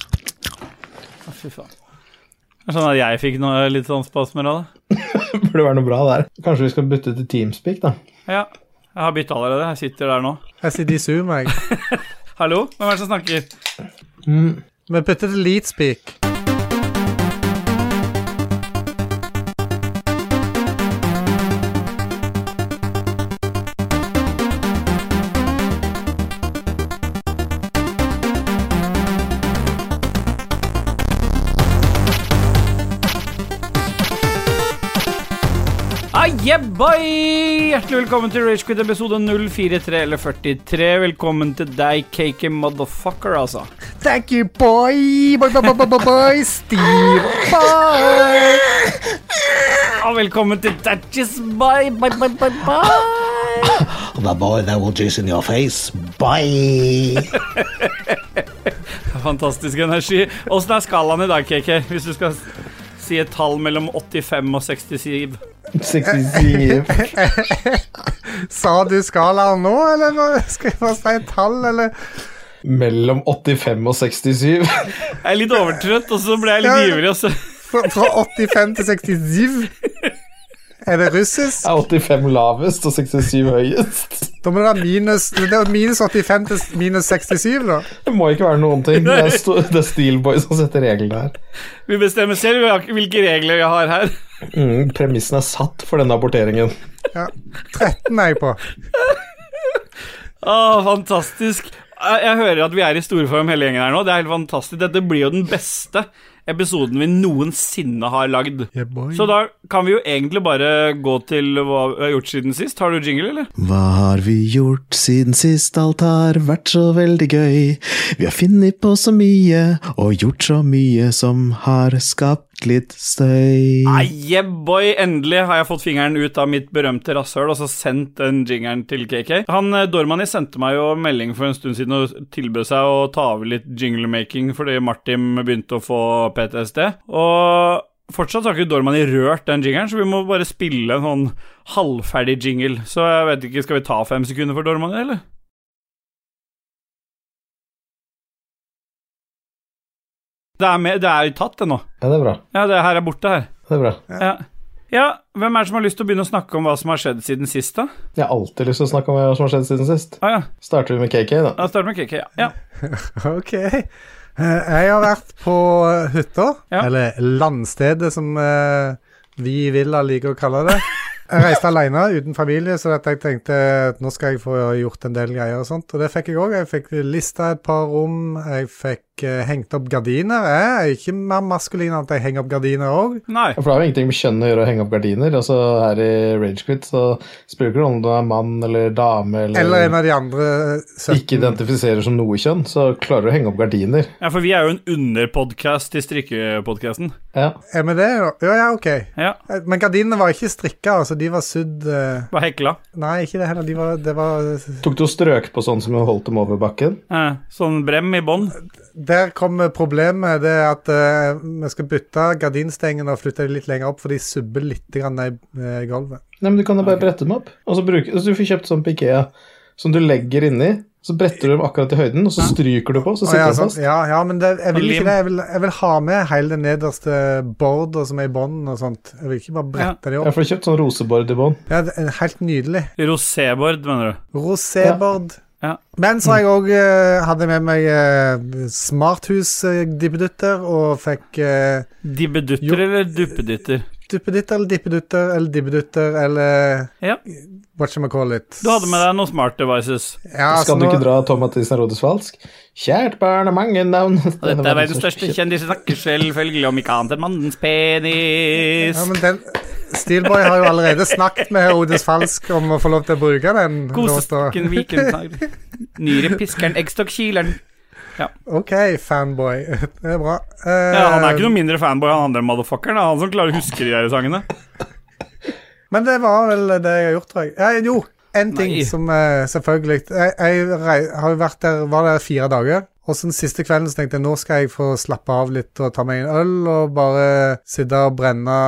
Å, Fy faen. Det er sånn at jeg fikk noe, litt sånn spasmer av det. Burde være noe bra der. Kanskje vi skal bytte til Teamspeak, da. Ja. Jeg har bytta allerede. Jeg sitter der nå. Jeg sitter i Zoom, jeg. Hallo? Hvem er det som snakker? Mm. Vi putter til Leadspeak. Ah, yeah, boy! Hjertelig velkommen til Ragequit episode 043 eller 43. Velkommen til deg, cakey motherfucker, altså. Thank you, boy! Boy, boy, boy, boy, boy, boy. Steve, boy! Og velkommen til Datches, bye, bye, bye, bye, bye. The boy that will juice in your face. Bye! Fantastisk energi. Åssen er skalaen i dag, KK? Hvis du skal si et tall mellom 85 og 67. 67 Sa du skalaen nå, eller hva- skal jeg bare si et tall, eller? Mellom 85 og 67. Jeg er litt overtrøtt, og så ble jeg litt ivrig, og så Fra, fra 85 til 67? Er det russisk? Er 85 lavest og 67 høyest. Da må det være minus, det er minus 85 til minus 67, da. Det må ikke være noen ting. Det er, sto- det er Steelboy som setter reglene her. Vi bestemmer selv hvilke regler vi har her. Mm, premissen er satt for denne aborteringen. Ja. 13 er jeg på. Å, fantastisk. Jeg jeg hører at vi er i storform hele gjengen her nå. Det er helt fantastisk. Dette blir jo den beste episoden vi noensinne har lagd. Yeah, boy. Så da kan vi jo egentlig bare gå til hva vi har gjort siden sist. Har du jingle, eller? Hva har vi gjort siden sist alt har vært så veldig gøy? Vi har funnet på så mye og gjort så mye som har skapt litt støy. Nei, yeah, boy, endelig har jeg fått fingeren ut av mitt berømte rasshøl og så sendt den jingeren til KK. Han eh, Dormani sendte meg jo melding for en stund siden og tilbød seg å ta over litt jinglemaking fordi Martin begynte å få PTSD. Og fortsatt har ikke Dormani rørt den jingeren, så vi må bare spille en sånn halvferdig jingle. Så jeg vet ikke, skal vi ta fem sekunder for Dormani, eller? Det er, med, det er jo tatt, det nå. Ja, det er bra. Ja, det her er borte, her. Det er bra. Ja. ja, hvem er det som har lyst til å begynne å snakke om hva som har skjedd siden sist, da? Jeg har alltid lyst til å snakke om hva som har skjedd siden sist. Ah, ja. Starter vi med KK, da? Da starter vi med KK. Ja. ja. Ok. Eh, Jeg har vært på eh, hytta, Ja. eller landstedet, som eh, vi i Villa liker å kalle det. Jeg reiste alene, uten familie, så at jeg tenkte at nå skal jeg få gjort en del greier og sånt. Og det fikk jeg òg. Jeg fikk lista et par rom, jeg fikk eh, hengt opp gardiner. Jeg er ikke mer maskulin enn at jeg henger opp gardiner òg. Nei. For det har jo ingenting med kjønn å gjøre å henge opp gardiner. Altså her i Ragequit så spiller det ikke noen om du er mann eller dame eller, Eller en av de andre eh, 17. ikke identifiserer som noe kjønn, så klarer du å henge opp gardiner. Ja, for vi er jo en underpodkast til strikkepodkasten. Ja. Er vi det? da? Ja, ja, OK. Ja. Eh, Men gardinene var ikke strikka, altså. De var sydd eh, Bare hekla. Nei, ikke det heller. De var, det var Tok du og strøk på sånn som hun holdt dem over bakken? Eh, sånn brem i bånn. Der kommer problemet. Det er at eh, vi skal bytte gardinstengene og flytte dem litt lenger opp, for de subber litt grann ned eh, gulvet. Nei, men du kan jo bare brette dem opp. Og så bruke, så du får kjøpt sånn på Ikea som du legger inni. Så bretter du dem akkurat i høyden, og så stryker du på, så Å, sitter ja, de sånn. fast. ja, ja, men det, jeg vil Og lim. ikke det. Jeg vil, jeg vil ha med hele den nederste borda som er i bånn og sånt. Jeg vil ikke bare brette de Jeg opp. får kjøpt sånn rosebord i bånn. Ja, det er helt nydelig. Rosébord, mener du. Rosébord. Ja. Men så har jeg òg hadde med meg eh, smarthus-dippedutter og fikk eh, Jo. Dibbedutter eller duppeditter? duppeditter eller dippedutter eller dippedutter eller Ja. whatchamacallit. Du hadde med deg noen smart devices. Ja, så Skal du nå- ikke dra Tom Mathisen Rodes falsk? Kjært barn har mange navn Og dette er verdens verdens største kjendis, snakker selvfølgelig om ikke annet enn mannens penis. Ja, men den Steelboy har jo allerede snakket med Herodes Falsk om å få lov til å bruke den låta. Kosestokken, viken, nyre, piskeren, eggstokk, kileren. Eh. OK, fanboy. Det er bra. Eh, Ja, Han er ikke noe mindre fanboy enn han andre motherfuckeren. Det er han som klarer å huske de der sangene. Men det var vel det jeg har gjort, tror jeg. Ja, jo, én ting Nei. som eh, selvfølgelig Jeg, jeg rei, har jo vært der var der fire dager. Og så den siste kvelden så tenkte jeg nå skal jeg få slappe av litt og ta meg en øl og bare sitte og brenne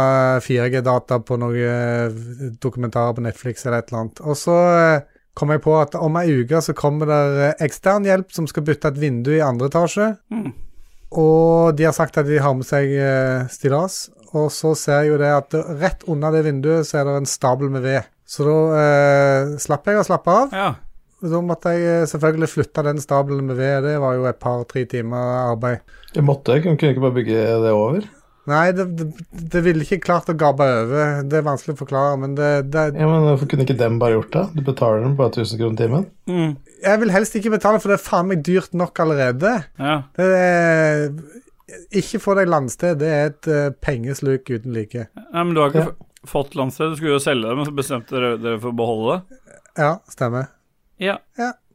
4G-data på noen dokumentarer på Netflix eller et eller annet. Og så eh, kom jeg på at om ei uke så kommer det eh, ekstern hjelp som skal bytte et vindu i andre etasje. Mm. Og de har sagt at de har med seg eh, stillas, og så ser jeg jo det at det- rett under det vinduet så er det en stabel med ved. Så da eh, slapp jeg å slappe av. Ja. Da måtte jeg eh, selvfølgelig flytte den stabelen med ved. Det var jo et par-tre timer arbeid. Jeg måtte, jeg kunne kunne ikke bare bygge det over. Nei, det, det, det ville ikke klart å gabe over. Det er vanskelig å forklare, men det, det Ja, men Hvorfor kunne ikke dem bare gjort det? Du betaler dem bare 1000 kroner timen. Mm. Jeg vil helst ikke betale, for det er faen meg dyrt nok allerede. ja. Det er, ikke få deg landsted. Det er et eh, pengesluk uten like. Nei, men du har ikke Ja. f- fått landsted. Du skulle jo selge det, men så bestemte dere dere for å beholde det. Ja, stemmer. Ja.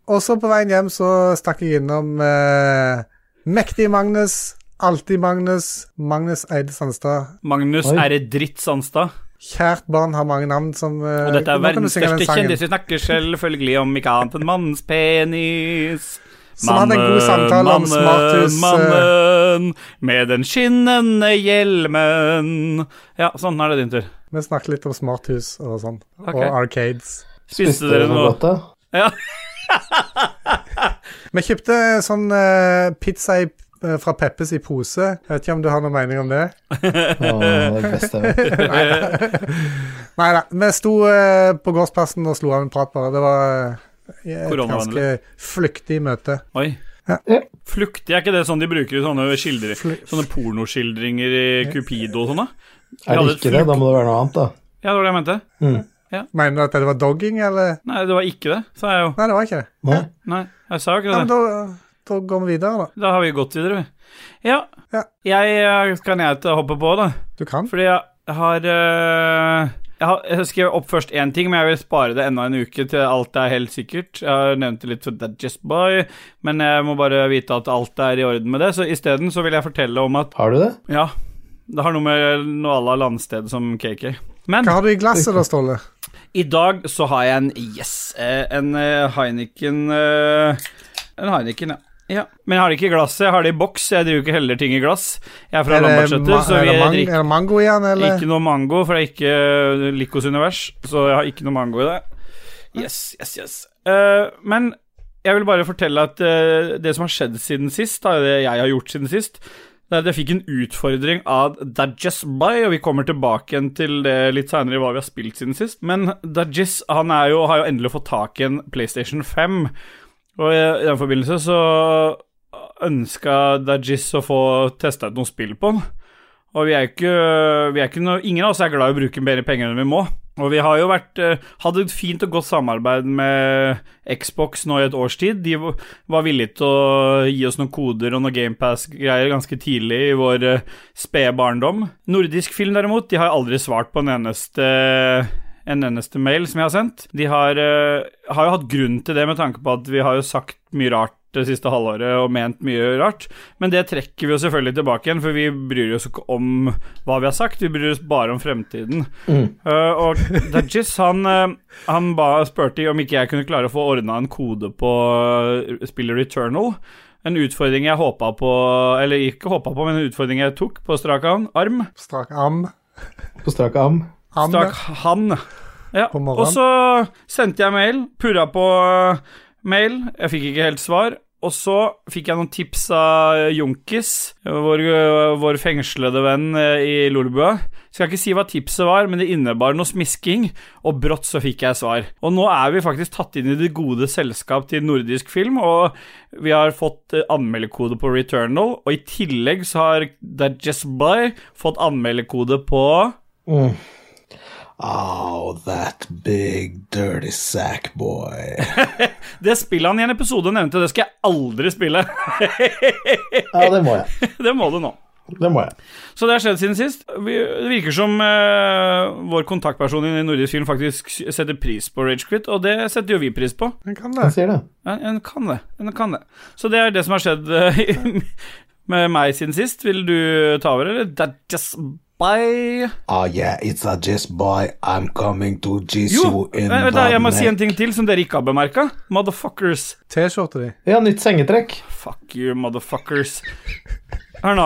Og så på veien hjem så stakk jeg innom eh, Mektig Magnus, Alltid Magnus, Magnus Eide Sandstad. Magnus Oi. er et dritt Sandstad. Kjært barn har mange navn som eh, Og dette er nå kan du verdens synge den største sangen. kjendis. Vi snakker selvfølgelig om ikke annet enn mannens penis. Som hadde en god samtale om smarthus. eh, mannen med den skinnende hjelmen. Ja, sånn nå er det din tur. Vi snakket litt om smarthus og sånn. Ok. Og arcades. Spiste dere noe noe? godt, da? Ja. Vi kjøpte sånn eh, pizza i, eh, fra Peppes i pose. Jeg vet ikke om du har noen mening om det? Å, det er det beste jeg vet. Nei da. Vi sto eh, på gårdsplassen og slo av en prat, bare. Det var eh, et ganske Koronavennlig. flyktig møte. Oi. Ja. Fluktig, er ikke det sånn de bruker i sånne skildre, Fly- Sånne pornoskildringer i Cupido og sånn, da? Er hadde det et ikke det, fluk- da må det være noe annet, da. Ja, det var det jeg mente. Mm. Mener du at det var dogging, eller? Nei, det var ikke det, sa jeg jo. Nei, det var ikke det. Nei. Nei, jeg sa jo Ja, ikke men det. da, da går vi videre, Da har vi gått videre, vi. Ja. Ja. Jeg kan jeg til å hoppe på, da. da. Du kan. Fordi jeg har øh, Jeg har jeg skrev opp først én ting, men jeg vil spare det enda en uke til alt er helt sikkert. Jeg har nevnt det litt for That Just Boy, men jeg må bare vite at alt er i orden med det. Så isteden så vil jeg fortelle om at Har du det? Ja, det har noe med noe à la landsted som KK. Men Hva har du i glasset da, Ståle? i dag så har jeg en Yes, eh, en eh, Heineken eh, En Heineken, ja. ja. Men jeg har det ikke i glasset, jeg har det i boks. Jeg driver ikke heller ting i glass. Jeg er fra ma- Lambertseter, så er vi det mang- drikker er det mango i den, eller? Ikke noe mango, for det er ikke eh, Likos univers, så jeg har ikke noe mango i det. Yes, yes, yes. Eh, men jeg vil bare fortelle at eh, det som har skjedd siden sist, da, det jeg har gjort siden sist, det er at jeg fikk en utfordring av Dajess By, og vi kommer tilbake igjen til det litt seinere, hva vi har spilt siden sist. Men Dajess han er jo, har jo endelig fått tak i en PlayStation 5, og i i den forbindelse så ønska Dajess å få testa ut noen spill på den. Og vi er jo ikke, vi er ikke noe, ingen av oss er glad i å bruke mer penger enn vi må. Og vi har jo vært eh, hadde et fint og godt samarbeid med Xbox nå i et års tid. De v- var villige til å gi oss noen koder og noen GamePass-greier ganske tidlig i vår eh, spede barndom. Nordisk film, derimot, de har aldri svart på en eneste en eneste mail som jeg har sendt. De har, eh, har jo hatt grunn til det, med tanke på at vi har jo sagt mye rart det siste halvåret og ment mye rart. Men det trekker vi jo selvfølgelig tilbake igjen, for vi bryr oss ikke om hva vi har sagt, vi bryr oss bare om fremtiden. Eh, og Dajis, han, eh, han ba, spurte om ikke jeg kunne klare å få ordna en kode på eh, spillet Returnal. En utfordring jeg håpa på, eller ikke håpa på, men en utfordring jeg tok på strak an- arm. Strak am. På strak arm? am. Stakk han. Ja. På morgenen. Og så sendte jeg mail, purra på eh, mail, jeg fikk ikke helt svar. Og så fikk jeg noen tips av Junkis, vår, eh, vår fengslede venn eh, i Lolebua. Skal ikke si hva tipset var, men det innebar noe smisking, og brått så fikk jeg svar. Og nå er vi faktisk tatt inn i det gode selskap til nordisk film, og vi har fått eh, anmeldekode på Returnal, og i tillegg så har Dajess By fått anmeldekode på Mm. Oh, that big dirty sack boy. Det spillet han i en episode nevnte, det skal jeg aldri spille. Ja, det må jeg. det må du nå. Det må jeg. Så det har skjedd siden sist. Vi, det virker som eh, vår kontaktperson i Nordisk Film faktisk s- setter pris på Ragequit, og det setter jo vi pris på. Den kan Jeg det. sier det. En, en kan det. En kan det. Så det er det som har skjedd eh, med meg siden sist. Vil du ta over, eller? That just Bye. Oh yeah, it's a jizz boy. I'm coming to jizz Jo, eh, you in vent da, the jeg må si en neck. ting til som dere ikke har bemerka. Motherfuckers. T-skjorta di. Ja, nytt sengetrekk. Fuck you, motherfuckers. Hør nå.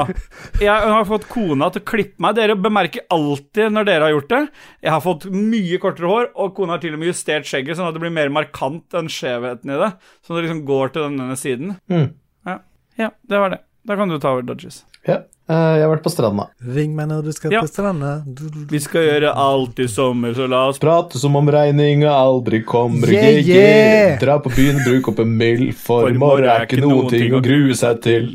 Jeg har fått kona til å klippe meg. Dere bemerker alltid når dere har gjort det. Jeg har fått mye kortere hår, og kona har til og med justert skjegget sånn at det blir mer markant enn skjevheten i det. Så det liksom går til den ene siden. Mm. Ja. ja, det var det. Da kan du ta over Dodges. Ja. Eh, jeg har vært på stranda. Ring meg når du skal Ja. til stranda. Du- du- du- Vi skal gjøre alt i sommer, så la oss Prate som om regninga aldri kommer. Yeah, GG. yeah. Dra på byen, bruk opp en mild, for For i morgen er ikke noen ting å grue seg til.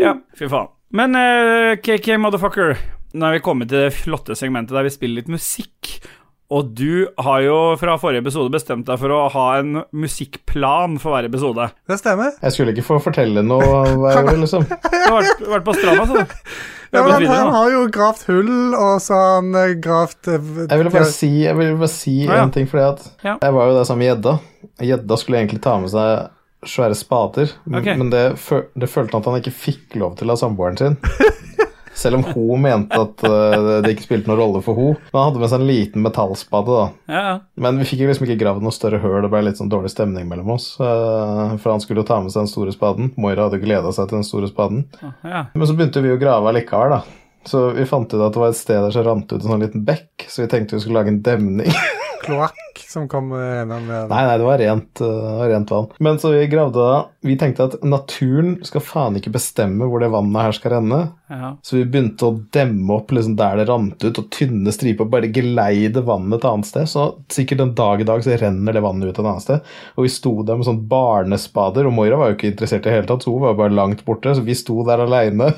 Ja, fy faen. Men eh, KK Motherfucker, nå er vi kommet til det flotte segmentet der vi spiller litt musikk. Og du har jo fra forrige episode bestemt deg for å ha en musikkplan for hver episode. Det stemmer. Jeg skulle ikke få fortelle noe, hva jeg vil, liksom. Du har vært, vært på stranda, så du. Vi Ja, har gått men han, han videre nå. har jo gravd hull, og så har han eh, gravd eh, Jeg ville bare si, jeg ville bare si Ja, ja. en ting, fordi at Ja. jeg var jo der sammen med gjedda. Gjedda skulle egentlig ta med seg svære spader, men- Ok. men det, fø- det følte han at han ikke fikk lov til av samboeren sin. Selv om hun mente at eh, det ikke spilte noen rolle for hun. Men han hadde med seg en liten metallspade, da. Ja, ja. Men vi fikk jo liksom ikke gravd noe større høl, det ble litt sånn dårlig stemning mellom oss. eh, For han skulle jo ta med seg den store spaden. Moira hadde gleda seg til den store spaden. ja. Men så begynte vi å grave allikevel, da. Så vi fant ut at det var et sted der som rant ut en sånn liten bekk, så vi tenkte vi skulle lage en demning. kloakk som kom eh, gjennom eh, Nei, nei, det var rent, øh, rent vann. Men så vi gravde da Vi tenkte at naturen skal faen ikke bestemme hvor det vannet her skal renne. ja. Så vi begynte å demme opp liksom der det rant ut, og tynne striper, og bare geleide vannet et annet sted. Så sikkert en dag i dag så renner det vannet ut et annet sted. Og vi sto der med sånn barnespader, og Moira var jo ikke interessert i det hele tatt, så hun var jo bare langt borte, så vi sto der aleine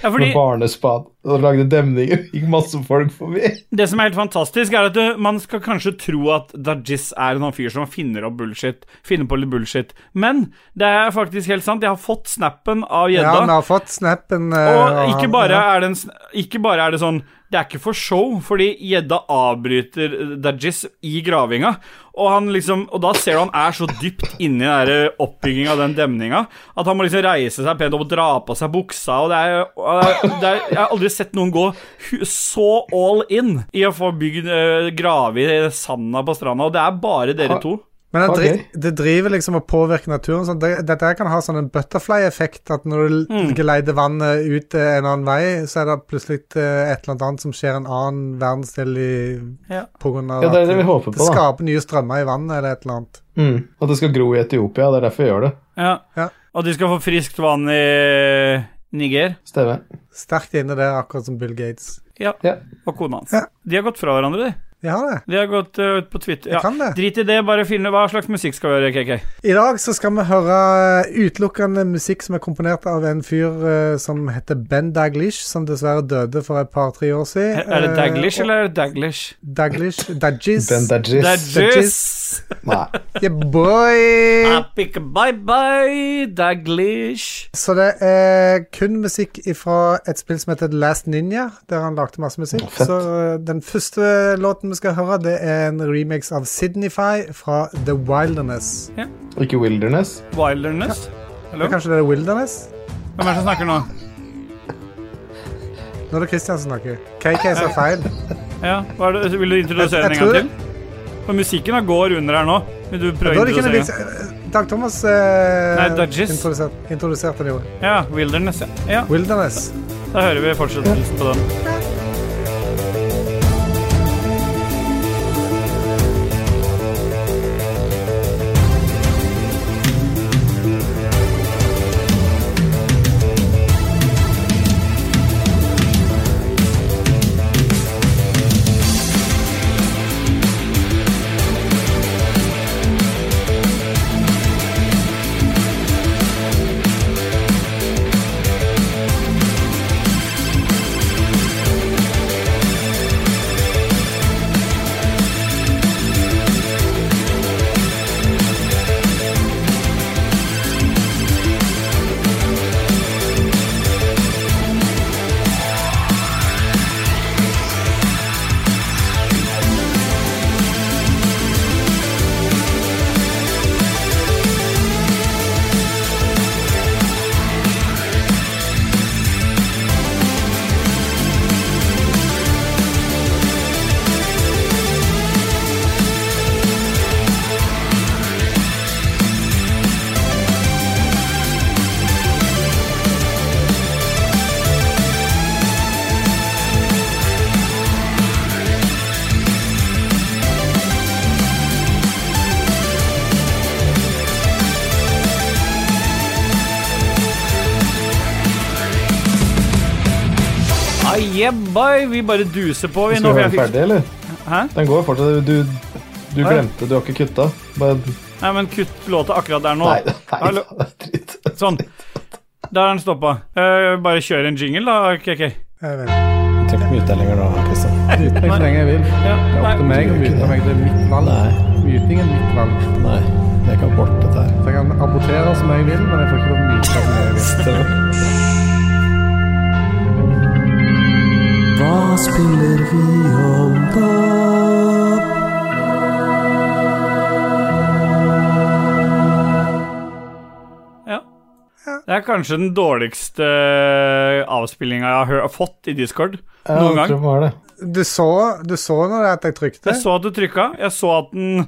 ja fordi med barnespad og lagde demninger. Gikk masse folk forbi. Det som er helt fantastisk, er at du, man skal kanskje tro at Dajis er en sånn fyr som finner opp bullshit. Finner på litt bullshit. Men det er faktisk helt sant. Jeg har fått snappen av Ja, gjedda. vi har fått snappen. eh, Og ikke han- bare ja. er det, en, sn- ikke bare er det sånn Det er ikke for show, fordi gjedda avbryter eh, Dajis i gravinga. Og, han liksom, og da ser du han er så dypt inni oppbygginga av den demninga at han må liksom reise seg pent opp og dra på seg buksa. Og det er, og det er, det er, jeg har aldri sett noen gå hu- så all in i å få bygd eh, grave i sanda på stranda, og det er bare dere to. Men det, dri Ok. det driver liksom og påvirker naturen. Sånn. Det, dette her kan ha sånn en butterfly-effekt, at når du Mm. l- geleider vannet ut eh, en annen vei, så er det plutselig eh, et eller annet som skjer en annen verdensdel i Ja. på grunn av Ja, det er at det vi håper det på, da. skaper nye strømmer i vannet eller et eller annet. Mm. At det skal gro i Etiopia, det er derfor vi gjør det. Ja. Ja. Og de skal få friskt vann i Niger. Stemmer. Sterkt inne der, akkurat som Bill Gates. Ja. Ja. Og kona hans. Ja. De har gått fra hverandre, de. De har det. Vi har gått eh, ut på Twitter. Ja. kan det. Drit i det, bare finne hva slags musikk skal vi gjøre, KK. I dag så skal vi høre eh, utelukkende musikk som er komponert av en fyr eh, som heter Ben Daglish, som dessverre døde for et par-tre år siden. Er det Eh, Daglish eller er det Daglish? og- Daglish? Dagis? Ben Dajis. Dagis. Nei. Yeah, Ah. boy! Bye-bye, Daglish. Så det er kun musikk fra et spill som heter Last Ninja, der han lagde masse musikk. Fett. Så eh, den første låten vi skal høre, det er en remix av Sydneyfy fra The Wilderness. Ikke Wilderness. Wilderness. Hallo? Eller kanskje det er Wilderness? Hvem er det som snakker nå? Nå er det Christian som snakker. KK sa feil. Ja, hva er det? Vil du introdusere Jeg- den jeg en gang tror- til? For musikken da går under her nå. Vil du prøve Da å er det ikke en introdusere? vits- Dag Thomas eh, Nei, Dodges. introduserte introduserte det jo. den? Ja, Wilderness. ja. Ja, Wilderness. da hører vi fortsettelsen på den. Ah, yeah, boy. Vi bare duser på, vi. Skal Nå, vi for høre jeg den fikk... ferdig, eller? Hæ? Den går fortsatt. Du, du Nei. glemte, du har ikke kutta. Bare Nei, men kutt låta akkurat der nå. Nei, nei, Hallo. det er dritt. Sånn. Der er den stoppa. bare kjør en jingle, da, KK. Jeg vet. Jeg trenger ikke mye ut lenger nå, Kristian. Myte meg så lenge jeg vil. Det Ja, er opp til nei. meg å myte meg. Det er mitt valg. Nei. Myting er mitt valg. Nei, jeg kan bort dette her. Så jeg kan abortere som jeg vil, men jeg får ikke lov å myte som jeg vil. Hva spiller vi om da? Ja. Det er kanskje den dårligste avspillinga jeg har hø- fått i Discord Ja, noen jeg gang. tror det var det. Du så, du så når det at jeg trykte? Jeg så at du trykka, jeg så at den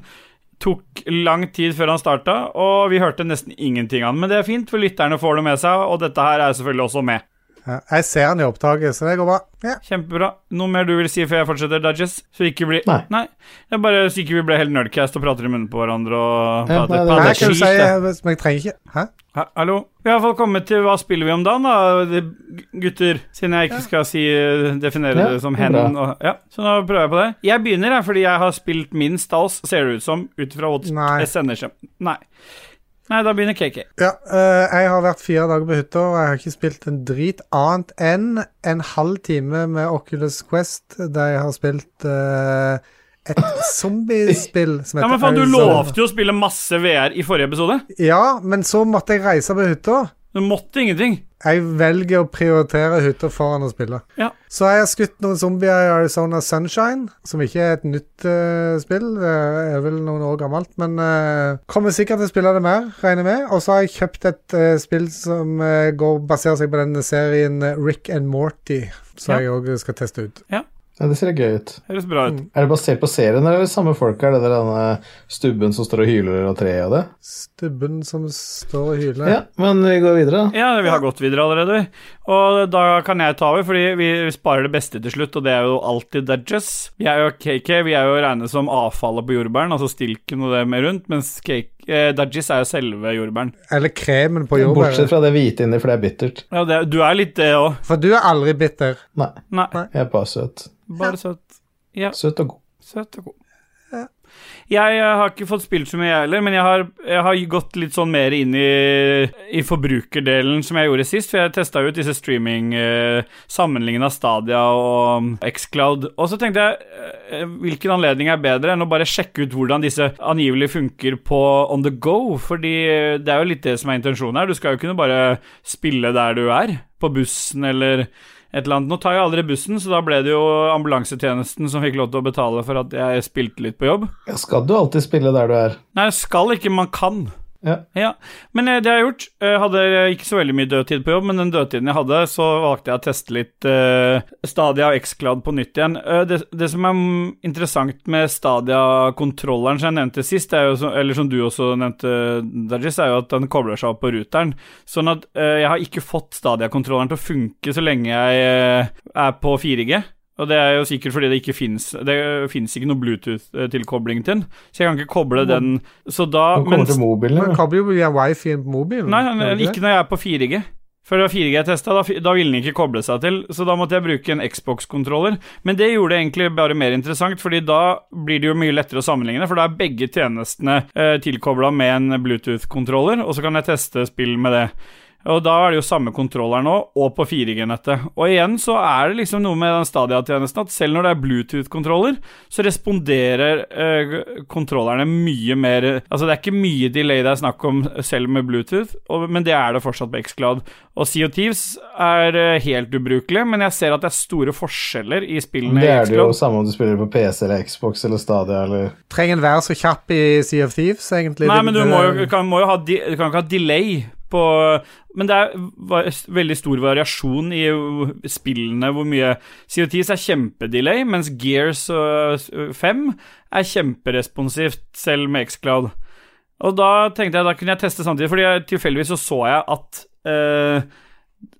tok lang tid før han starta, og vi hørte nesten ingenting av den. Men det er fint, for lytterne får det med seg, og dette her er selvfølgelig også med. Ja, jeg ser den i opptaket, så det går bra. Ja. Kjempebra. Noe mer du vil si før jeg fortsetter, Dodges? Så ikke bli Nei. Det er bare så ikke vi blir helt nerdcast og prater i munnen på hverandre og Ja, prater, nei, det- prater Her kan skit, du si eh, da. Men jeg trenger ikke Hæ? Ha- Hallo. Vi har i hvert fall kommet til hva spiller vi om dagen, da, det- g- gutter. Siden jeg ikke skal si, eh, definere Ja, det som det er hen. bra. Og, ja. Så nå prøver jeg på det. Jeg begynner, jeg, fordi jeg har spilt minst av oss, ser det ut som, ut fra vårt Nei. sendeskjem. Nei. Nei, da begynner KK. Ja, øh, jeg har vært fire dager på hytta, og jeg har ikke spilt en drit annet enn en halv time med Oculus Quest, der jeg har spilt øh, et zombiespill som Ja, heter men faen, Du Arizona. lovte jo å spille masse VR i forrige episode. Ja, men så måtte jeg reise på hytta. Du måtte ingenting. Jeg velger å prioritere hytta foran å spille. Ja. Så har jeg skutt noen zombier i Arizona Sunshine, som ikke er et nytt eh, spill. Det er vel noen år gammelt, men eh, kommer sikkert til å spille det mer, regner jeg med. Og så har jeg kjøpt et eh, spill som eh, går, baserer seg på den serien eh, Rick and Morty, som Ja. jeg òg skal teste ut. Ja, det ser gøy ut. Høres bra ut. Er det basert på serien, eller er det samme folk? Er det der denne stubben som står og hyler og treet og det? Stubben som står og hyler. Ja, men vi går videre, da. Ja, vi har gått videre allerede, vi. Og da kan jeg ta over, fordi vi sparer det beste til slutt, og det er jo alltid Dudges. Vi er jo KK, vi er jo regnet som avfallet på jordbæren, altså stilken og det med rundt, mens KK, eh, Dudges er jo selve jordbæren. Eller kremen på Bortsett jordbæret. fra det hvite inni, for det er bittert. Ja, det, du er litt det òg. For du er aldri bitter. Nei, Nei, jeg er bare søt. bare søt. Søt og god. Søt og god. Jeg eh, har ikke fått spilt så mye, jeg heller, men jeg har, jeg har gått litt sånn mer inn i, i forbrukerdelen som jeg gjorde sist, for jeg testa ut disse streaming eh, Sammenligna Stadia og mm, Xcloud. Og så tenkte jeg eh, hvilken anledning er bedre enn å bare sjekke ut hvordan disse angivelig funker på on the go, fordi eh, det er jo litt det som er intensjonen her. Du skal jo kunne bare spille der du er, på bussen eller et eller annet. Nå tar jeg aldri bussen, så da ble det jo ambulansetjenesten som fikk lov til å betale for at jeg spilte litt på jobb. Ja, skal du alltid spille der du er? Nei, skal ikke, man kan. Ja. Men eh, det jeg har gjort Jeg hadde eh, ikke så veldig mye dødtid på jobb, men den dødtiden jeg hadde, så valgte jeg å teste litt eh, Stadia og Xcloud på nytt igjen. Eh, det, det som er mm, interessant med Stadia-kontrolleren som jeg nevnte sist, er jo, så- eller som du også nevnte, Dajis, er jo at den kobler seg opp på ruteren. Sånn at eh, jeg har ikke fått Stadia-kontrolleren til å funke så lenge jeg eh, er på 4G. Og det er jo sikkert fordi det ikke fins Det fins ikke noe Bluetooth-tilkobling til den, så jeg kan ikke koble den. Så da Han kommer mens- til mobilen, Man ja. kobler jo via wifi på mobilen. Nei, nei, gjør nei, du ikke når jeg er på 4G. Før det var 4G jeg testa, da, fi- da ville den ikke koble seg til, så da måtte jeg bruke en Xbox-kontroller. Men det gjorde det egentlig bare mer interessant, fordi da blir det jo mye lettere å sammenligne, for da er begge tjenestene eh, tilkobla med en Bluetooth-kontroller, og så kan jeg teste spill med det. Og da er det jo samme kontroller nå, og på 4G-nettet. Og igjen så er det liksom noe med den Stadia-tjenesten at selv når det er Bluetooth-kontroller, så responderer eh, kontrollerne mye mer Altså det er ikke mye delay det er snakk om selv med Bluetooth, og, men det er det fortsatt på Xcloud. Og Sea of Thieves er eh, helt ubrukelig, men jeg ser at det er store forskjeller i spillene Det i er det jo Xcloud. samme om du spiller på PC eller Xbox eller Stadia eller Trenger en være så kjapp i Sea of Thieves, egentlig? Nei, Det- men du det- må jo, kan, må jo ha, di- du kan ikke ha delay på Men det er va- veldig stor variasjon i hvor- spillene hvor mye CO10s er kjempedelay, mens Gears øh, s- øh, 5 er kjemperesponsivt, selv med Xcloud. Og da tenkte jeg da kunne jeg teste samtidig, fordi jeg, tilfeldigvis så så jeg at øh,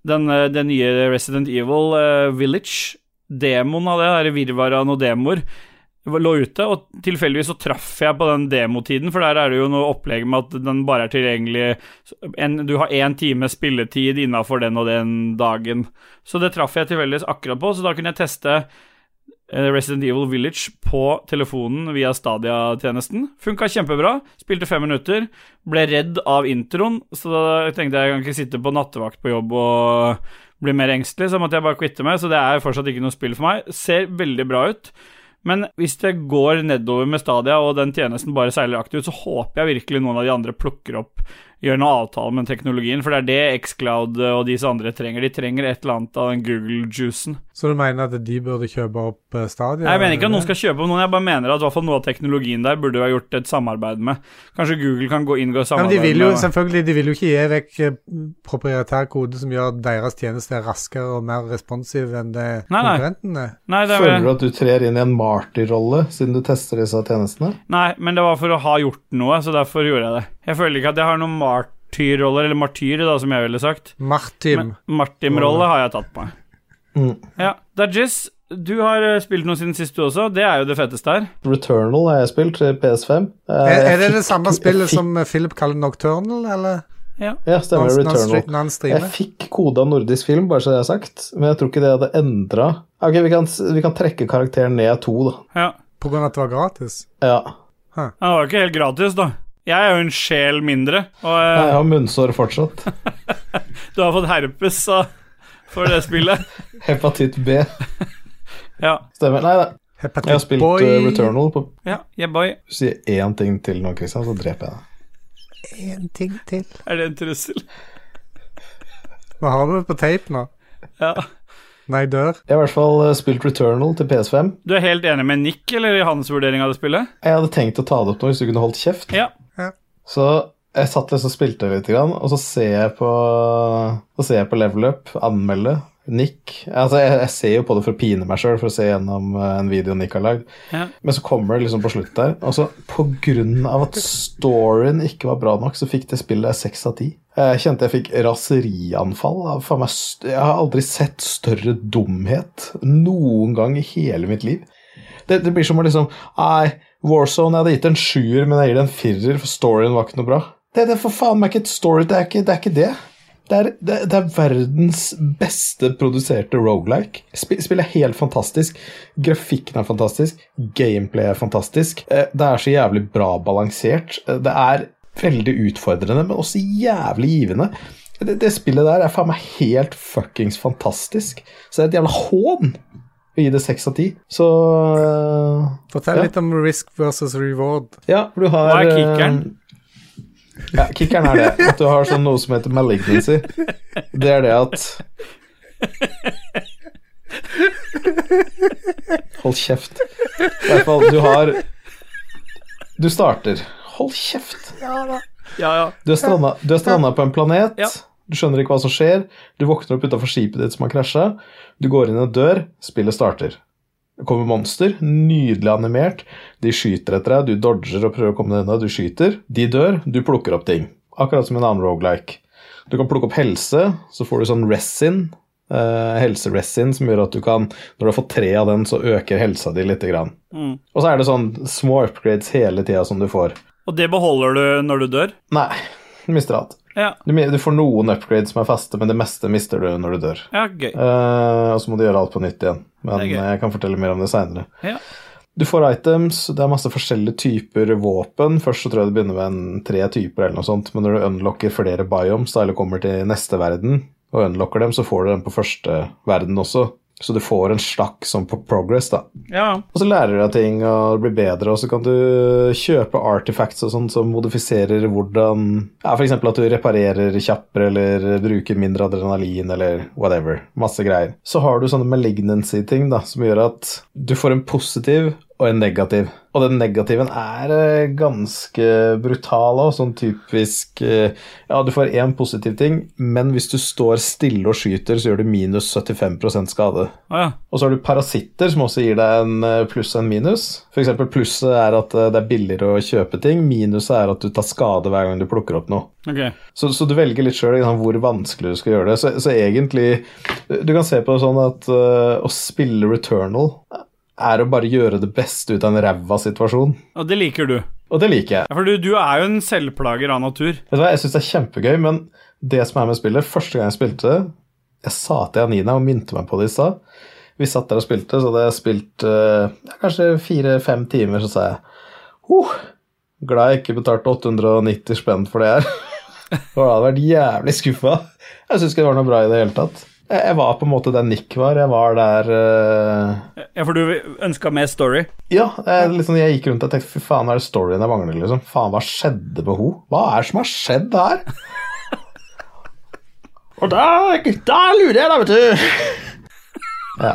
den, øh, den eh, nye Resident Evil øh, Village, demoen av det, det er virvaret av noen demoer, lå ute, og tilfeldigvis så traff jeg på den demotiden, for der er det jo noe opplegg med at den bare er tilgjengelig en, Du har én time spilletid innafor den og den dagen. Så det traff jeg tilfeldigvis akkurat på, så da kunne jeg teste eh, Resident Evil Village på telefonen via Stadia-tjenesten. Funka kjempebra. Spilte fem minutter. Ble redd av introen, så da tenkte jeg jeg kan ikke sitte på nattevakt på jobb og bli mer engstelig, så måtte jeg bare kvitte meg. Så det er fortsatt ikke noe spill for meg. Ser veldig bra ut. Men hvis det går nedover med Stadia, og den tjenesten bare seiler aktivt, så håper jeg virkelig noen av de andre plukker opp, gjør noe avtale med teknologien, for det er det Xcloud og disse andre trenger. De trenger et eller annet av den Google-juicen. Så du mener at de burde kjøpe opp eh, Stadia? Nei, Jeg mener ikke at eller? noen skal kjøpe opp noen, jeg bare mener at i hvert fall noe av teknologien der burde vi ha gjort et samarbeid med. Kanskje Google kan gå inn og Ja, men samarbeide de vil jo med selvfølgelig de vil jo ikke gi vekk eh, proprietær kode som gjør at deres tjeneste er raskere og mer responsiv enn det Nei, nei. konkurrentene. Nei, det er, Føler du at du trer inn i en martyrrolle siden du tester disse tjenestene? nei, men det var for å ha gjort noe, så derfor gjorde jeg det. Jeg føler ikke at jeg har noen martyrroller, eller martyr, da, som jeg ville sagt. Martim. Men Martin-rolle har jeg tatt på meg. Mm. Ja, Dajis, du har eh, spilt noe siden sist du også, det er jo det feteste her. Returnal har jeg spilt til PS5. Eh, Er, jeg er det fikk- det samme jeg spillet fikk- som eh, Philip kaller Nocturnal, eller? Ja, stemmer. Når- når han Returnal. stre- Når han Jeg streamer? fikk kode av nordisk film, bare så det er sagt, men jeg tror ikke det hadde endra Ok, vi kan, s- vi kan trekke karakteren ned to, da. Ja. På grunn av at det var gratis? Ja. Ja, Det var jo ikke helt gratis, da. Jeg er jo en sjel mindre, og Nei, Jeg eh, har munnsår fortsatt. du har fått herpes så, for det spillet. Hepatitt B. Ja. Stemmer. Nei, nei. Jeg har Hepatitt spilt Boy. eh, Returnal på Ja, yeah, boy. Si én ting til nå, Christian, så dreper jeg deg. En ting til. Er det en trussel? Hva har du på tape nå? Ja. Nei, dør. Jeg har i hvert fall eh, spilt Returnal til PS5. Du er helt enig med Nick, eller i hans vurdering av det spillet? Jeg hadde tenkt å ta det opp nå hvis du kunne holdt kjeft. Ja. Så jeg satt liksom og spilte litt, grann, og så ser jeg på, så ser jeg på level up, anmelde, Nick. Altså, jeg, jeg ser jo på det for å pine meg sjøl, for å se gjennom eh, en video Nick har lagd. Ja. Men så kommer det liksom på slutt der. Og så på grunn av at storyen ikke var bra nok, så fikk det spillet seks av ti. Jeg kjente jeg fikk raserianfall. av faen meg st- Jeg har aldri sett større dumhet noen gang i hele mitt liv. Det, det blir som å liksom Nei, Warzone, jeg hadde gitt en sjuer, men jeg gir det en firer, for storyen var ikke noe bra. Det, det er for faen meg ikke et story, det er ikke det. Er ikke det. Det er, det, det er verdens beste produserte roguelike. Sp spillet er helt fantastisk. Grafikken er fantastisk. Gameplay er fantastisk. Eh, Det er så jævlig bra balansert. Eh, Det er veldig utfordrende, men også jævlig givende. Det, det spillet der er faen meg helt fuckings fantastisk. Så det er et jævla hån å gi det seks av ti. Så eh, Fortell Ja. litt om risk versus reward. ja, for du har Hva er kickeren? eh, Ja, kickeren er det. At du har sånn noe som heter malignancy. Det er det at Hold kjeft. I hvert fall, du har Du starter. Hold kjeft. Ja, ja. Du er stranda, du er stranda på en planet. Ja. Du skjønner ikke hva som skjer. Du våkner opp utafor skipet ditt som har krasja. Du går inn en dør. Spillet starter. Det kommer monster. Nydelig animert. De skyter etter deg. Du dodger og prøver å komme deg unna. Du skyter. De dør. Du plukker opp ting. Akkurat som en annen roguelike. Du kan plukke opp helse. Så får du sånn resin. eh, helseresin som gjør at du kan Når du har fått tre av den, så øker helsa di lite grann. Mm. Og så er det sånn små upgrades hele tida som du får. Og det beholder du når du dør? Nei, du mister alt. Ja. Du, men- du får noen upgrades som er faste, men det meste mister du når du dør. Ja, gøy. Eh, og så må du gjøre alt på nytt igjen. Men Det er gøy. eh, jeg kan fortelle mer om det seinere. Ja. Du får items, det er masse forskjellige typer våpen. Først så tror jeg det begynner med en tre typer, eller noe sånt, men når du unlocker flere biomes, da, eller kommer til neste verden, og unlocker dem, så får du dem på første verden også. Så du får en slakk som på progress, da. Ja. Og så lærer du deg ting og blir bedre, og så kan du kjøpe artifacts og sånn som modifiserer hvordan Ja, f.eks. at du reparerer kjappere eller bruker mindre adrenalin eller whatever. Masse greier. Så har du sånne malignancy-ting da, som gjør at du får en positiv og en negativ. Og den negativen er eh, ganske brutal og sånn typisk eh, Ja, du får én positiv ting, men hvis du står stille og skyter, så gjør du minus 75 skade. Å ja. Og så har du parasitter, som også gir deg en eh, pluss og en minus. F.eks. plusset er at eh, det er billigere å kjøpe ting, minuset er at du tar skade hver gang du plukker opp noe. Ok. Så, så du velger litt sjøl hvor vanskelig du skal gjøre det. Så, så egentlig Du kan se på det sånn at eh, å spille Returnal er å bare gjøre det beste ut av en ræva situasjon. Og det liker du. Og det liker jeg. Ja, for du, du er jo en selvplager av natur. Vet du hva, Jeg syns det er kjempegøy, men det som er med spillet Første gang jeg spilte det, jeg sa til Janina og minte meg på det i stad. Vi satt der og spilte, så hadde jeg spilt eh, ja, kanskje fire-fem timer, så sa jeg huh, glad jeg ikke betalte 890 spenn for det her. For jeg hadde vært jævlig skuffa. Jeg syns ikke det var noe bra i det hele tatt. Jeg, jeg var på en måte der Nick var. Jeg var der eh, Ja, for du ønska mer story. ja, jeg, liksom, jeg gikk rundt og tenkte fy faen, hva er det storyen jeg mangler, liksom? Faen, hva skjedde med henne? Hva er det som har skjedd her? og da, da lurer jeg, da, vet du. ja.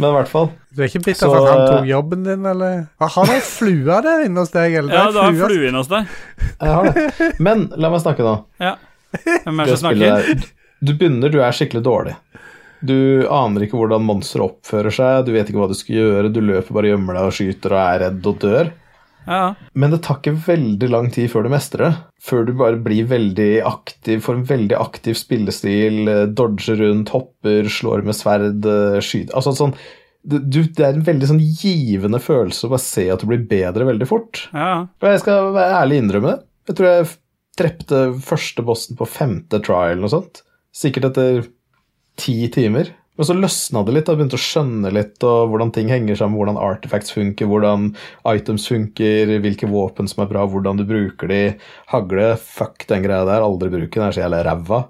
Men i hvert fall Du er ikke bitter Så, for at han eh, tok jobben din, eller? Ah, Har du ei flue der inne hos deg, eller? Ja, Det du er har en flue. flue inne hos deg. Jeg har det. Men la meg snakke nå. Ja. Hvem er det Det som spillet snakker? der, du begynner, du er skikkelig dårlig. Du aner ikke hvordan monstre oppfører seg, du vet ikke hva du skal gjøre, du løper bare og gjemmer deg og skyter og er redd og dør. Ja, ja. Men det tar ikke veldig lang tid før du mestrer det. Før du bare blir veldig aktiv, får en veldig aktiv spillestil, eh, dodger rundt, hopper, slår med sverd, eh, skyter Altså sånn du, du- Det er en veldig sånn givende følelse å bare se at du blir bedre veldig fort. ja. ja. Og jeg skal være ærlig innrømme det. Jeg tror jeg f- drepte første bossen på femte trial eller noe sånt. Sikkert etter ti timer. Men så løsna det litt, og jeg begynte å skjønne litt og hvordan ting henger sammen, hvordan artifacts funker, hvordan items funker, hvilke våpen som er bra, hvordan du bruker de. Hagle, fuck den greia der, aldri bruke den, er så jævla ræva.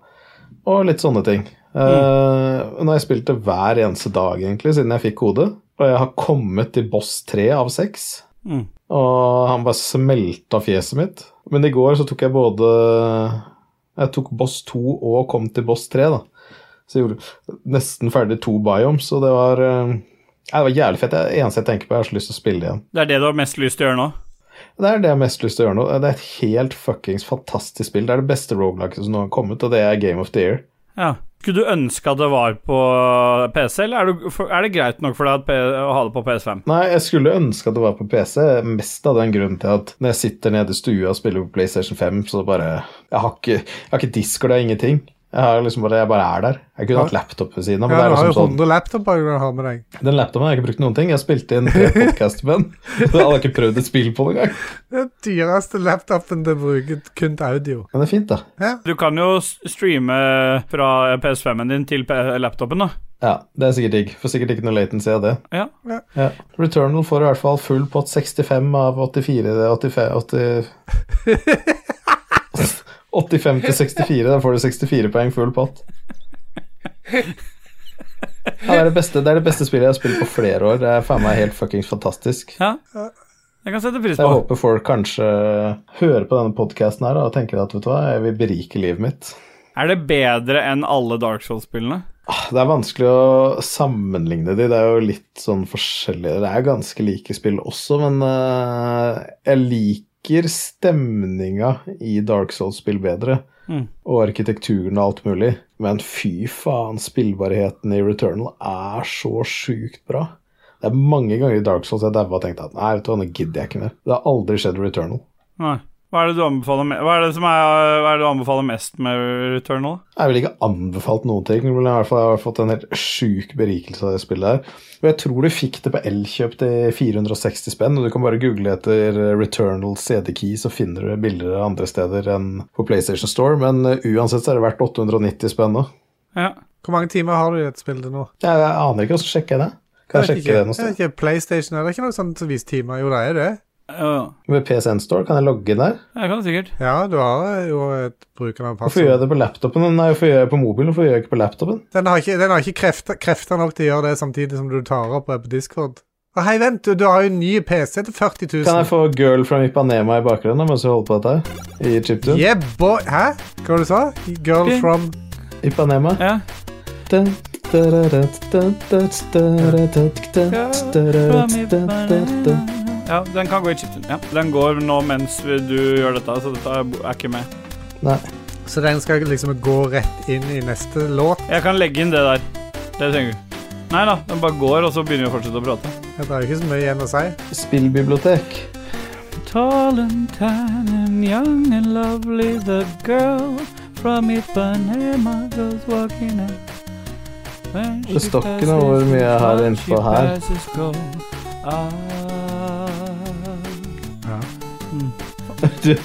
Og litt sånne ting. Eh, nå har jeg spilt det hver eneste dag, egentlig, siden jeg fikk kode. Og jeg har kommet til boss tre av seks. Mm. Og han bare smelta fjeset mitt. Men i går så tok jeg både Jeg tok boss 2 og kom til boss 3, da. Så jeg gjorde nesten ferdig to biomes, og det var eh, Nei, Det var jævlig fett. Det er det eneste jeg tenker på. Jeg har så lyst til å spille det igjen. Det er det du har mest lyst til å gjøre nå? Det er det jeg har mest lyst til å gjøre nå. Det er et helt fuckings fantastisk spill. Det er det beste roguelaget som nå har kommet, og det er Game of the Year. Ja. Skulle du ønske at det var på PC, eller er, du, for- er det greit nok for deg at P å ha det på PS5? Nei, jeg skulle ønske at det var på PC, mest av den grunnen til at når jeg sitter nede i stua og spiller på PlayStation 5, så bare Jeg har ikke, jeg har ikke disk og det er ingenting. Jeg, har liksom bare, jeg bare er der. Jeg kunne hatt laptop ved siden av, men det altså. Ja, er du har jo liksom 100 laptoper du har med deg. sånn Den laptopen har jeg ikke brukt noen ting. Jeg spilte inn tre podcaster med den. Jeg hadde ikke prøvd et spill på den engang. Den dyreste laptopen du bruker kun til audio. Men det er fint, da. Du kan jo s- streame fra PS5-en din til P- laptopen, da. Ja, det er sikkert digg. Får sikkert ikke noe latency av det. Ja. Ja. Returnal får i hvert fall full pott 65 av 84 det er 85 80, 85 til 64. Da får du 64 poeng full pott. Ja, det, er det, beste, det er det beste spillet jeg har spilt på flere år. Det er faen meg helt fuckings fantastisk. ja. Jeg kan sette pris Så jeg på. håper folk kanskje hører på denne podkasten her da, og tenker at vet du hva, jeg vil berike livet mitt. Er det bedre enn alle Dark Souls-spillene? Det er vanskelig å sammenligne de, det er jo litt sånn forskjellige Det er ganske like spill også, men eh, jeg liker stemninga i Dark Souls-spill bedre. Mm. Og arkitekturen og alt mulig. Men fy faen, spillbarheten i Returnal er så sjukt bra. Det er mange ganger i Dark Souls jeg daua og tenkte at nei, vet du hva, nå gidder jeg ikke mer. Det har aldri skjedd i Returnal. Nei. Hva er det du anbefaler, me hva er det som er, hva er det du anbefaler mest med Returnal? Jeg ville ikke anbefalt noen ting, men i hvert fall jeg har fått en helt sjuk berikelse av det spillet her. Og jeg tror du fikk det på Elkjøp til 460 spenn, og du kan bare google etter eh, Returnal CD-key, så finner du bilder andre steder enn på PlayStation Store, men eh, uansett så er det verdt 890 spenn nå. Ja. Hvor mange timer har du i dette spillet nå? Jeg, jeg aner ikke, og så sjekker jeg det. Kan jeg vet sjekke det noe ikke. Jeg sted? vet ikke, PlayStation er det ikke noe sånt som viser timer? Jo, det er det. Ja, Med PSN Store, kan jeg logge inn der? jeg kan det sikkert. Ja, du har jo et brukernavn. Hvorfor gjør jeg det på laptopen? Nei, hvorfor gjør jeg det på mobilen? Hvorfor gjør jeg ikke på laptopen? Den har ikke, den har ikke krefter, krefter nok til å gjøre det samtidig som du tar opp og er på Discord. Å, hei, vent, du, du har jo en ny PC til 40 000. Kan jeg få Girl fra Ipanema i bakgrunnen mens vi holder på dette her? I chiptune? Yeah, boy. Hæ? Hva var det du sa? Girl Ping. from Ipanema? Ja. Nei, ja, den kan gå i chiptune. Ja. Den går nå mens vi- du gjør dette, så dette er bo- er ikke med. Så den skal liksom gå rett inn i neste låt? Jeg kan legge inn det der. Det trenger du. Nei da, den bare går, og så begynner vi å fortsette å prate. Det er jo ikke så mye igjen å si. Spillbibliotek. Tall and tan and young and lovely, the girl from Ipanema goes walking out. Det står ikke noe hvor mye jeg har innenfor her. Ah. Ja. Du, du,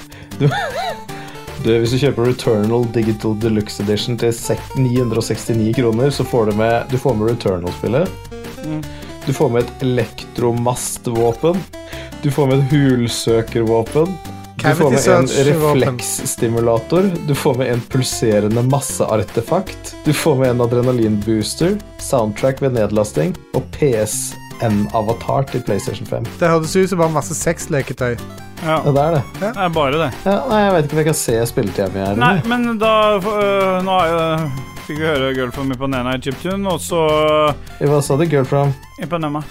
du, hvis du kjøper Returnal Digital Deluxe Edition til sek- 969 kroner, så får du med, du får med Returnal-spillet. Mm. Du får med et elektromastvåpen. Du får med et hulsøkervåpen. Du får med en Cavity-search-våpen. refleksstimulator. Du får med en pulserende masseartefakt. Du får med en adrenalinbooster, soundtrack ved nedlasting og PSN-avatar til PlayStation 5. Det høres ut som bare masse sexleketøy. Ja, Ja, det er det. det er bare det. Ja, nei, jeg vet ikke om jeg kan se spilletida mi her. Nei, men da øh, Nå er jo Fikk vi høre Girlfriend min på den ene i Chiptune, og så øh, Hva sa du, girlfriend? Ipanema.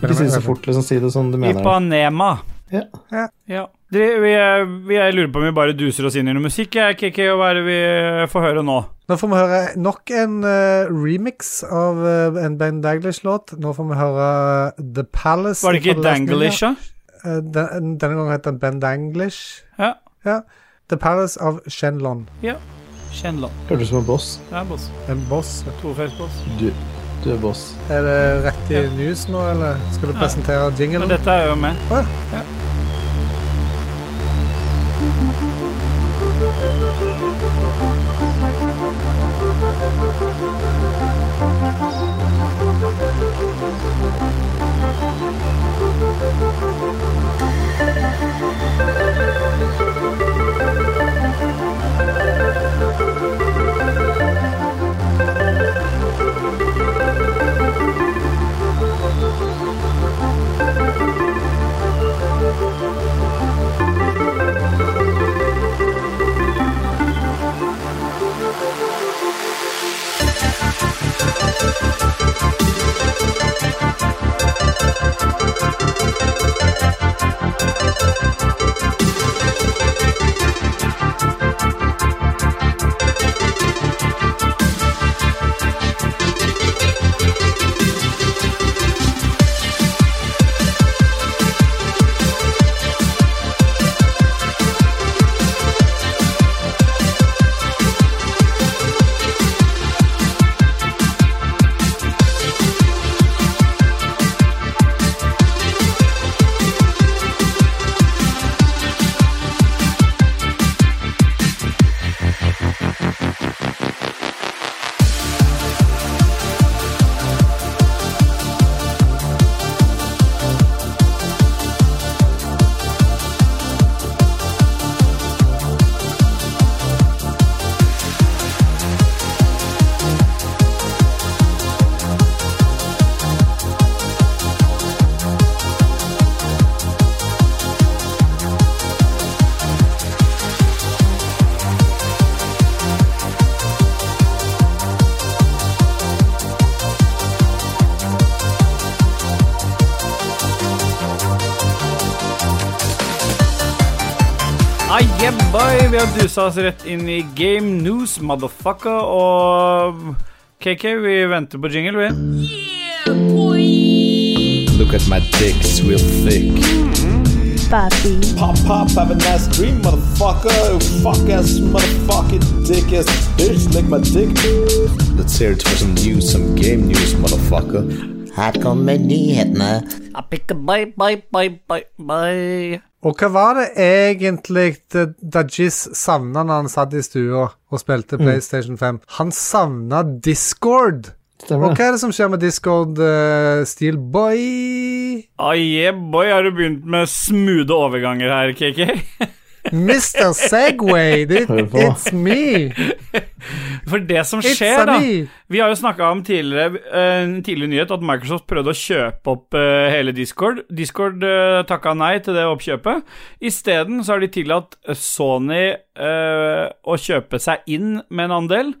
Ikke si det så fort, liksom. Si det som du mener. det. Ipanema. Ja. Ja. Ja. Dere, vi, er- vi, jeg lurer på om vi bare duser oss inn i noe musikk. Jeg, KK, og hva er det vi øh, får høre nå? Nå får vi høre nok en eh, remix av eh, en Ben Daglish-låt. Nå får vi høre eh, The Palace. Var det fra ikke Last Ninja. Danglish, da? Eh, den, denne gangen heter den Ben Danglish. Ja. Ja. The Palace of Shenlon. Kjennland. Hørtes ut som en boss. Det er boss. En boss. Tofeltsboss. Du, du er boss. Er det rett i news nå, eller skal du presentere Men jinglen? dette er jo med. Ah, yeah, boy. Vi har dusa oss rett inn i Game News, motherfucker, og KK, vi venter på jingle, vi. Look at my dicks real thick. Papi, Pop, pop, have a nice dream, motherfucker. Fuck ass, motherfucking dick ass bitch, lick my dick. Let's hear it for some news, some game news, motherfucker. Her kommer nyhetene. Bye, bye, bye, bye, bye. Og hva var det egentlig eh, Dajis savna når han satt i stua og spilte Mm. PlayStation 5? Han savna Discord. Stemmer det. Og hva er det som skjer med Discord, eh, Steelboy? Ah, yeah, boy. Har du begynt med smoothe overganger her, KK? Mr. Segway, det, Hør på. it's me. For det som It's skjer, a da me. Vi har jo snakka om tidligere, eh, en tidligere nyhet at Microsoft prøvde å kjøpe opp eh, hele Discord. Discord eh, takka nei til det oppkjøpet. Isteden så har de tillatt Sony eh, å kjøpe seg inn med en andel.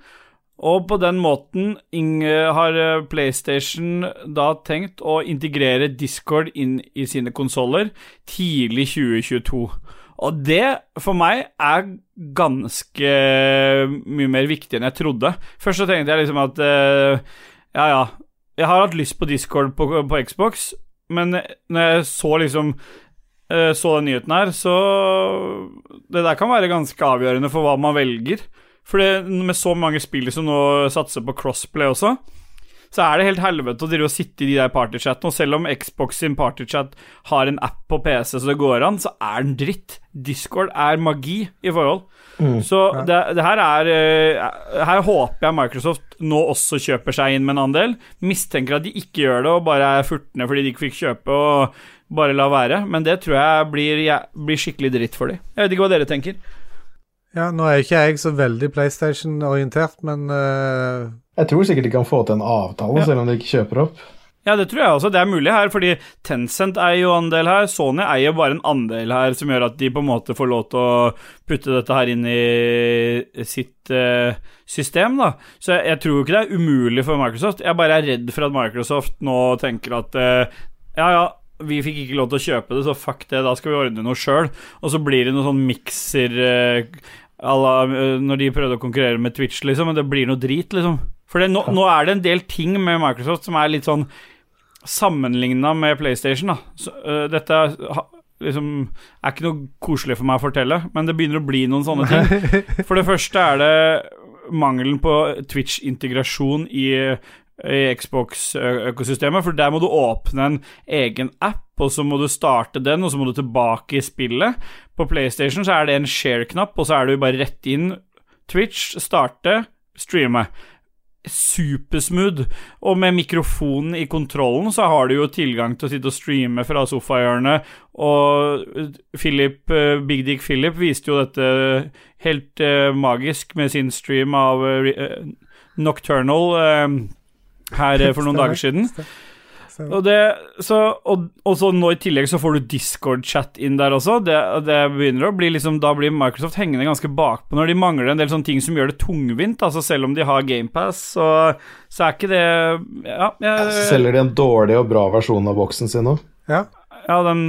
Og på den måten ing- eh, har eh, PlayStation da tenkt å integrere Discord inn i sine konsoller tidlig 2022. Og det, for meg, er ganske mye mer viktig enn jeg trodde. Først så tenkte jeg liksom at eh, Ja, ja. Jeg har hatt lyst på Discord på, på Xbox, men når jeg så liksom eh, Så den nyheten her, så Det der kan være ganske avgjørende for hva man velger. For det, med så mange spill som nå satser på crossplay også, så er det helt helvete å drive og sitte i de der partychattene. Og selv om Xbox sin partychat har en app på PC så det går an, så er den dritt. Discord er magi i forhold. Så det, det her er eh, Her håper jeg Microsoft nå også kjøper seg inn med en andel. Mistenker at de ikke gjør det og bare er furtne fordi de ikke fikk kjøpe og bare la være. Men det tror jeg blir, jeg, blir skikkelig dritt for de. Jeg vet ikke hva dere tenker. Ja, nå er ikke jeg så veldig PlayStation-orientert, men eh, Jeg tror sikkert de kan få til en avtale, selv om de ikke kjøper opp. Ja, det tror jeg også. Det er mulig her, fordi Tencent eier jo andel her. Sony eier bare en andel her, som gjør at de på en måte får lov til å putte dette her inn i sitt eh, system, da. Så jeg, jeg tror jo ikke det er umulig for Microsoft. Jeg bare er redd for at Microsoft nå tenker at eh, ja, ja, vi fikk ikke lov til å kjøpe det, så fuck det, da skal vi ordne noe sjøl. Og så blir det noe sånn mikser eh, à la, eh, når de prøvde å konkurrere med Twitch, liksom, men det blir noe drit, liksom. For det, nå, nå er det en del ting med Microsoft som er litt sånn sammenligna med PlayStation, da så, øh, Dette er, ha, liksom, er ikke noe koselig for meg å fortelle, men det begynner å bli noen sånne ting. For det første er det mangelen på Twitch-integrasjon i, i Xbox-økosystemet, for der må du åpne en egen app, og så må du starte den, og så må du tilbake i spillet. På PlayStation så er det en share-knapp, og så er du bare rett inn Twitch, starte, streame supersmooth. Og med mikrofonen i kontrollen så har du jo tilgang til å sitte og streame fra sofahjørnet, og Philip, eh, Big Dick Philip viste jo dette helt eh, magisk med sin stream av eh, Re- eh, Nocturnal eh, her eh, for noen Stemmer. dager siden. så- Og, det, så, og, og så nå i tillegg så får du Discord-chat inn der også. Det, det begynner å bli liksom, Da blir Microsoft hengende ganske bakpå når de mangler en del sånne ting som gjør det tungvint. Altså Selv om de har GamePass, så, så er ikke det Ja, jeg, Selger de en dårlig og bra versjon av boksen sin nå? ja. ja den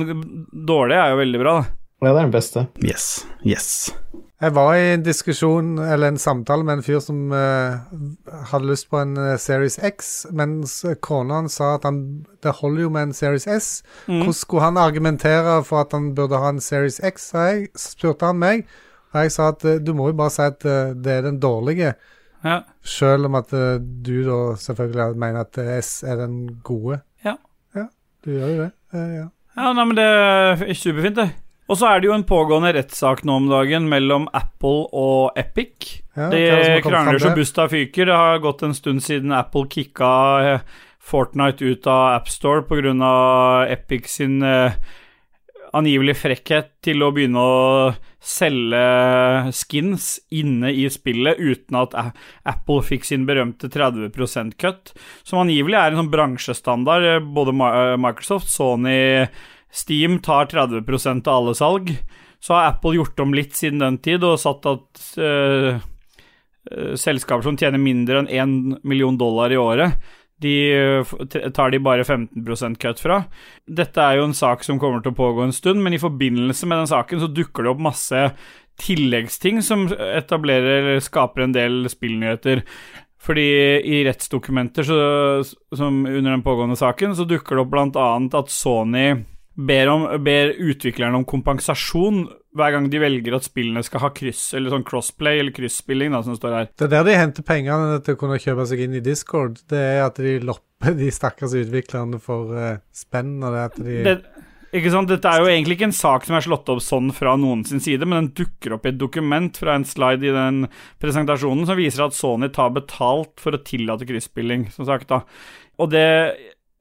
dårlige er jo veldig bra, da. Ja, det er den beste. Yes. Yes. Jeg var i en diskusjon, eller en samtale med en fyr som eh, hadde lyst på en eh, Series X, mens kona hans sa at han, det holder jo med en Series S. Mm. Hvordan skulle han argumentere for at han burde ha en Series X, sa jeg. Så spurte han meg, og jeg sa at eh, du må jo bare si at eh, det er den dårlige, Ja. selv om at eh, du da selvfølgelig mener at eh, S er den gode. Ja. Ja, du gjør jo det. Eh, ja. Ja, nei, men det er superfint, det. Og så er det jo en pågående rettssak nå om dagen mellom Apple og Epic. Ja, de hva er det som har kommet krangler frem så der? busta fyker. Det har gått en stund siden Apple kicka eh, Fortnite ut av AppStore pga. Epic sin eh, angivelig frekkhet til å begynne å selge skins inne i spillet uten at A- Apple fikk sin berømte 30 %-cut, som angivelig er en sånn bransjestandard. Eh, Både Ma- eh, Microsoft, Sony, Steam tar 30 av alle salg. Så har Apple gjort om litt siden den tid og satt at eh, eh, selskaper som tjener mindre enn 1 million dollar i året, de eh, f- t- tar de bare 15 cut fra. Dette er jo en sak som kommer til å pågå en stund, men i forbindelse med den saken så dukker det opp masse tilleggsting som etablerer eller skaper en del spillnyheter. Fordi i rettsdokumenter så, som under den pågående saken, så dukker det opp bl.a. at Sony ber, om, ber utviklerne om kompensasjon hver gang de velger at spillene skal ha kryss, eller sånn crossplay eller krysspilling, da, som det står her. Det er der de henter pengene til å kunne kjøpe seg inn i Discord. Det er at de lopper de stakkars utviklerne for eh, spenn, og det er at de det, ikke sant? Dette er jo egentlig ikke en sak som er slått opp sånn fra noen sin side, men den dukker opp i et dokument fra en slide i den presentasjonen som viser at Sony tar betalt for å tillate krysspilling, som sagt. da. Og det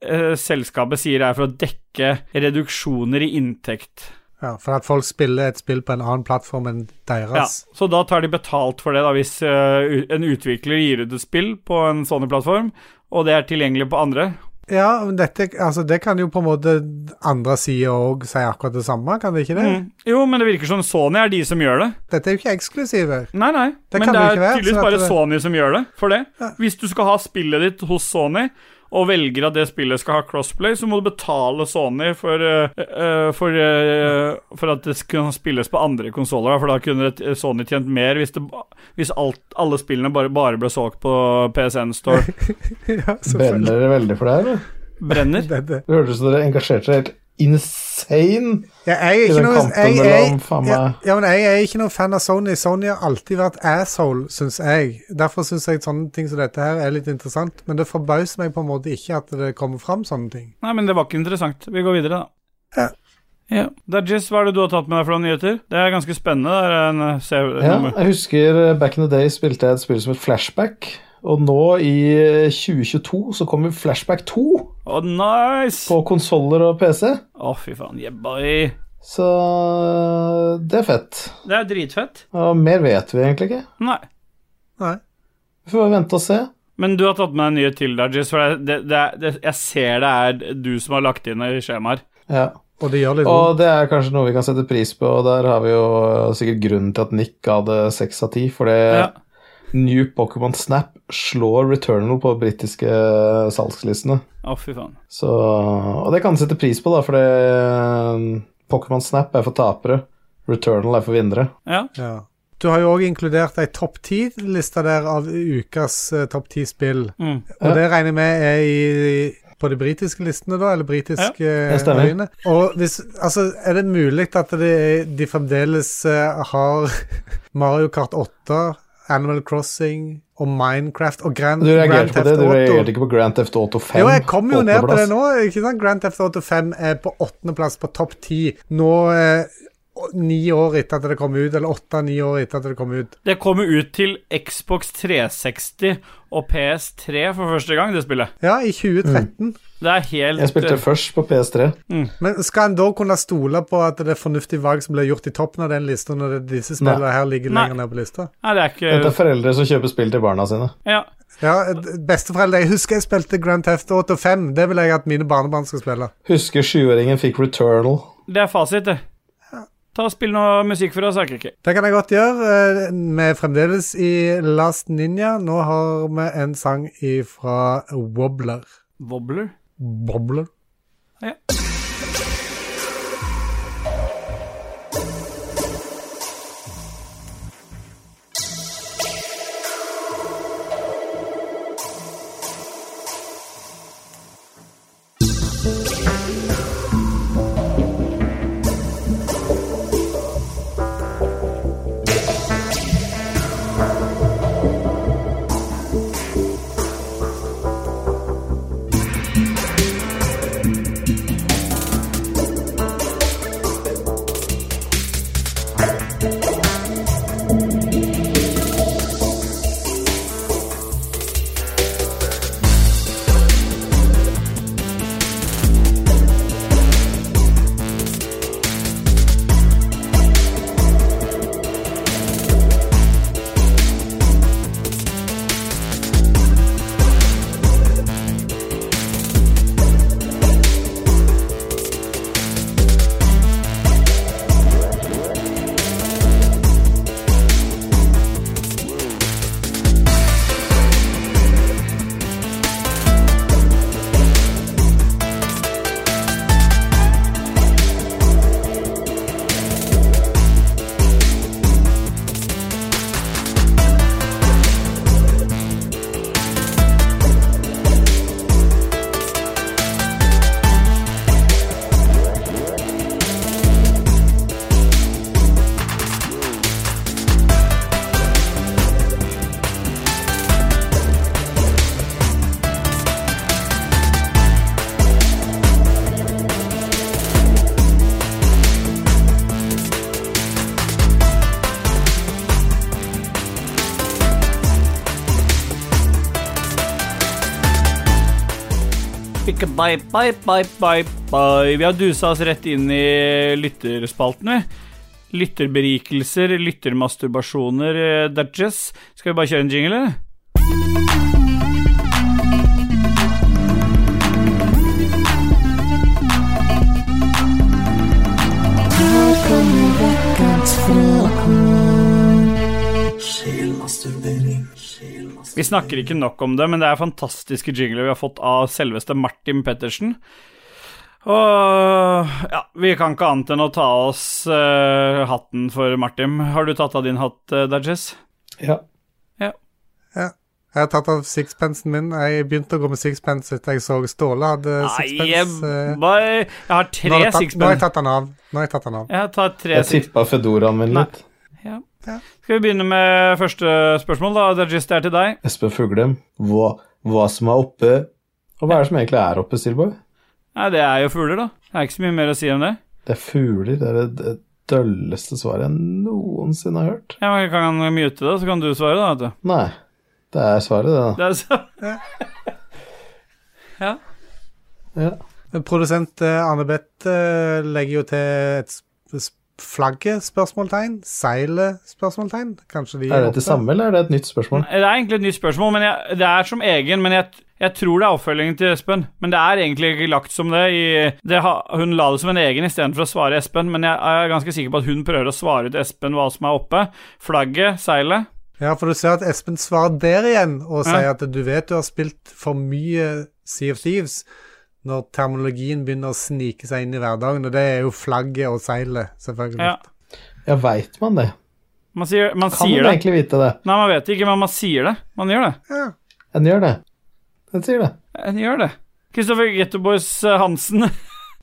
eh, selskapet sier er for å dekke reduksjoner i inntekt. Ja, For at folk spiller et spill på en annen plattform enn Ja, deres. så da tar de betalt for det, da, hvis eh, u- en utvikler gir ut et spill på en Sony-plattform, og det er tilgjengelig på andre. Ja, men dette, altså Det kan jo på en måte andre sider òg si akkurat det samme, kan det ikke det? Mm. Jo, men det virker som Sony er de som gjør det. Dette er jo ikke eksklusiver. Nei, nei, Det men kan det det jo er ikke være, tydeligvis så at bare det- Sony som gjør det for det. Hvis du skal ha spillet ditt hos Sony, og velger at det spillet skal ha crossplay, så må du betale Sony for, eh, eh, for, eh, for at det skal spilles på andre konsoller. For da kunne det- eh, Sony tjent mer hvis, det, ba- hvis alt, alle spillene bare, bare ble solgt på PSN Store. ja, selvfølgelig. Brenner dere veldig for det her? eller? Brenner. Dette. Det hørtes ut som dere engasjerte dere helt insane. Ja, jeg er I ikke den noe, kampen jeg, mellom, faen jeg, meg. ja, ja, men jeg er ikke noen fan av Sony. Sony har alltid vært asshole, syns jeg. Derfor syns jeg sånne ting som dette her er litt interessant. Men det forbauser meg på en måte ikke at det kommer fram sånne ting. Nei, men det var ikke interessant. Vi går videre, da. Ja. Ja. Dajis, hva er det du har tatt med deg for noen nyheter? Det er ganske spennende. Det er en eh, serie- Ja, nummer- jeg husker eh, back in the day spilte jeg et spill som et flashback. Og nå i eh, 2022 så kommer Flashback 2 Å, nice! Å, på konsoller og PC. fy faen. Jebbai. Så eh, det er fett. Det er dritfett. Og mer vet vi egentlig ikke. Nei. Nei. Vi får bare vente og se. Men du har tatt med en ny til, Dajis. For det, det, er- det, jeg ser det er du som har lagt inn i skjemaer. Ja. Og det gjør litt vondt. Og det er kanskje noe vi kan sette pris på, og der har vi jo eh, sikkert grunnen til at Nick ga det seks av ti, fordi Ja. New Pokémon Snap slår Returnal på britiske eh, salgslistene. Å, fy faen. Så, og det kan du sette pris på, da, for det Pokémon Snap er for tapere. Returnal er for vinnere. Ja. Ja. Du har jo òg inkludert ei topp ti-liste der av ukas eh, topp ti spill. Mm. Og det regner jeg med er i, på de britiske listene, da, eller britiske det stemmer. øyene. Og hvis, altså, er det mulig at det, de fremdeles eh, har Mario Kart 8, Animal Crossing og Minecraft og Grand, Du Grand reagerte på Theft det, du reagerte Auto? ikke på Grand Theft Auto 5. Jo, jeg kom jo ned på det åttendeplass. nå. ikke sant? Grand Theft Auto 5 er på åttendeplass på topp ti. Nå eh, å- ni år etter at det kom ut, eller åtte-ni år etter at det kom ut. Det kommer ut til Xbox 360 og PS3 for første gang, det spillet. Ja, Mm. i 2013. Det er helt Jeg spilte først på PS3. Men skal en da kunne stole på at det er fornuftige valg som blir gjort i toppen av den lista, når det er disse spillene her ligger Nei. lenger ned på lista? Nei, det er ikke Dette er foreldre som kjøper spill til barna sine. Ja. Ja, d- besteforeldre, jeg husker jeg spilte Grand Theft Auto 5. Det vil jeg at mine barnebarn skal spille. Husker sjuåringen fikk Returnal. Det er fasit, det. Ta og Spill noe musikk for oss, Akerke. Det kan jeg godt gjøre. eh, Vi er fremdeles i Last Ninja. Nå har vi en sang fra Wobbler. Wobbler? Wobbler? Ja. Ikke bye, bye, bye, bye, bye. Vi har dusa oss rett inn i lytterspalten, vi. Lytterberikelser, lyttermasturbasjoner, eh, dudges. Skal vi bare kjøre en jingle, eller? Vi snakker ikke nok om det, men det er fantastiske jingler vi har fått av selveste Martin Pettersen. Og ja, vi kan ikke annet enn å ta oss eh, hatten for Martin. Har du tatt av din hatt, uh, Dajess? Ja. Ja. Ja. Jeg har tatt av sixpensen min. Jeg begynte å gå med sixpence etter jeg så Ståle hadde Nei, jeg, sixpence. eh, bare, jeg har nå har tre jeg tatt- Nå har jeg sixpence. tatt den av. Nå har jeg tatt den av. Jeg tar tre Jeg six... tippa fedoraen min litt. Skal vi begynne med første spørsmål, da? Det er just det er til deg. Espen Fuglem, hva, hva som er oppe Og hva er det som egentlig er oppe, Stilborg? Nei, det er jo fugler, da. Det er ikke så mye mer å si om det. Det er fugler. Det er det- det dølleste svaret jeg noensinne har hørt. Jeg kan mute det, så kan du svare, da. Vet du. Nei, det er svaret, det. da. Det er så... Ja. Produsent eh, Anne Beth eh, legger jo til et sp- sp- flagget? Spørsmålstegn? Seilet? Spørsmålstegn? Kanskje de Er det oppe? det samme, eller er det et nytt spørsmål? Det er egentlig et nytt spørsmål, men jeg, det er som egen. Men jeg, jeg tror det er oppfølgingen til Espen. Men det er egentlig ikke lagt som det. I, det ha, hun la det som en egen istedenfor å svare Espen, men jeg er ganske sikker på at hun prøver å svare til Espen hva som er oppe. Flagget, seilet. Ja, for du ser at Espen svarer der igjen Ja. og sier at du vet du har spilt for mye Sea of Thieves når terminologien begynner å snike seg inn i hverdagen, og det er jo flagget og seilet, selvfølgelig. Ja. Ja, veit man det? Man sier, man Kan sier man det. egentlig vite det? Nei, man vet ikke, men man sier det. Man gjør det. En gjør det. En sier det. En gjør det. Kristoffer Getteboys Hansen.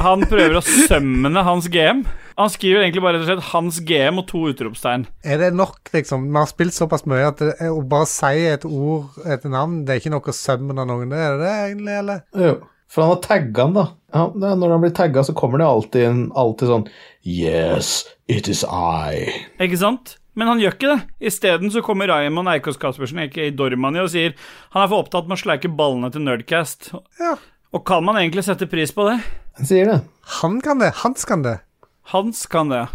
Han prøver å sømne hans GM. Han skriver egentlig bare rett og slett 'Hans GM' og to utropstegn. Er det nok, liksom? Vi har spilt såpass mye at det er, å bare si et ord, et navn, det er ikke noe å sømme noen, er det det egentlig, eller? Jo. For han har tagga han, da. Ja, det er når han blir tagga, så kommer det alltid, en- alltid sånn Yes, it is I. Ikke sant? Men han gjør ikke det. Isteden så kommer Raymond Eikås Caspersen, aka Dormani, og sier han er for opptatt med å sleike ballene til Nerdcast. Ja. Og kan man egentlig sette pris på det? Han sier det. Han kan det, Hans kan det, Hans kan det.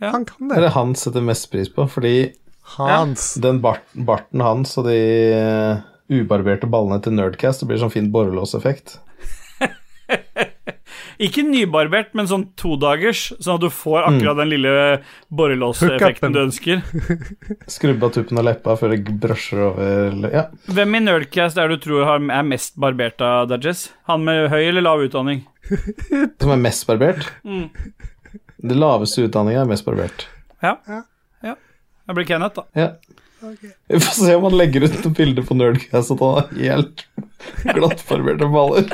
han kan Det er det. det han setter mest pris på, fordi Hans. den bart barten hans og de eh, ubarberte ballene til Nerdcast, det blir sånn fin borrelåseffekt. Ikke nybarbert, men sånn todagers, sånn at du får akkurat den lille borrelåseffekten Mm. Hookupen. du ønsker. Skrubba tuppen av leppa før det brosjer over Ja. Hvem i Nerdcast er det du tror har- er mest barbert av Dudges? Han med høy eller lav utdanning? Som er mest barbert? Det laveste utdanninga er mest barbert. Ja. ja. Det blir Kenneth, da. Ja. Vi får se om han legger ut noen bilder på Nerdcast at han har helt glattbarberte baller.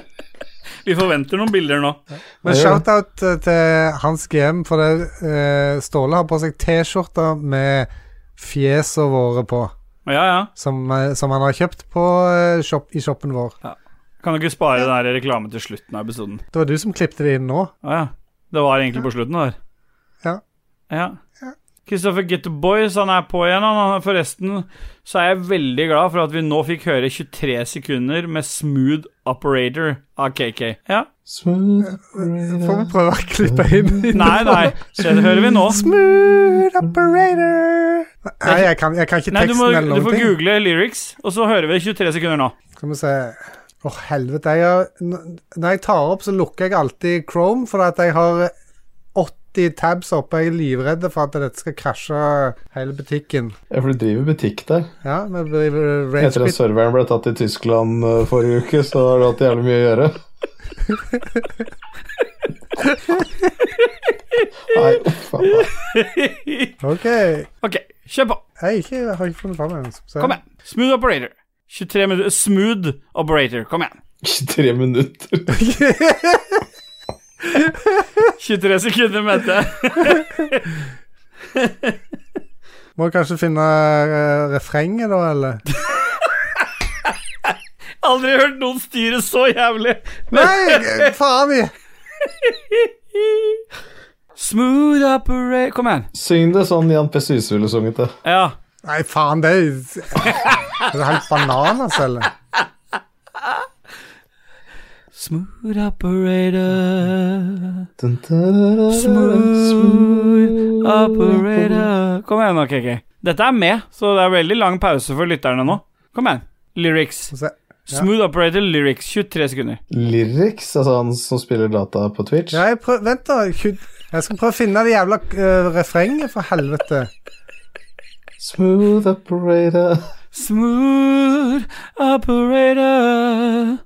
Vi forventer noen bilder nå. Men Jeg gjør shout-out eh, til Hans GM, for det, eh, Ståle har på seg T-skjorter med fjesene våre på, Ja, ja. som, eh, som han har kjøpt på, eh, shop, i shoppen vår. Kan du ikke spare den her reklamen til slutten av episoden? Det var du som klippte det inn nå. Å ja. Det var egentlig på slutten der. Ja. Ja. Kristoffer Getterboys, han er på igjen. Han, Han- forresten så er jeg veldig glad for at vi nå fikk høre 23 sekunder med Smooth Operator av KK. Ja. Smooth Får vi operator. prøve å klippe inn i Nei, nei, det hører vi nå. Smooth operator Nei, jeg kan, jeg kan ikke Nei, du, teksten må, eller du noen får ting. google lyrics, og så hører vi 23 sekunder nå. Skal vi se Å, helvete. Jeg har, n- når jeg tar opp, så lukker jeg alltid Chrome, for at jeg har 80 tabs oppe. Jeg er livredd for at dette skal krasje hele butikken. Ja, for du driver butikk der. Ja, vi driver Etter at ragebit. serveren ble tatt i Tyskland eh, forrige uke, så har du hatt jævlig mye å gjøre. Nei, uff a meg. OK. OK, kjør på. Jeg, ikke, jeg har ikke funnet fram den. skal vi se. Kom igjen. Smooth Operator. 23 minutter Smooth Operator. Kom igjen. 23 minutter. 23 sekunder, mente jeg. Må kanskje finne eh, refrenget, da, eller? Aldri hørt noen styre så jævlig. Nei, g- faen! jeg- Smooth operate Kom igjen. Syng det sånn Jan P. Syse ville sunget det. Ja. Nei, faen, det er jo Er det helt bananas, eller? Smooth operator. Dun, dun, dun, dun, Smooth operator. Kom igjen nå, KK. Dette er med, så det er veldig lang pause for lytterne nå. Kom igjen. Lyrics. Skal vi se. Smooth operator lyrics. 23 sekunder. Lyrics, altså han som spiller data på Twitch. Ja, jeg prøv, vent, da. Gud, Jeg skal prøve å finne det jævla eh, refrenget, for helvete. Smooth operator. Smooth operator.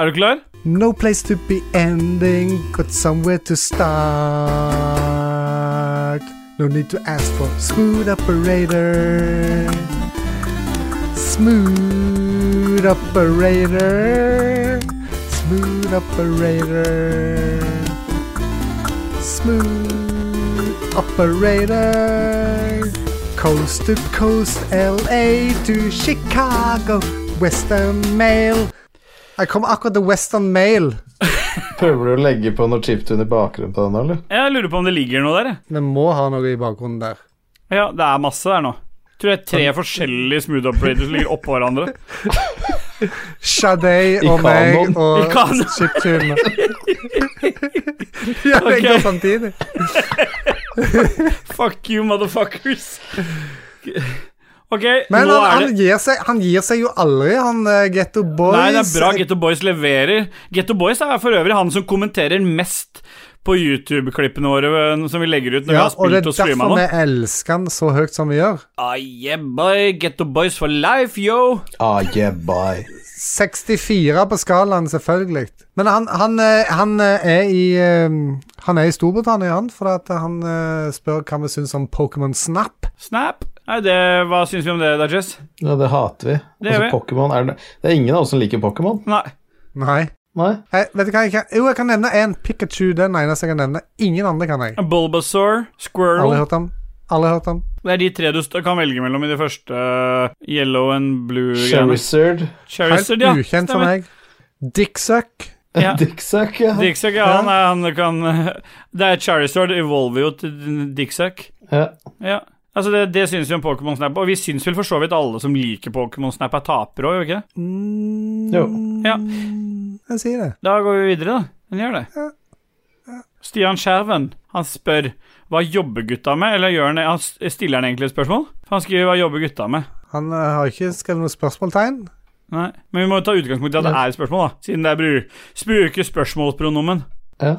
Er du klar? No place to be ending, got somewhere to start. No need to ask for smooth operator. Smooth operator. Smooth operator. Smooth operator. Coast to coast, LA to Chicago. Western Mail. Jeg kom akkurat til Western Mail. Prøver du å legge på noe chiptune i bakgrunnen på den, eller? Jeg lurer på om det ligger noe der. jeg. Vi må ha noe i bakgrunnen der. Ja, det er masse der nå. Tror jeg tre forskjellige smooth operators ligger oppå hverandre. Sade I og meg kanon. I og kanon. Chiptune. ja, det Ok. går samtidig. Fuck you, motherfuckers. Ok, Men nå han, er han, det gir seg, han gir seg jo aldri, han uh, Getto Boys. Nei, det er bra Getto Boys leverer. Getto Boys er for øvrig han som kommenterer mest på YouTube-klippene våre eh, som vi legger ut når vi ja, har og det spilt er og streama derfor nå. vi elsker han så høyt som vi gjør. Ah, yeah, boy. Getto Boys for life, yo. Ah, yeah, bye. 64 på skalaen, selvfølgelig. Men han, han, eh, han eh, er i eh, Han er i Storbritannia, han, for at han eh, spør hva vi syns om Pokémon Snap. Snap. Nei, det, hva syns vi om det, Dajess? Ja, det hater vi. Det gjør vi. altså, Pokémon er det Det er ingen av oss som liker Pokémon. Nei. Nei. Nei. Jeg, vet du hva jeg kan Jo, jeg kan nevne én. Pikachu. Den eneste jeg kan nevne. Ingen andre kan jeg. Bulbasaur, Aldri Squirrel hørt om. Aldri hørt om. Det er de tre du st- kan velge mellom i de første eh, yellow and blue-greiene. Sherrizard. Helt Charizard, ja. ukjent for Stemmer. meg. Dicksuck. Ja. Dicksack, ja. Dicksuck, ja. Han, er, han kan Det er Charizard evolver jo til Dicksuck. ja. Ja. Altså, det, det syns vi om Pokémon Snap, og vi syns vel for så vidt alle som liker Pokémon Snap, er tapere òg, gjør vi ikke det? Jo. Mm. Ja. Jeg sier det. Da går vi videre, da. Den gjør det. Stian Skjerven, han spør hva jobber gutta med, eller gjør han, han s- stiller han egentlig et spørsmål? For han skriver hva jobber gutta med. Han eh, har ikke skrevet noe spørsmålstegn. Nei. Men vi må jo ta utgangspunkt i at det er et spørsmål, da. Siden det er bru. Bruke spørsmålspronomen. ja.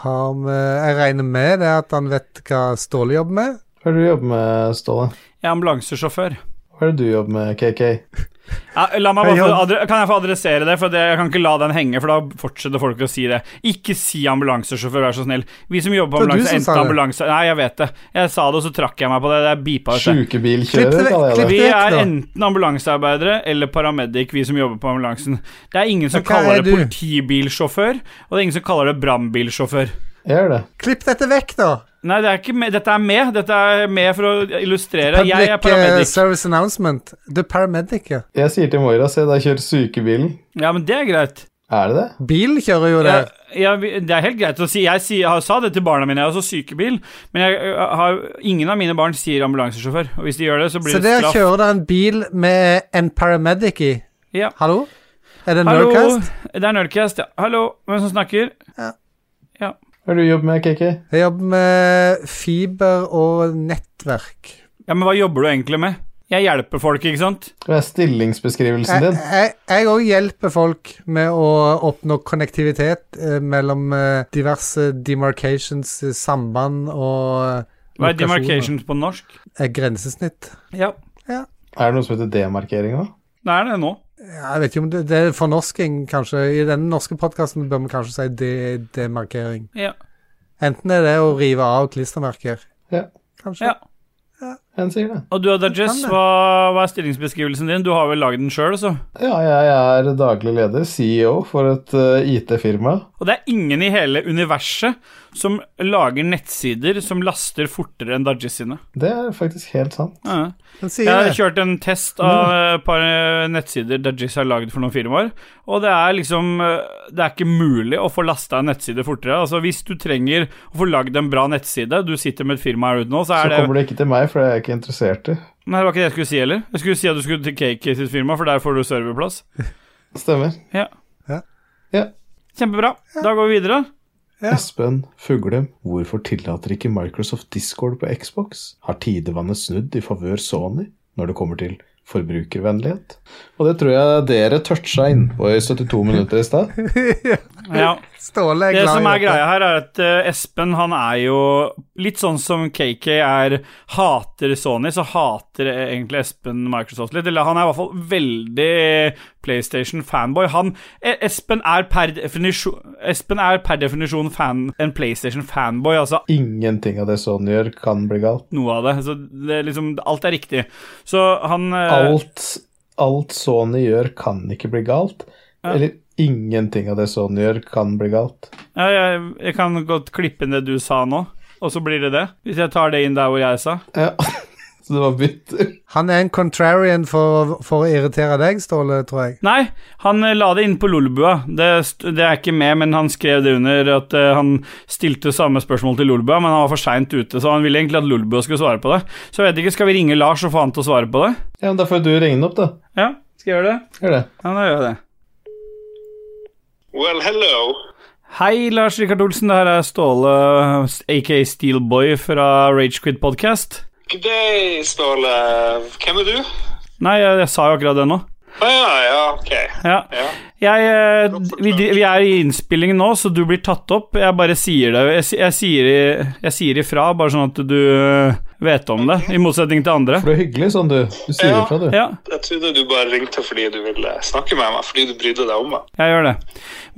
Har vi- Jeg regner med det at han vet hva Ståle jobber med. Hva er det du jobber med, Ståle? Jeg er ambulansesjåfør. Hva er det du jobber med, KK? Ja, la meg bare Jeg få har- adre- Kan jeg få adressere det? For det, Jeg kan ikke la den henge, for da fortsetter folk å si det. Ikke si ambulansesjåfør, vær så snill. Vi som jobber på Det var du ambulanse, som sa endte det. ambulanse Nei, jeg vet det. Jeg sa det, og så trakk jeg meg på det. Det er beepa ut. det. Klipp det Sjukebilkjører, vekk, kaller jeg klipp det. Vi vekk, er da. enten ambulansearbeidere eller paramedic, vi som jobber på ambulansen. Det er ingen som Hva er kaller det du? politibilsjåfør, og det er ingen som kaller det brannbilsjåfør. Jeg gjør det. Klipp dette vekk, da! Nei, det er ikke med. dette er med. Dette er med for å illustrere. Public Jeg er eh, paramedic. Service Announcement. Du er paramedic, ja. Jeg sier til Moira, se, der kjører sykebilen. Ja, men det er greit. Er det det? Bil kjører Ja, jo der. ja, vi- det er helt greit å si. Jeg, sier- jeg sa det til barna mine, jeg er også sykebil, men jeg, ø, har, ingen av mine barn sier ambulansesjåfør. Og hvis de gjør det, så blir det Så der straff. kjører det en bil med en paramedic i. Ja. Hallo? Er det Hallo, Nerdcast? det er Nerdcast, ja. Hallo, hvem som snakker? Hva er det du jobber med, KK? Jeg jobber med fiber og nettverk. Ja, men hva jobber du egentlig med? Jeg hjelper folk, ikke sant? Hva er stillingsbeskrivelsen din? Jeg- Jeg òg hjelper folk med å oppnå konnektivitet eh, mellom eh, diverse demarcations, eh, samband og eh, Hva er lokasjoner. demarcations på norsk? Eh, grensesnitt. Ja, Er det noe som heter demarkering òg? det er det nå. Ja, jeg vet ikke om det, det er fornorsking, kanskje. I den norske podkasten bør vi kanskje si de, demarkering. Ja. Enten er det å rive av klistremerker, Ja, kanskje. ja. en sier det. Og du, Adages, Kan det. hva, hva er stillingsbeskrivelsen din? Du har vel lagd den sjøl, altså? Ja, jeg er daglig leder, CEO, for et eh, IT-firma. Og det er ingen i hele universet som lager nettsider som laster fortere enn Dajis sine. Det er faktisk helt sant. Ja. Den sier Jeg har det. kjørt en test av et par eh, nettsider Dudgies har lagd for noen firmaer, og det er liksom eh, Det er ikke mulig å få lasta en nettside fortere. Altså Hvis du trenger å få lagd en bra nettside, du sitter med et firma her ute nå, så Så er det kommer du ikke til meg, for det er jeg ikke interessert i. Nei, det var ikke det jeg skulle si heller. Jeg skulle si at du skulle til Cake sitt firma, for der får du serverplass. Stemmer. Ja. Ja. Ja. Kjempebra. Da går vi videre. Ja. Espen Fuglem, hvorfor tillater ikke Microsoft Discord på Xbox? Har tidevannet snudd i favør Sony når det kommer til forbrukervennlighet? Og det tror jeg dere toucha innpå i 72 minutter i stad. Ja. Ståle er Det glad som i er dette. greia her, er at eh, Espen han er jo litt sånn som KK er hater Sony, så hater egentlig Espen Microsoft litt. Eller han er i hvert fall veldig PlayStation-fanboy. Han eh, Espen er per definisjon Espen er per definisjon fan, en PlayStation-fanboy, altså Ingenting av det Sony gjør, kan bli galt. noe av det. Så det er liksom Alt er riktig. Så han eh, Alt alt Sony gjør, kan ikke bli galt. Ja. Eller ingenting av det Sony gjør, kan bli galt. Ja, jeg, jeg kan godt klippe inn det du sa nå, og så blir det det. Hvis jeg tar det inn der hvor jeg sa. Ja. Så det var bytter. Han er en contrarian for, for å irritere deg, Ståle, tror jeg. Nei, han eh, la det inn på Lolbua. Det, st- det er ikke med, men han skrev det under at eh, han stilte samme spørsmål til Lolbua, men han var for seint ute, så han ville egentlig at Lolbua skulle svare på det. Så jeg vet ikke, skal vi ringe Lars og få han til å svare på det? Ja, men da får du ringe den opp, da. Ja, skal jeg gjøre det? Gjør det. Ja, da gjør jeg det. Well, hello. Hei, Lars Rikard Olsen. Det her er Ståle, aka Steelboy fra Ragequid Podcast. Good day, Ståle. Hvem er du? Nei, jeg, jeg sa jo akkurat det nå. Å ja, ja, ok. Ja. Ja. Jeg, eh, vi, vi er i innspillingen nå, så du blir tatt opp. Jeg bare sier det. Jeg, si- jeg, sier, i- jeg sier ifra, bare sånn at du eh, vet om det, i motsetning til andre. Du er hyggelig sånn, du. Du sier Ja. ifra, du. Ja, Jeg trodde du bare ringte fordi du ville snakke med meg, fordi du brydde deg om meg. jeg gjør det.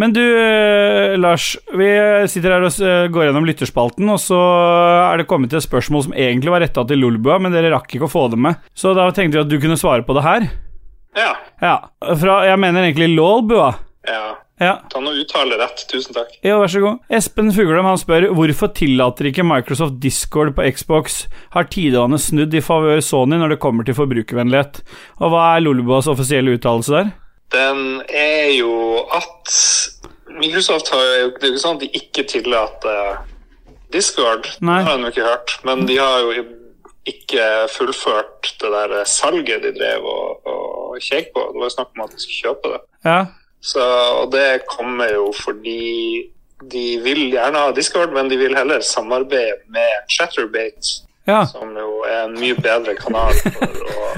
Men du, eh, Lars. Vi sitter her og s- eh, går gjennom lytterspalten, og så eh, er det kommet til et spørsmål som egentlig var retta til Lolbua, men dere rakk ikke å få det med. Så da tenkte vi at du kunne svare på det her. Ja. Ja. Fra Jeg mener egentlig Lolbua. ja. Ja. Ta nå uttale rett. Tusen takk. Jo, vær så god. Espen Fuglem han spør hvorfor tillater ikke Microsoft Discord på Xbox? Har tidevannet snudd i favør Sony når det kommer til forbrukervennlighet? Og hva er Lolboas offisielle uttalelse der? Den er jo at Microsoft har jo Det er jo ikke sånn at de ikke tillater Discord. Nei. Det har de jo ikke hørt. Men de har jo ikke fullført det der salget de drev og, og kjekk på. Det var jo snakk om at de skulle kjøpe det. Ja, Så, og det kommer jo fordi de vil gjerne ha Discord, men de vil heller samarbeide med Chatterbate, ja, som jo er en mye bedre kanal for å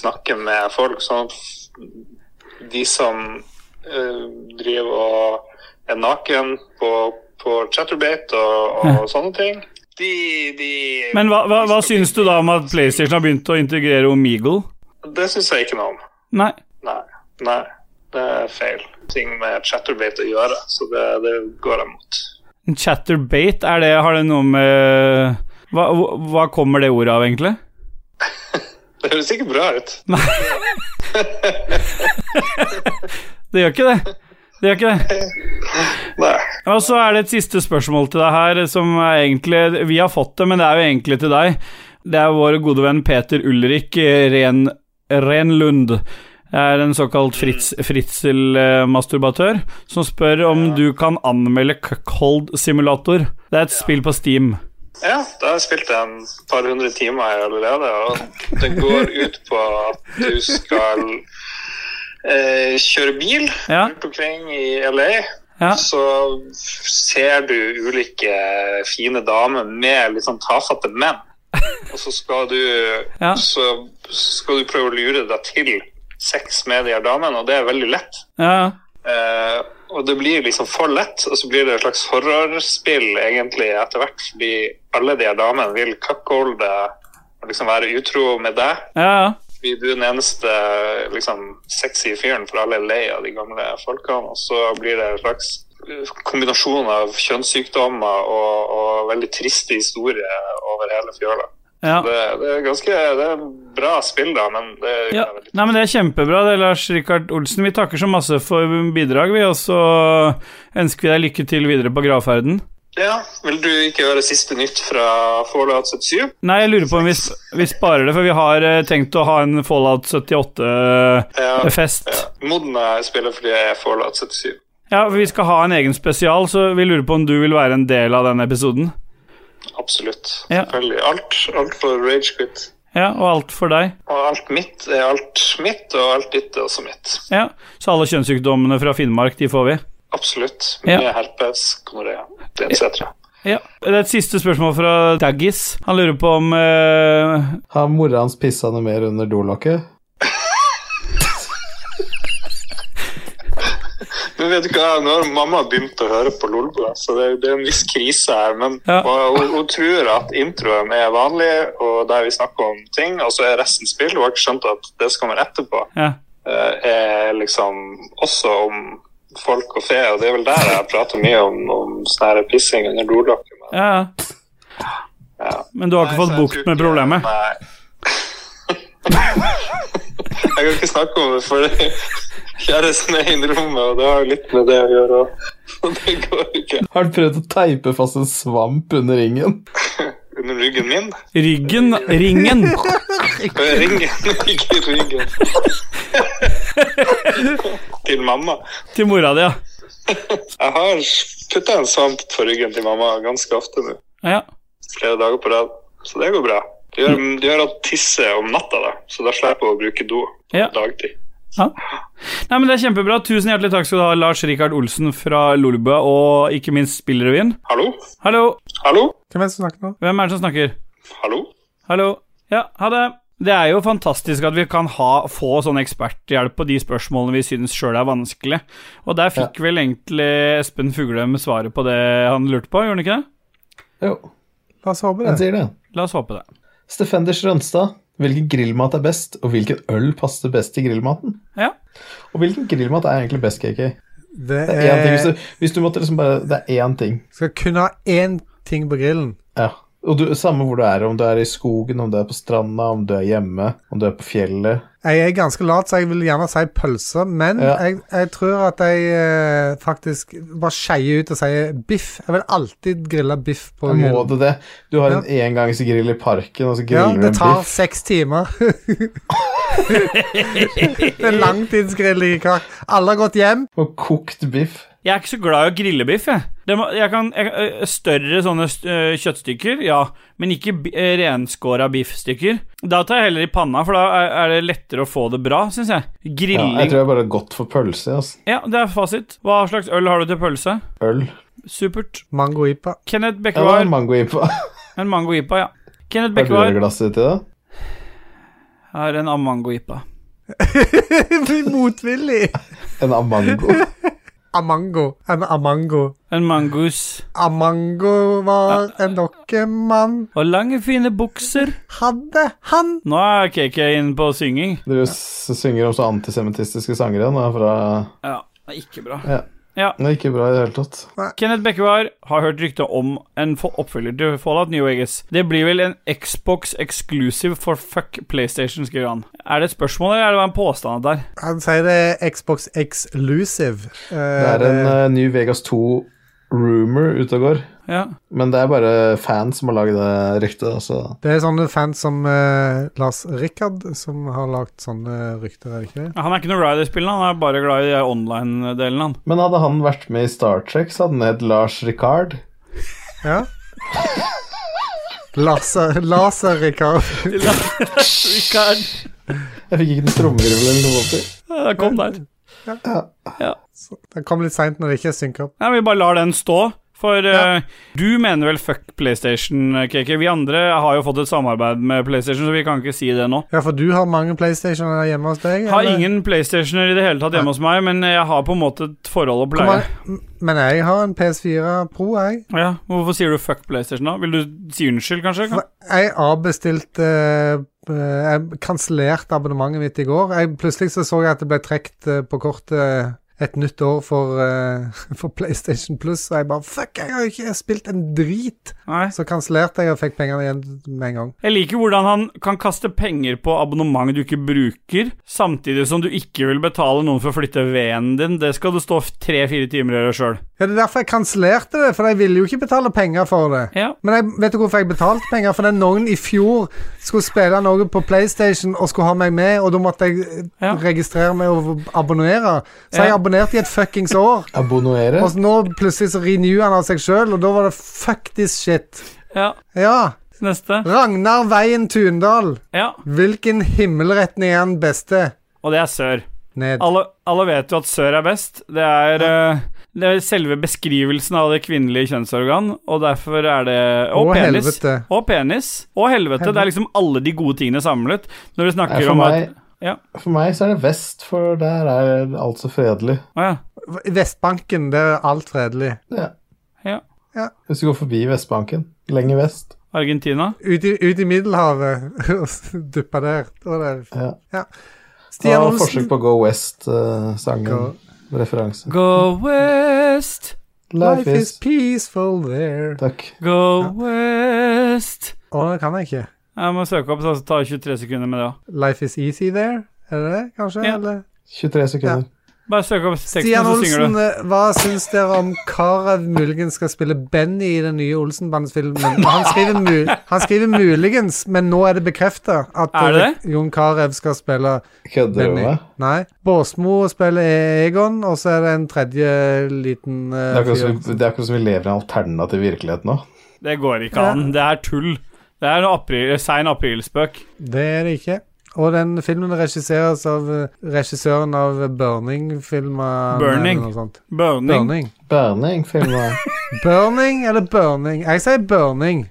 snakke med folk. Sånn at de som eh, driver og er naken på, på Chatterbate og, og sånne ting, de, de Men hva, hva, hva de skal syns du da om at PlayStation har begynt å integrere Omegle? Det syns jeg ikke noe om. Nei. Nei. Nei. Det er feil ting med Chatterbate å gjøre, så det, det går jeg mot. Chatterbate, er det, har det noe med hva, hva kommer det ordet av, egentlig? Det høres ikke bra ut. Det gjør ikke det. Det gjør ikke det. Nei. Og så er det et siste spørsmål til deg her, som er egentlig Vi har fått det, men det er jo egentlig til deg. Det er vår gode venn Peter Ulrik eh, Ren, Renlund. Det er en såkalt fritz, fritzel-masturbatør som spør om du kan anmelde cuckold-simulator. Det er et spill på Steam. Ja, da har jeg spilt en par hundre timer allerede, og det går ut på at du skal eh, kjøre bil Ja. rundt omkring i LA. Ja. Så ser du ulike fine damer med litt sånn tafatte menn, og så skal du, Ja. så skal du prøve å lure deg til sex med de her damene, og det er veldig lett. Ja, Eh, og det blir liksom for lett, og så blir det et slags horrorspill egentlig etter hvert, fordi alle de her damene vil cuckolde og liksom være utro med deg. ja. Fordi du er den eneste liksom, sexy fyren, for alle er lei av de gamle folkene. Og så blir det en slags eh, kombinasjon av kjønnssykdommer og, og veldig triste historier over hele fjøla. ja. Det, det er ganske det er bra spill, da, men det er Ja, veldig nei, men Det er kjempebra, det, Lars Rikard Olsen. Vi takker så masse for bidrag, vi. Og så ønsker vi deg lykke til videre på gravferden. Ja, vil du ikke høre siste nytt fra Fallout 77? Nei, jeg lurer på om vi, vi sparer det, for vi har eh, tenkt å ha en Fallout eh, Ja, 78-fest. ja. Moden jeg spiller fordi jeg er Fallout 77. Ja, for vi skal ha en egen spesial, så vi lurer på om du vil være en del av den episoden. Absolutt. Ja. Selvfølgelig. Alt, alt for Ragequit. Ja, og alt for deg. Og alt mitt er alt mitt, og alt ditt er også mitt. Ja, Så alle kjønnssykdommene fra Finnmark, de får vi. Absolutt. Ja. Med herpes, gonoré, etc. Ja. Det er et siste spørsmål fra Daggis. Han lurer på om eh, Har mora hans pissa noe mer under dolokket? Men vet du hva, nå har mamma begynt å høre på Lolbua, så det, det er en viss krise her. Men Ja. og, hun, hun tror at introen er vanlig, og der vi snakker om ting, og så er resten spill. Hun har ikke skjønt at det som kommer etterpå, ja. eh, er liksom også om folk og fe, og det er vel der jeg prater mye om, om sånn her pissing under dolokket. men- ja. Ja. Men du har ikke Nei, fått så jeg bukt tror med ikke- problemet? Nei. Jeg kan ikke snakke om det, for det- kjæresten er inne i rommet, og det har jo litt med det å gjøre. og- Og det går ikke. Har du prøvd å teipe fast en svamp under ringen? Under ryggen min? Ryggen Ringen! Eh, Ringen, ikke ryggen. Til mamma. Til mora di, ja. Jeg har putta en svamp på ryggen til mamma ganske ofte nå. ja. flere dager på rad. Så det går bra. Det gjør, det gjør at tisse om natta, da. Så da slipper jeg å bruke do Ja. dagtid. Nei, men Det er kjempebra. Tusen hjertelig takk skal du ha, Lars Rikard Olsen fra Lolebua, og ikke minst Spillrevyen. Hallo? Hallo! Hallo? Hvem er det som snakker nå? Hvem er det som snakker? Hallo? Hallo? Ja, ha det. Det er jo fantastisk at vi kan ha, få sånn eksperthjelp på de spørsmålene vi syns sjøl er vanskelig. Og der fikk vel egentlig Espen Fuglem svaret på det han lurte på, gjorde han ikke det? Jo, La oss håpe han det. sier det. La oss håpe det. Stefenders Rønstad. Hvilken grillmat er best, og hvilken øl passer best til grillmaten? Ja. Og hvilken grillmat er egentlig best, KK? Det Det er én ting, hvis er, du, hvis du måtte liksom bare Det er én ting. skal kun ha én ting på grillen. Ja. Og du, samme hvor du er, om du er i skogen, om du er på stranda, om du er hjemme, om du er på fjellet. Jeg er ganske lat, så jeg vil gjerne si pølse, men Ja. jeg, jeg tror at jeg eh, faktisk bare skeier ut og sier biff. Jeg vil alltid grille biff på Må grillen. du det? Du har en engangsgrill i parken, og så Ja, griller du det en tar biff. seks timer. det er langtidsgrilling i kar. Alle har gått hjem. Og kokt biff. Jeg er ikke så glad i å grille biff, jeg. Det må, jeg kan, jeg, ø, større sånne ø, kjøttstykker, ja, men ikke bi- ø, renskåra biffstykker. Da tar jeg heller i panna, for da er, er det lettere å få det bra, syns jeg. Ja, Grilling jeg tror jeg bare har gått for pølse, altså. Ja, det er fasit. Hva slags øl har du til pølse? Øl. Supert. Mango-ipa. Kenneth Ja, det var Bekkevar. en mango-ipa. Har en mango ipa, ja. Kenneth du det Bekkevar glasset ditt i dag? har en mango ipa. Blir motvillig. En amango. Amango. En amango. En mangus. Amango var en dokkemann. Og lange, fine bukser. Hadde han Nå er KK inne på synging. Dere s- synger om så antisemittistiske sangere nå fra Ja, det er ikke bra. Ja. Ja. Det er ikke bra i det hele tatt. Kenneth Bekkevar har hørt rykte om en fo- oppfølger til Fallout New Vegas. Det blir vel en Xbox exclusive for fuck PlayStation, skriver han. Er det et spørsmål, eller er det bare en påstand der? Han sier det er Xbox Exclusive. Eh, Det er en eh, ny Vegas 2-rumor ute og går. Ja. Men det er bare fans som har lagd det ryktet. Altså. det er sånne fans som eh, Lars Rikard, som har lagd sånne rykter, er det ikke det? Han er ikke noe glad i de spillene, han er bare glad i de online-delen, han. Men hadde han vært med i Star Trek, så hadde han hett Lars Ricard. Ja? Laser, laser Rikard. Ricard. Jeg fikk ikke den trommevirvelen noe opp i. Ja, det kom der. Den kom litt seint når det ikke synker opp. Nei, vi bare lar den stå. For eh, du mener vel fuck PlayStation, KK. Vi andre har jo fått et samarbeid med PlayStation, så vi kan ikke si det nå. Ja, for du har mange PlayStationer hjemme hos deg? Jeg har eller? ingen PlayStationer i det hele tatt hjemme hos meg, men jeg har på en måte et forhold å Hvor pleie. mange- Men jeg har en PS4 Pro, jeg. Ja, Hvorfor sier du fuck PlayStation, da? Vil du si unnskyld, kanskje? For Jeg avbestilte eh, Jeg kansellerte abonnementet mitt i går. Jeg, plutselig så, så jeg at det ble trukket eh, på kortet et nytt år for, eh, for PlayStation Plus, og jeg bare Fuck, jeg har jo ikke spilt en drit! Nei. Så kansellerte jeg og fikk pengene igjen med en gang. Jeg liker hvordan han kan kaste penger på abonnement du ikke bruker, samtidig som du ikke vil betale noen for å flytte veden din. Det skal du stå tre-fire timer og gjøre sjøl. Ja, det er derfor jeg kansellerte det, for jeg ville jo ikke betale penger for det. Ja. Men jeg, vet du hvorfor jeg betalte penger? Fordi noen i fjor skulle spille noe på PlayStation og skulle ha meg med, og da måtte jeg eh, Ja. registrere meg og abonnere. Så jeg Ja. abonnerte i et fuckings år. Abonnoere. Og så nå plutselig så renewer han av seg sjøl, og da var det fuck this shit. ja. Ja. Neste. Ragnar Veien Tundal. Ja. Hvilken himmelretning er den beste? Og det er sør. Ned. Alle, alle vet jo at sør er best. Det er, eh, det er selve beskrivelsen av det kvinnelige kjønnsorgan, og derfor er det Og, Og penis. helvete. Og penis. Og helvete. Det er liksom alle de gode tingene samlet. Når du Nei, snakker for, om meg, at Ja. for meg så er det vest, for der er alt så fredelig. Å ja. I Vestbanken, der er alt fredelig. Ja. Ja. Ja. Hvis du går forbi Vestbanken, lenger vest. Argentina. Ut i, ut i Middelhavet og duppa der. Da var det- Ja. Det Stian var Olsen. forsøk på Go West-sangen. Go- Referanse. Go west, Life is peaceful there. Takk. go west Å, det kan jeg ikke. Jeg må søke opp, så ta 23 sekunder med altså, det òg. Life is easy there. Er det det, kanskje? Ja. Eller? 23 sekunder. Bare søk opp teksten, Stian så synger Olsen, du. eh, hva syns dere om Karev muligens skal spille Benny i den nye Olsenbandsfilmen? Han, skriver mu- han skriver muligens, men nå er det bekrefta at Er det eh, Jon Carew skal spille Kødder du Benny. med meg? Nei. Båsmo spiller E- Egon, og så er det en tredje liten Det er uh, akkurat fyr. som vi- det er akkurat som vi lever i en alternativ virkelighet nå. Det går ikke an. Det er tull. Det er en april, eh, sein aprilspøk. Det er det ikke. Og den filmen regisseres av eh, regissøren av Burning-filmer Burning. Burning. Burning. Burning filmer Burning eller Burning? Jeg sier Burning.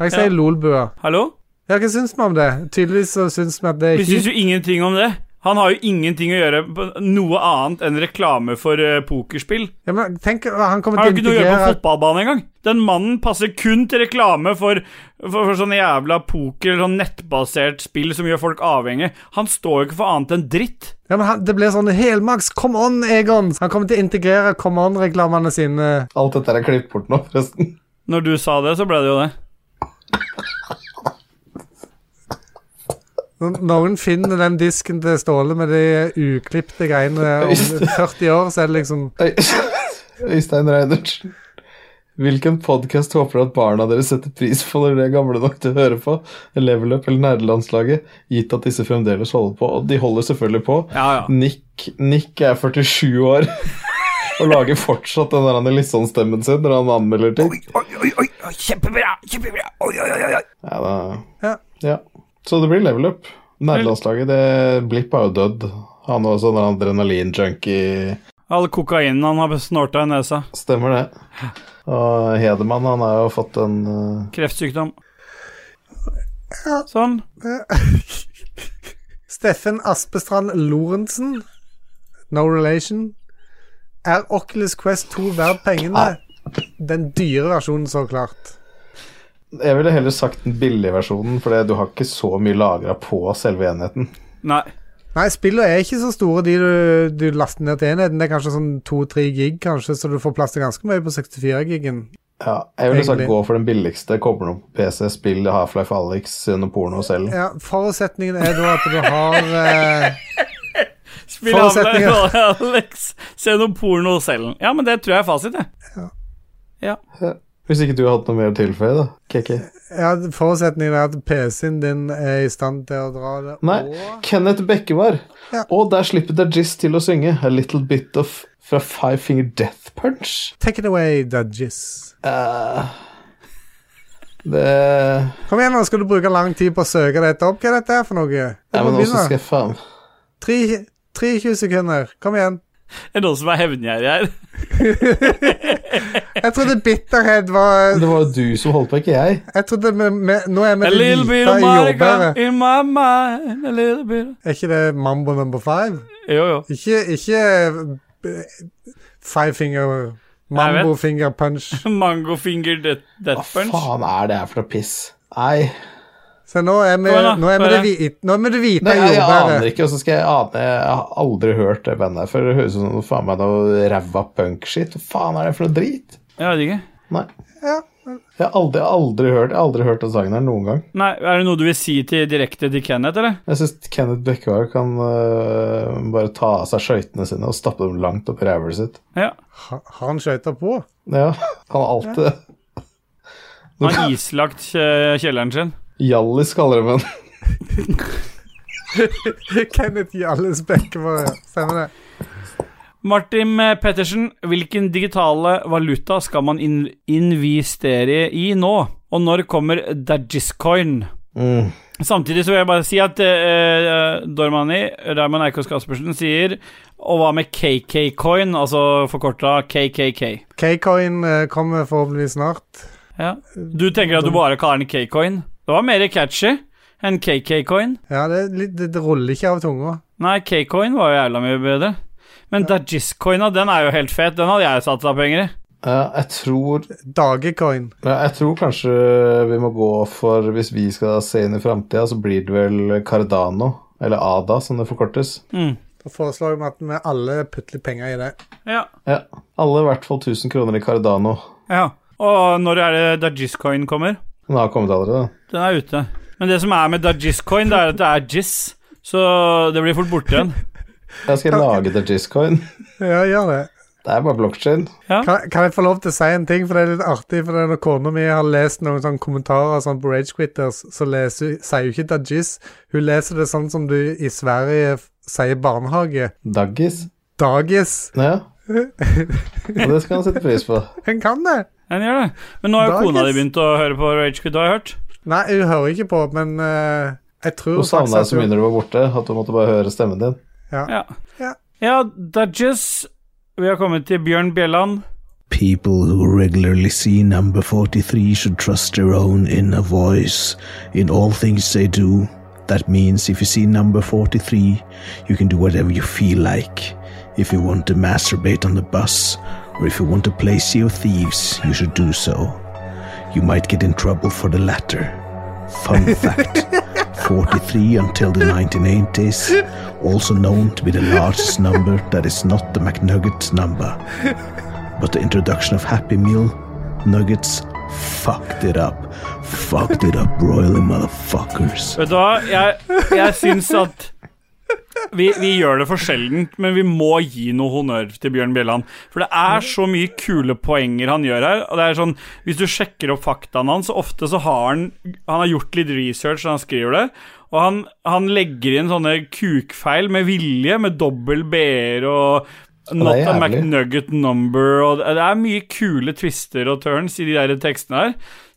Jeg Ja. sier Lolbua. Hallo? Ja, hva syns vi om det? Tydeligvis så syns vi at det er Vi syns jo kjipt. ingenting om det. Han har jo ingenting å gjøre på noe annet enn reklame for eh, pokerspill. Ja, men tenk, han Han kommer har jo til å ikke noe å gjøre på integrere fotballbanen engang. Den mannen passer kun til reklame for, for, for sånn jævla poker, sånn nettbasert spill som gjør folk avhengige. Han står jo ikke for annet enn dritt. ja, men han, Det blir sånn Helmaks, come on, Egon! Han kommer til å integrere come on-reklamene sine. Alt dette er klippet bort nå, forresten. Når du sa det, så ble det jo det. Når noen finner den disken til Ståle med de uklipte greiene om 40 år, så er det liksom Øy- Øystein Reinertsen. Hvilken podkast håper du at barna deres setter pris på når de er gamle nok til å høre på? Level Up eller Nerdelandslaget? Gitt at disse fremdeles holder på. Og de holder selvfølgelig på. Ja, ja. Nick, Nick er 47 år og lager fortsatt den der han er litt sånn stemmen sin når han anmelder ting. Kjempebra! Kjempebra! Oi, oi, oi, oi. Ja, da, Ja. ja. Så det blir level up. Nerdelandslaget, det Blipp er jo dødd. Han er også en adrenalin-junkie. All kokainen han har snorta i nesa. Stemmer det. Og Hedemann, han har jo fått en eh, Kreftsykdom. Sånn. Steffen Aspestrand Lorentzen, no relation. Er Oculus Quest 2 verdt pengene? Den dyre versjonen, så klart. Jeg ville heller sagt den billige versjonen, for det- du har ikke så mye lagra på selve enheten. Nei. Nei, spillene er ikke så store, de du, du laster ned til enheten. Det er kanskje sånn 2-3 gig, kanskje, så du får plass til ganske mye på 64-gigen. Ja, jeg ville sagt Egentlig. gå for den billigste. Kobler noe på PC, spill Half-Life Alex under porno selv. Ja, forutsetningen er da at du har eh, Spill av deg, Forutsetninger. Alex. Se noe porno selv. Ja, men det tror jeg er fasit, jeg. Hvis ikke du har hatt noe mer å tilføye, da. Keke. Ja, forutsetningen er at PC-en din er i stand til å dra det. Nei, Kenneth Bekkevar. Ja. Og der slipper Dajis til å synge A Little Bit of fra Five Finger Death Punch. Take it away, Dudges. Eh, det Kom igjen, nå skal du bruke lang tid på å søke dette opp. Hva er dette her for noe? Nei, men også skal jeg faen Tre- 23 sekunder. Kom igjen. Er det noen som er hevngjerrig her? Jeg trodde bitterhet var Det var jo du som holdt på, ikke jeg. Jeg trodde vi, vi, Nå er vi A det little bit hvite of i Monica jordbæret. in my mind. A little bit of... Er ikke det Mambo number five? Jo, jo. Ikke, ikke eh, five finger Mambo vet. finger punch. Mango finger death, Hva death punch. faen er det her for noe piss? Nei, Så nå er Kom vi, igjen da, nå er vi, bare. det, hvite, nå er vi det hvite Nei i jeg, jeg aner jordbæret. ikke. Hvordan skal jeg ane Jeg har aldri hørt det bandet her før. Det høres ut som noe faen meg noe ræva punk-shit. Hva faen er det for noe drit? Jeg vet ikke. Nei. Ja. Jeg har aldri, aldri hørt Jeg har aldri hørt den sangen her noen gang. Nei, Er det noe du vil si til direkte til Kenneth, eller? Jeg syns Kenneth Bekkevar kan øh, bare ta av seg skøytene sine og stappe dem langt opp i rævhølet sitt. Ja. Ha- Har han skøyta på? Ja, han har alltid Han har islagt eh, kjelleren sin. Hjallis kaller de ham. Kenneth Hjalles Bekkevold, ja. Stemmer det. Martin eh, Pettersen, hvilken digitale valuta skal man in investere i nå? Og når kommer Dagiscoin? Mm. Samtidig så vil jeg bare si at eh, Dormani, Raymond Eikås Caspersen, sier Og hva med KK-coin, altså forkorta KKK? K-coin eh, kommer forhåpentligvis snart. Ja. Du tenker at du bare kaller den K-coin? Det var mer catchy enn KK-coin. Ja, det, er litt, det ruller ikke av tunga. Nei, K-coin var jo jævla mye bedre. Men Dajis-coina, den er jo helt fet. Den hadde jeg satt av penger i. Ja, jeg tror Dagecoin. ja, Jeg tror kanskje vi må gå for Hvis vi skal se inn i framtida, så blir det vel Cardano. Eller Ada, som det forkortes. Da foreslår vi at vi alle putter litt penger i det. Ja. Ja. Alle i hvert fall 1000 kroner i Cardano. ja. Og når er det Dajis-coin kommer? Den har kommet allerede. Den er ute. Men det som er med Dajis-coin, det er at det er jizz. Så det blir fort borte igjen. Jeg skal lage det Giscoin. Ja, gjør det. Det er bare blokkjede. Kan, kan jeg få lov til å si en ting, for det er litt artig. For det er når kona mi har lest noen sånne kommentarer sånn på Ragequitters, så leser, hun- sier hun ikke Dajis. Hun leser det sånn som du i Sverige f- sier barnehage. Daggis. Dagis. Ja. Og det skal han sette pris på. Hun kan det! Den gjør det. Men nå har jo Dagens- kona di begynt å høre på Rage Quit, har jeg hørt. Nei, hun hører ikke på, men eh, jeg tror Hun savna deg faktisk så at mye hun når du var borte, at du måtte bare høre stemmen din. Ja. Ja. ja Dudges. Vi har kommet til Bjørn Bjelland. People who regularly see number 43 should trust their own inner voice in all things they do. That means if you see number 43, you can do whatever you feel like. If you want to masturbate on the bus, or if you want to play Sea of Thieves, you should do so. You might get in trouble for the latter. Fun fact 43 until the 1980s, also known to be the largest number that is not the McNuggets number but the introduction of Happy Meal nuggets fucked it up. fucked it up, royally motherfuckers. Vet du hva, jeg, jeg syns at vi, vi gjør det for sjeldent, men vi må gi noe honnør til Bjørn Bjelland. For det er så mye kule poenger han gjør her. Og det er sånn, Hvis du sjekker opp faktaene hans, ofte så har han Han har gjort litt research når han skriver det. Og han, han legger inn sånne kukfeil med vilje, med dobbel BR og Not det er a jævlig. McNugget number og Det det er mye kule twister og turns i de der tekstene her.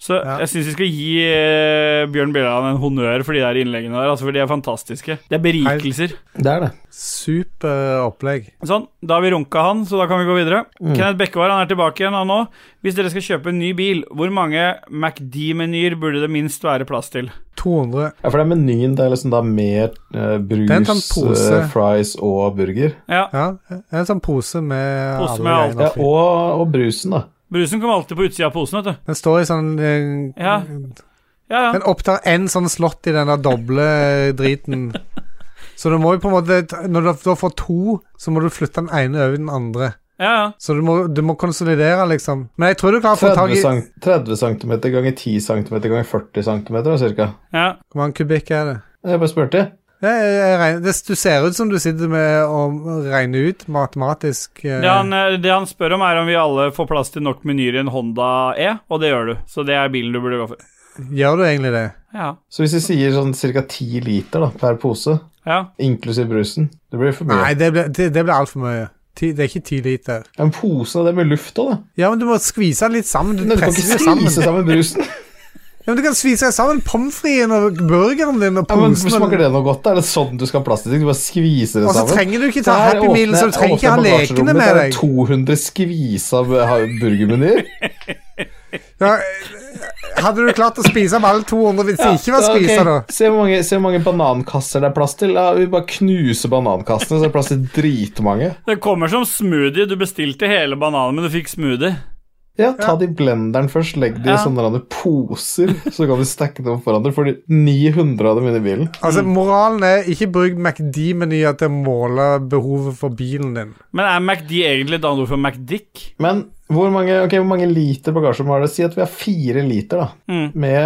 Så jeg syns vi skal gi eh, Bjørn Bjelland en honnør for de der innleggene der, altså, for de er fantastiske. Det er berikelser. Det er det. Super opplegg. Sånn, da har vi runka han, så da kan vi gå videre. Kenneth Bekkevar han er tilbake igjen han òg. Hvis dere skal kjøpe en ny bil, hvor mange MacD-menyer burde det minst være plass til? 200. Ja, for det er menyen. Det er liksom da mer eh, brus, Det er en sånn pose. eh, fries og burger. Ja, Ja, en sånn pose med Pose alle med alt. Ja, greiene. og, og brusen, da. Brusen kommer alltid på utsida av posen, vet du. Den står i sånn eh, Ja. Ja, ja. Den opptar én sånn slott i denne doble driten. Så du må jo på en måte ta- Når du da får to, så må du flytte den ene over den andre. ja, ja. Så du må, du må konsolidere, liksom. Men jeg tror du klarer å få tak 30, i cent- 30 cm ganger 10 cm ganger 40 cm, cirka. ja. Hvor mange kubikk er det? Jeg bare spurte. Jeg, jeg, jeg regner, det du ser ut som du sitter med og regner ut matematisk eh, Det han, eh, det han spør om, er om vi alle får plass til nok menyer i en Honda E, og det gjør du. Så det er bilen du burde gå for. Gjør du egentlig det? Ja. Så hvis vi sier sånn ca. 10 liter da, per pose, ja. inklusiv brusen Det blir for Nei, mye. det blir, det, det blir altfor mye. Ti, det er ikke ti liter. En pose det er med luft òg, da. Ja, men du må skvise den litt sammen. Du Men du kan presser ikke det sammen. skvise sammen brusen. Ja, men du kan skvise sammen pommes fritesen og burgeren din og Ja, men posen. og- Smaker det noe godt? da? Er det sånn du skal ha plass til ting? Du bare skviser det Og så sammen? Altså, trenger du ikke ta Der Happy Meal, åpner- så du trenger ikke ha åpner bagasjerommet, lekene med der er deg. 200 skvisa b- eh, ha- burgermenyer. Ja, hadde du klart å spise med alle 200 hvis det ikke var ok. spise, da? Se hvor, mange, se hvor mange banankasser det er plass til. Ja, vi bare knuser banankassene, så er det plass til dritmange. Det kommer som smoothie. Du bestilte hele bananen, men du fikk smoothie. Ja, ta de blenderen først, legg de i Ja. sånne rande poser, så kan vi stakke dem opp hverandre. Får de 900 av dem inn i bilen. Altså, Moralen er ikke bruk MacD-menyer til å måle behovet for bilen din. Men er MacD egentlig et annet ord for MacDick? Men hvor mange, ok, hvor mange liter bagasjerom har det? Si at vi har fire liter, da. Mm. Med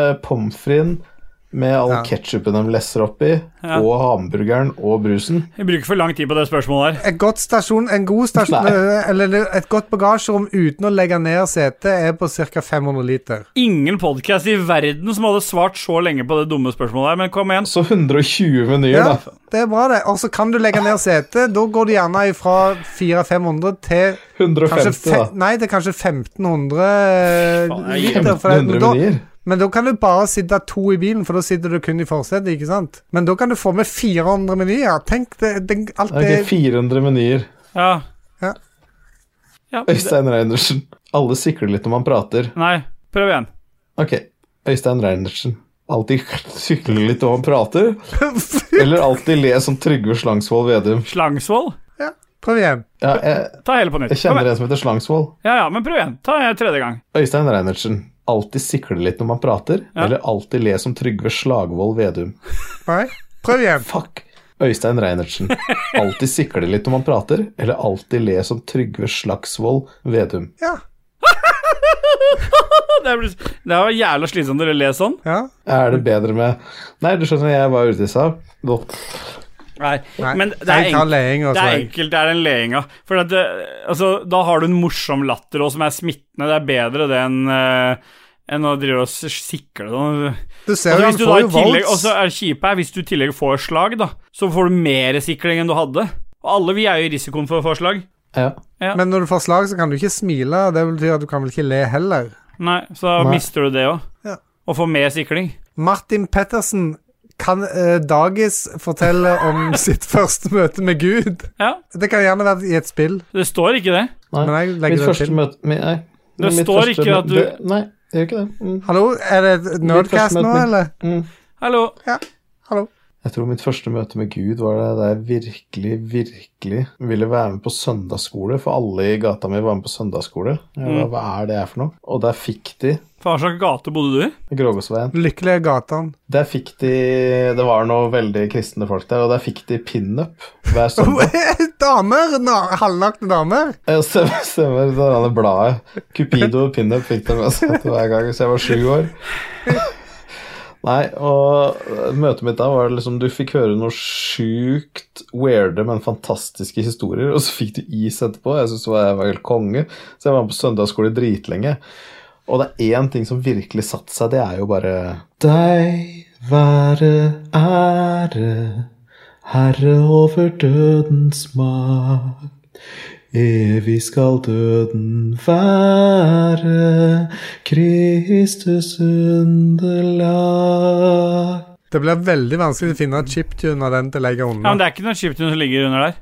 uh, pommes fritesen, med all Ja. ketchupen de lesser oppi, Ja. og hamburgeren og brusen. Vi bruker for lang tid på det spørsmålet her. Et godt stasjon, en god stasjon, eh, Nei. eller et godt bagasjerom uten å legge ned setet er på ca. 500 liter. Ingen podkast i verden som hadde svart så lenge på det dumme spørsmålet her, men kom igjen. Så 120 menyer, Ja, da. det er bra, det. Og så kan du legge ned setet. Da går det gjerne fra 400-500 til 150, kanskje fe da. Nei, det er kanskje 1500 Faen, jeg- liter. For det, 1500 men da, menyer. Men da kan du bare sitte to i bilen, for da sitter du kun i forsetet, ikke sant? Men da kan du få med 400 menyer. Tenk det, det alt Ok, det 400 menyer. Ja. Ja. Ja, det, Øystein Reinertsen. Alle sikler litt når man prater. nei, prøv igjen. Ok, Øystein Reinertsen. Alltid sikler litt når man prater. Eller alltid le som Trygve Slangsvold Vedum. Slangsvold? Ja, prøv igjen. Ja, jeg, Ta hele på nytt. jeg Kom kjenner igjen. en som heter Slangsvold. Ja, ja, men prøv igjen. Ta en tredje gang. Øystein Reinertsen. Alltid sikle litt når man prater, Ja. eller alltid le som Trygve Slagvold Vedum. Nei, prøv igjen. Fuck! Øystein Reinertsen. Alltid sikle litt når man prater, eller alltid le som Trygve Slagsvold Vedum. Ja. Det, er, det var jævla slitsomt å lese sånn. Ja. Er det bedre med Nei, du skjønner, jeg var ute i USA. Nå- Nei, Nei, men det jeg altså. er, tar enk- leing, det og så er er jeg- enkelt, det er den leinga. For at det, altså, da har du en morsom latter også, som er smittende. Det er bedre det enn eh, enn å drive og s- sikle sånn. Du Altså, ser jo, hvis han du da får i jo tillegg, og volts. så er det kjipe her, hvis du i tillegg får slag, da, så får du mer sikling enn du hadde. Og alle vi er jo i risikoen for å få slag. Ja. Men når du får slag, så kan du ikke smile. Det betyr at du kan vel ikke le heller. Nei, så da Nei. mister du det òg. Ja. Og får mer sikling. Martin Pettersen kan eh, Dagis fortelle om sitt første møte med Gud. Ja, Det kan gjerne være i et spill, det står ikke det. Nei. men jeg Mitt legger det første til. møte mi- Nei. Det Mitt står første ikke at mø- du- det, Nei, det gjør ikke det. Mm. Hallo, er det et Nerdcast møte nå, med- eller? Mm. Hallo. Hallo. Jeg tror mitt første møte med Gud var det da jeg virkelig, virkelig ville være med på søndagsskole, for alle i gata mi var med på søndagsskole. Jeg var, Hva er det her for noe? Og der fikk de Hva slags gate bodde du i? Grågåsveien. Lykkelige gatan. Der fikk de Det var noe veldig kristne folk der, og der fikk de pinup hver søndag. damer! na- Halvnakne damer. Ja, Stemmer, stemmer. Det var det bladet. Cupido og pinup fikk de med seg til hver gang, så jeg var sju år. Nei, og møtet mitt da var liksom Du fikk høre noe sjukt weirde, men fantastiske historier, og så fikk du is etterpå. Jeg syntes det var- jeg var helt konge, så jeg var med på søndagsskole dritlenge. Og det er én ting som virkelig satte seg, det er jo bare Deg være ære, Herre over dødens makt. Evig skal døden være Kristus underlag. Det blir veldig vanskelig å finne chiptune av den til å legge Ja, men unna. Det er ikke noe chiptune som ligger under der.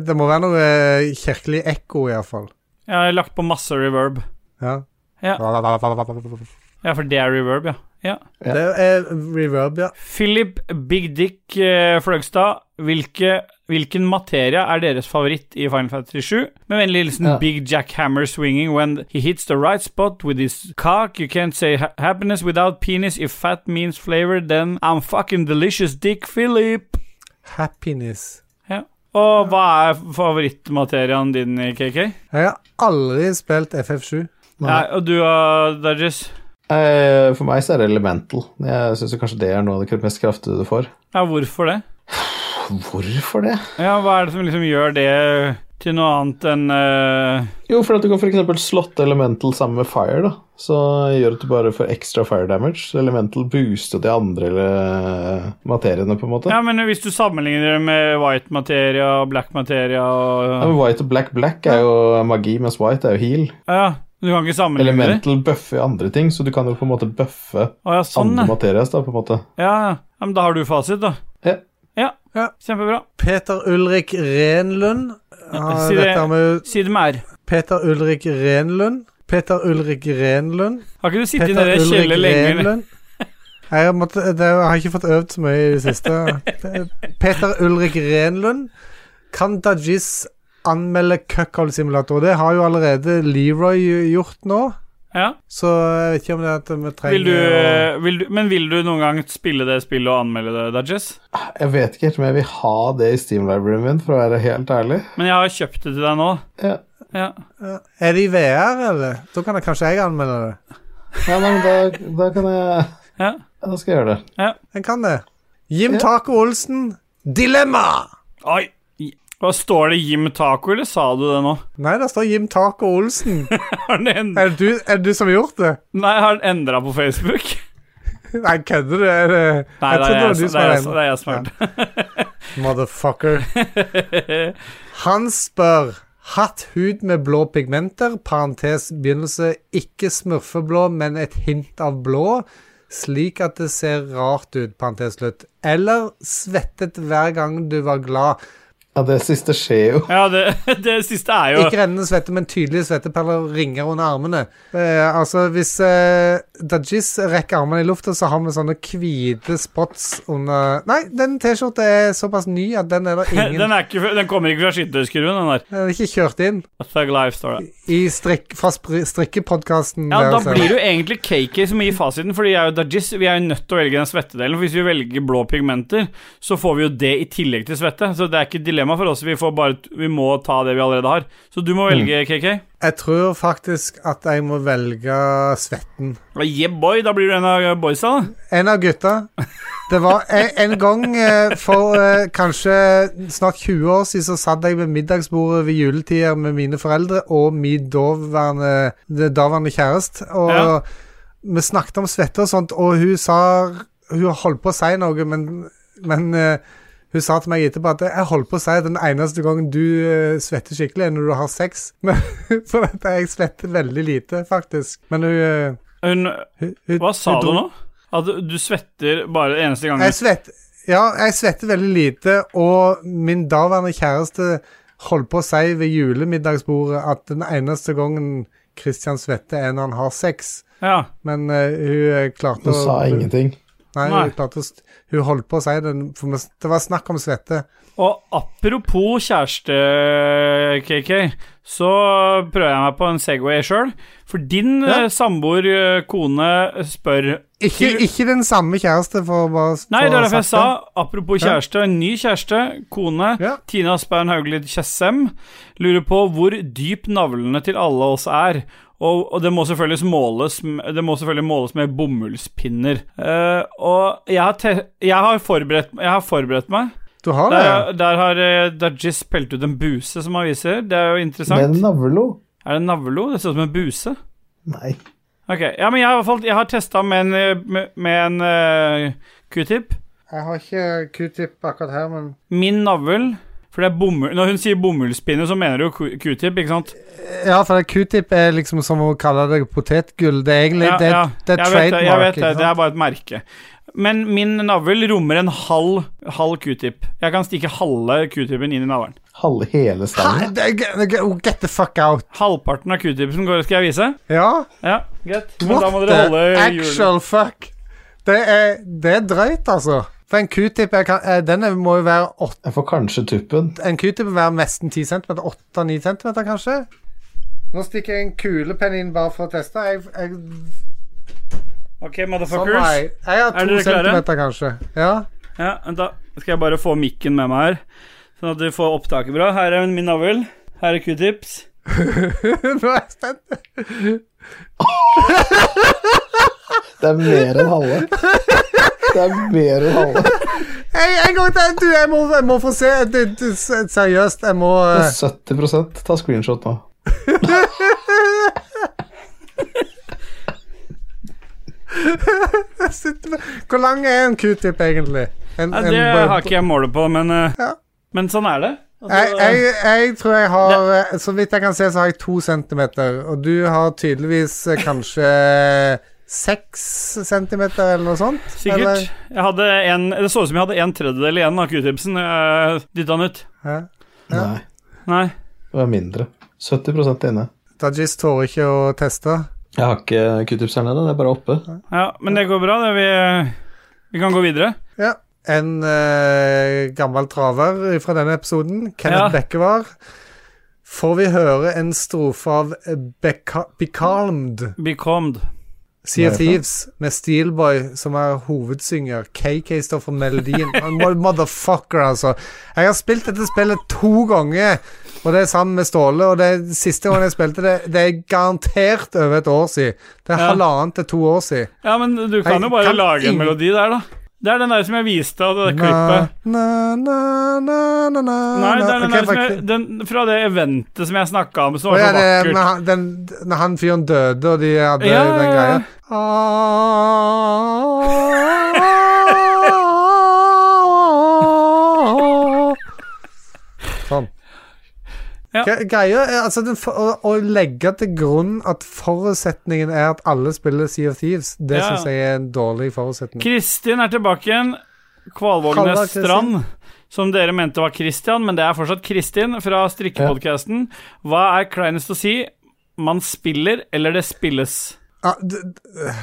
Det må være noe eh, kirkelig ekko, iallfall. Jeg har lagt på masse reverb. Ja. Ja. Det Ja, for det er reverb, ja. ja. er reverb, ja. Philip Big Dick eh, Fløgstad, hvilke, hvilken materia er deres favoritt i Final Fantasy 7? Med vennlig hilsen Ja. Big Jack Hammer swinging when he hits the right spot with his cock. You can't say ha happiness without penis. If fat means flavor, then I'm fucking delicious dick Philip. Happiness. Ja. Og hva er favorittmateriaen din, KK? Jeg har aldri spilt FF7. Nei, og du, uh, Dodges? Eh, For meg så er det elemental. Jeg syns kanskje det er noe av det mest kraftige du får. Ja, hvorfor det? Hvorfor det? Ja, hva er det som liksom gjør det til noe annet enn eh, Jo, for at du kan f.eks. slåtte elemental sammen med fire, da. Så gjør at du bare får ekstra fire damage. Så Elemental booster de andre eller materiene, på en måte. Ja, men hvis du sammenligner det med white materia og black materia Ja, og men White og black black er jo magi, mens white er jo heal. Ja, du kan ikke sammenligne det? Elemental bøffer jo andre ting, så du kan jo på en måte bøffe Å ja, sånn, andre ja. materias, da, på en måte. ja. ja, Men da har du fasit, da. Ja. Ja, Ja. kjempebra. Peter Ulrik Renlund. Ja, Si det. dette med Si det mer. Peter Ulrik Renlund. Peter Ulrik Renlund. Har ikke du sittet Peter nede i det Ulrik kjellet lenge? Renlund. Nei, Jeg, måtte, det, jeg har ikke fått øvd så mye i det siste. Peter Ulrik Renlund. Kan Dajis anmelde cuckold-simulator? Det har jo allerede Leroy gjort nå. Ja. Så jeg vet ikke om det er at vi trenger Vil du, eh, å- vil du, men vil du noen gang spille det spillet og anmelde det, Dodges? Jeg vet ikke helt om jeg vil ha det i Steam-libraryen min, for å være helt ærlig. Men jeg har kjøpt det til deg nå. Ja, Ja. Ja. Er det i VR, eller? Da kan jeg kanskje jeg anmelde det. ja nei, men da, da kan jeg ja. ja, Da skal jeg gjøre det. Jeg kan det. Jim Taco Olsen, dilemma! Oi. Hva står det Jim Taco, eller sa du det nå? Nei, der står Jim Taco Olsen. Har den end- Er det du, er det du som har gjort det? Nei, har den endra på Facebook? Nei, kødder du? Er det, Nei, jeg det er trodde det var jeg, du som- som det er jeg, som- var den. det er jeg som har gjort det. Motherfucker. Han spør Hatt hud med blå pigmenter, parentes begynnelse ikke smurfeblå, men et hint av blå, slik at det ser rart ut, parentes slutt. Eller svettet hver gang du var glad. Ja, det siste skjer jo. Ja, det, det siste er jo Ikke rennende svette, men tydelige svetteperler ringer under armene. Eh, altså, hvis eh, Dajis rekker armene i lufta, så har vi sånne hvite spots under Nei, den T-skjorta er såpass ny at den er det ingen den, er ikke, den kommer ikke fra skytterskruen, den der. Den er ikke kjørt inn Thug Life står det. i strikk, fra spri- strikkepodkasten. Ja, der, da ser jeg. blir det jo egentlig KK som gir fasiten, fordi jeg og Dajis vi er jo nødt til å velge den svettedelen. For hvis vi velger blå pigmenter, så får vi jo det i tillegg til svette. Så det er ikke et dilemma for oss. Vi, får bare, vi må ta det vi allerede har. Så du må Mm. velge, KK. Jeg tror faktisk at jeg må velge svetten. Yeah, boy, da blir du en av boysa, da. En av gutta Det var en, en gang eh, for eh, kanskje snart 20 år siden så satt jeg ved middagsbordet ved juletider med mine foreldre og min daværende, det daværende kjæreste. Og Ja. vi snakket om svette og sånt, og hun sa Hun holdt på å si noe, men, men eh, hun sa til meg etterpå at jeg holdt på å si at den eneste gangen du eh, svetter skikkelig, er når du har sex. Men, for at jeg svetter veldig lite, faktisk. Men hun, eh, Hun, hun, hun hva sa hun du dro- nå? At du- du svetter bare eneste gangen Jeg svetter, ja, jeg svetter veldig lite, og min daværende kjæreste holdt på å si ved julemiddagsbordet at den eneste gangen Christian svetter, er når han har sex. Ja. Men eh, hun eh, klarte Hun sa ingenting. Nei, Nei. Hun, klarte å, st- hun holdt på å si det, for vi- det var snakk om svette. Og apropos kjæreste, KK, så prøver jeg meg på en Segway sjøl. For din eh, samboer, eh, kone, spør Ikke, ikke den samme kjæreste, for å bare s- Nei, for det å er derfor jeg sagt sa apropos kjæreste. En ny kjæreste, kone, Ja. Tina Spern Hauglid Tjessem, lurer på hvor dyp navlene til alle oss er. Og, og det, må selvfølgelig måles, m- det må selvfølgelig måles med bomullspinner. Eh, og jeg har, te jeg, har forberedt, jeg har forberedt meg. Du har det? ja. Der, der har eh, Dajis pelt ut en buse, som han viser. Det er jo interessant. Med navlo? Er det en navlo? Det ser ut som en buse. Nei. Ok, ja, men jeg har, i hvert fall- jeg har testa med en, eh, med, med en eh, q-tip. Jeg har ikke q-tip akkurat her, men Min navl For det er bomull Når hun sier bomullspinne, så mener du jo q- q-tip, ikke sant? Ja, for det q-tip er liksom som å kalle det potetgull. Det er egentlig det, er- det er jeg vet det, jeg vet trademark. det, ikke det er sant? bare et merke. Men min navl rommer en halv, halv q-tip. Jeg kan stikke halve q-tipen inn i navlen. Halve hele Hæ? stangen? Det er g- det er g- Get the fuck out. Halvparten av q-tipsen går, skal jeg vise. Ja, Ja, greit. Men da må what dere the holde hjulet. actual fuck. Det er, det er drøyt, altså. For en q-tip er kan- eh, den er- må jo være åtte Jeg får kanskje tuppen. En q-tip må være nesten 10 cm. 8-9 cm, kanskje. Nå stikker jeg en kulepenn inn bare for å teste. Jeg, jeg, Ok, sånn motherfuckers. var jeg. jeg har Er 2 dere klare? cm, kanskje. Ja. Ja, vent da skal jeg bare få mikken med meg her, sånn at du får opptaket bra. Her er min navl. Her er q-tips. Nå er jeg spent. Det er mer enn halve. Det er mer enn halve. Hey, en gang til! Du, jeg må, jeg må få se. Du, du, s- seriøst, jeg må Det eh, er 70 Ta screenshot nå. sitte med Hvor lang er en q-tip, egentlig? En, Ja, en- det har ikke jeg målet på, men, eh, Ja. men sånn er det. Altså, jeg, jeg, jeg tror jeg har eh, Så vidt jeg kan se, så har jeg to centimeter. Og du har tydeligvis eh, kanskje seks centimeter, eller noe sånt? eh, Sikkert. Jeg hadde en, det så ut som jeg hadde en tredjedel igjen av q-tipsen. Jeg dytta den ut. Eller? Nei, Nei. det var mindre. 70 inne. Dajis tør ikke å teste. Jeg har ikke q-tips her nede, det er bare oppe. Ja, men det går bra. Det, vi, vi kan gå videre. Ja. En eh, gammel traver fra denne episoden, Kenneth Ja. Bekkevar. Får vi høre en strofe av eh, Beca- Becalmed Be calmed. Hva er Sea of det for Thieves med Steelboy som er hovedsynger. KK står for melodien. Mo- Motherfucker, altså. Jeg har spilt dette spillet to ganger, og det er sammen med Ståle. Og det siste gang jeg spilte det, det er garantert over et år siden. Det er Ja. halvannet til to år siden. Ja, men du kan Jeg jo bare kan lage en ingen- melodi der, da. Det er den der som jeg viste av det der klippet. Na, na, na, na, na, Nei, det er den, na. Ok, der som jeg, faktisk- den fra det eventet som jeg snakka om, som Å var ja, så det er vakkert. når han, den, når han fyren døde, og de hadde Ja, ja, den ja. greia. Sånn. Ja. Gre- Greia er altså den, for, å, å legge til grunn at forutsetningen er at alle spiller Sea of Thieves, det Ja, ja. syns jeg er en dårlig forutsetning. Kristin er tilbake igjen. Kalla Kvalvågenes Kristin. Strand, som dere mente var Christian, men det er fortsatt Kristin fra strikkepodkasten. Hva er kleinest å si? Man spiller, eller det spilles? Ja, d- d-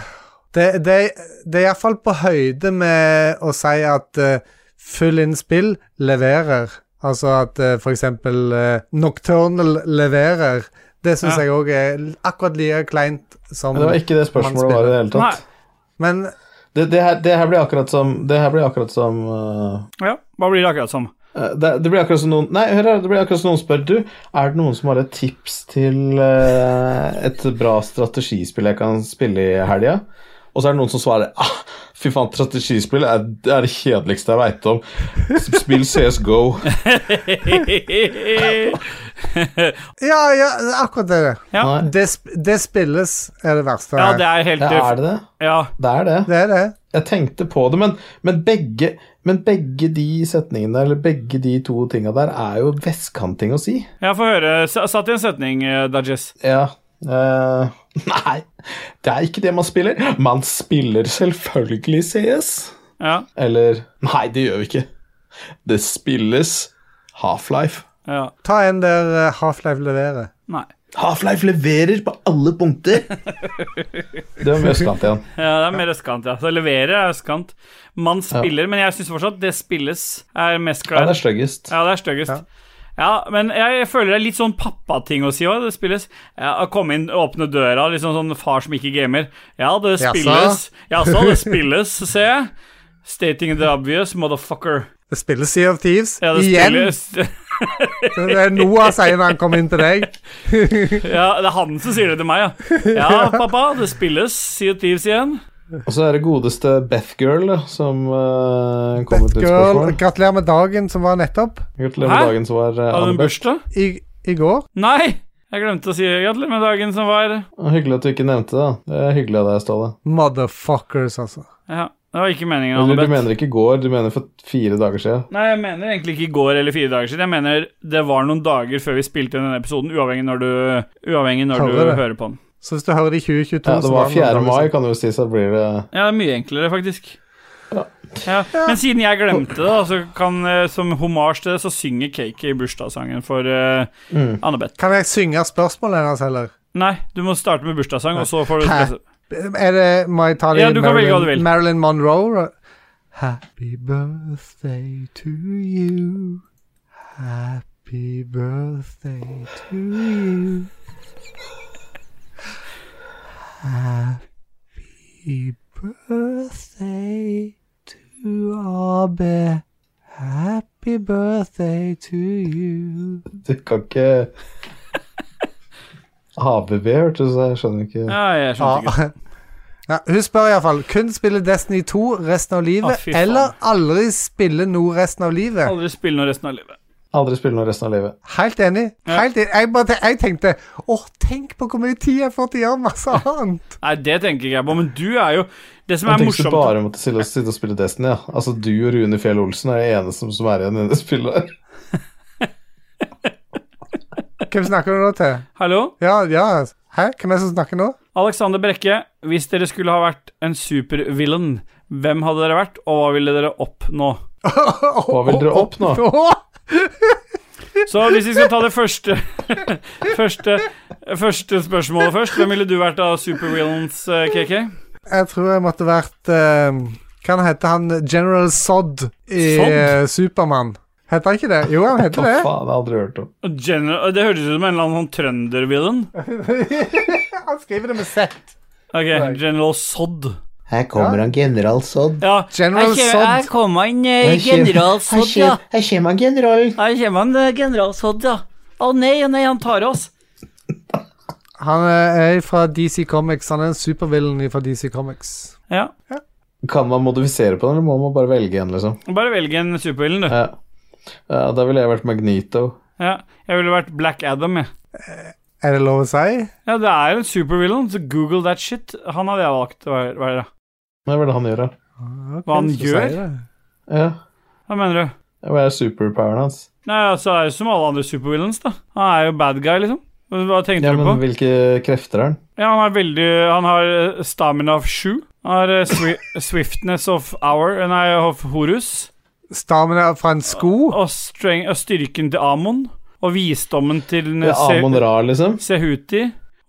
det, det, det er iallfall på høyde med å si at eh, full inn spill leverer. Altså at eh, for eksempel eh, Nocturnal leverer. Det syns Ja. jeg òg er l- akkurat like kleint som Men det var ikke det spørsmålet var i det hele Nei. tatt. Men Det, det, her, det her blir akkurat som Det her blir akkurat som øh, Ja, hva blir det akkurat som? Eh, Det, det blir akkurat som noen Nei, hør her, det blir akkurat som noen spør Du, er det noen som har et tips til eh, et bra strategispill jeg kan spille i helga? Og så er det noen som svarer ah, Fy faen, strategispill er, det er det kjedeligste jeg veit om. Spill CSGO. Ja, ja, akkurat det. Ja. Nei. Det, sp det spilles er det verste. Ja, her. det er helt Ja, er det det? Ja. Det er det. det er det. Jeg tenkte på det, men, men, begge, men begge de setningene, eller begge de to tinga der, er jo vestkanting å si. Jeg får høre. S- Satt i en setning, eh, Dajis. Ja. eh, nei, det er ikke det man spiller. Man spiller selvfølgelig CS. Ja. Eller Nei, det gjør vi ikke. Det spilles Half-Life. ja. Ta en der eh, Half-Life leverer. Nei. Half-Life leverer på alle punkter! det var med østkant igjen. Ja, det er mer østkant, ja. Så leverer er østkant. Man spiller, men jeg syns fortsatt det spilles er mest Ja, kleint. det er styggest. Ja, det er styggest. Ja. men jeg føler det er litt sånn pappating å si òg. Det spilles ja, å Komme inn, åpne døra, liksom sånn far som ikke gamer. Ja, det Jaså? spilles. Jaså, det spilles, ser jeg. Stating the obvious, motherfucker. Det spilles Sea of Thieves Ja, det igjen. spilles. Det er Noah sier når han kommer inn til deg. Ja, det er han som sier det til meg, ja. Ja, pappa, det spilles. Sea of Thieves igjen. Og så er det godeste Bethgirl som uh, kom med et Batgirl, spørsmål. gratulerer med dagen som var nettopp. Hæ? Gratulerer med dagen som var eh, Hadde hun Annabeth. bursdag? I, i går. Nei! Jeg glemte å si gratulerer med dagen som var. Hyggelig at du ikke nevnte det. da. Det er hyggelig av deg, Ståle. Motherfuckers, altså. Ja, det var ikke meningen. Eller du Annabeth. mener ikke i går, du mener for fire dager siden. Nei, jeg mener egentlig ikke i går eller fire dager siden. Jeg mener det var noen dager før vi spilte inn denne episoden, uavhengig når du, uavhengig når du Hører det. hører på den. Så hvis du hører det i 2022 Ja, det så var noen 4. dager mai, siden. kan det jo si, så blir det Ja, det er mye enklere, faktisk. Ja. Men siden jeg glemte det, da, så kan, eh, som hommage til det, så synger Cakey bursdagssangen for eh, Annabeth. Kan jeg synge spørsmålet hennes, heller? Nei, du må starte med bursdagssang, og så får du Hæ? Er det, Må jeg ta det Ja, i du kan velge hva du vil. Marilyn Monroe? Happy birthday to you. Happy birthday to you. Happy birthday to Abe. Happy birthday to you. Du kan ikke ABB, hørte du, så jeg skjønner ikke Ja, jeg skjønte ikke. Ja. Ja, hun spør iallfall kun spille Destiny 2 resten av Å, livet, fy faen. eller aldri spille noe resten av livet. Aldri spille noe resten av livet. Aldri spille noe resten av livet. Helt enig. Ja. Helt enig. Jeg, bare, jeg tenkte åh, tenk på hvor mye tid jeg får til å gjøre masse annet. Nei, det tenker ikke jeg på, men du er jo Det som er Jeg tenkte morsomt bare om å sitte sitte og spille Destiny, ja. Altså, du og Rune Fjell Olsen er de eneste som- som er igjen i det spillet. Hvem snakker du nå til? Hallo? Ja, ja. Hæ? Hvem er det som snakker nå? Alexander Brekke, hvis dere skulle ha vært en supervillain, hvem hadde dere vært, og hva ville dere oppnå? Hva vil dere oppnå? Åh! Så hvis vi skal ta det første Første, første spørsmålet først, hvem ville du vært av supervillains, eh, KK? Jeg tror jeg måtte vært eh, Hva han heter han General Sod i Zod? eh, Supermann? Heter han ikke det? Jo, han heter Hva det. faen, jeg har aldri hørt om. Og General, det hørtes ut som en eller annen sånn trønder-villain. Han skriver det med Z. Ok, General Sod. Her kommer han, general Sodd. Ja, General Her Sod. kommer- Her kommer han eh, Her kommer- general Her Sodd, ja. kommer- her kommer han, general. Her kommer han eh, general Sodd, ja. Å nei, å nei, han tar oss. Han er fra DC Comics. Han er en supervillain fra DC Comics. ja. Kan man modifisere på den, eller må man bare velge en, liksom? Bare velg en supervillain, du. Ja. Ja, da ville jeg vært Magneto. Ja. Jeg ville vært Black Adam, jeg. Er det lov å si? Ja, det er en supervillain, så google that shit. Han hadde jeg valgt å være- være. Hva ville han gjøre? Hva han Hvem som sier gjør? det? Ja, Hva mener du? hva er superpoweren hans? Nei, altså, det er jo som alle andre supervillains, da. Han er jo bad guy, liksom. Hva tenkte Ja, du på? men hvilke krefter er han? Ja, han har veldig Han har eh, stamina of sju. Han har eh, swi swiftness of hour Nei, of horus. Stamina fra en sko? Og, streng, og styrken til Amon. Og visdommen til eh, Ja, Se- Amon Ra, liksom? Sehuti.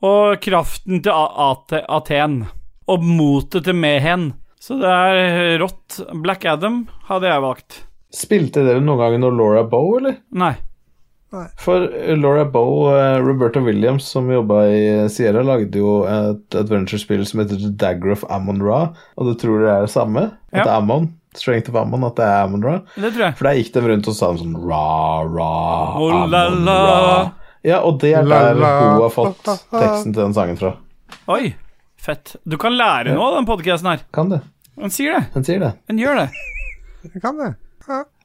Og kraften til A- Ate- Aten. Og motet til Mehen. Så det er eh, rått. Black Adam hadde jeg valgt. Spilte dere noen gang når Laura Bow, eller? Nei. For eh, Laura Bow, eh, Roberta Williams, som jobba i Sierra, lagde jo et adventure-spill som heter The Dagger of Amon Ra, og du tror det er det samme? At Ja. det er Amon? Strength of Ammon at det er Ammon Ra. Det tror jeg. For der gikk de rundt og sa sånn ra, ra, Oh, la, Ammon la. Ra. Ja, og det er La, der la, hun har fått ha, ha, ha. teksten til den sangen fra. Oi, fett. Du kan lære noe av den podkasten her. Kan det. Den sier det. Den sier det. Den gjør det. Jeg kan det.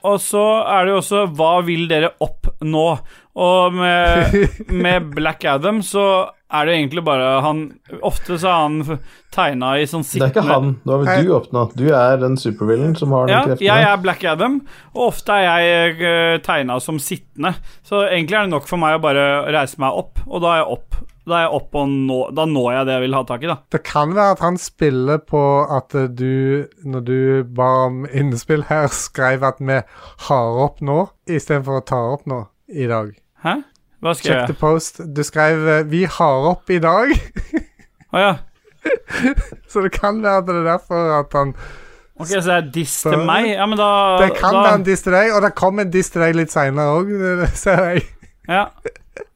Og så er det jo også Hva vil dere oppnå? Og med, med Black Adam så er det egentlig bare han Ofte så er han tegna i sånn Det er sittende ikke han. Nå har vel du oppnådd. Du er den supervillain som har den Ja, kreften. jeg er Black Adam, og ofte er jeg tegna som sittende. Så egentlig er det nok for meg å bare reise meg opp, og da er jeg opp. Da er jeg opp, og nå, da når jeg det jeg vil ha tak i, da. Det kan være at han spiller på at eh, du, når du ba om innspill her, skrev at vi har opp nå, istedenfor å ta opp nå i dag. Hæ? Hva skrev Check the jeg? post. Du skrev eh, 'vi har opp i dag', Å ja. så det kan være at det er derfor at han Ok, så det er diss til meg? Ja, men da Det kan da, være en diss til deg, og det kom en diss til deg litt seinere òg, ser jeg. Ja.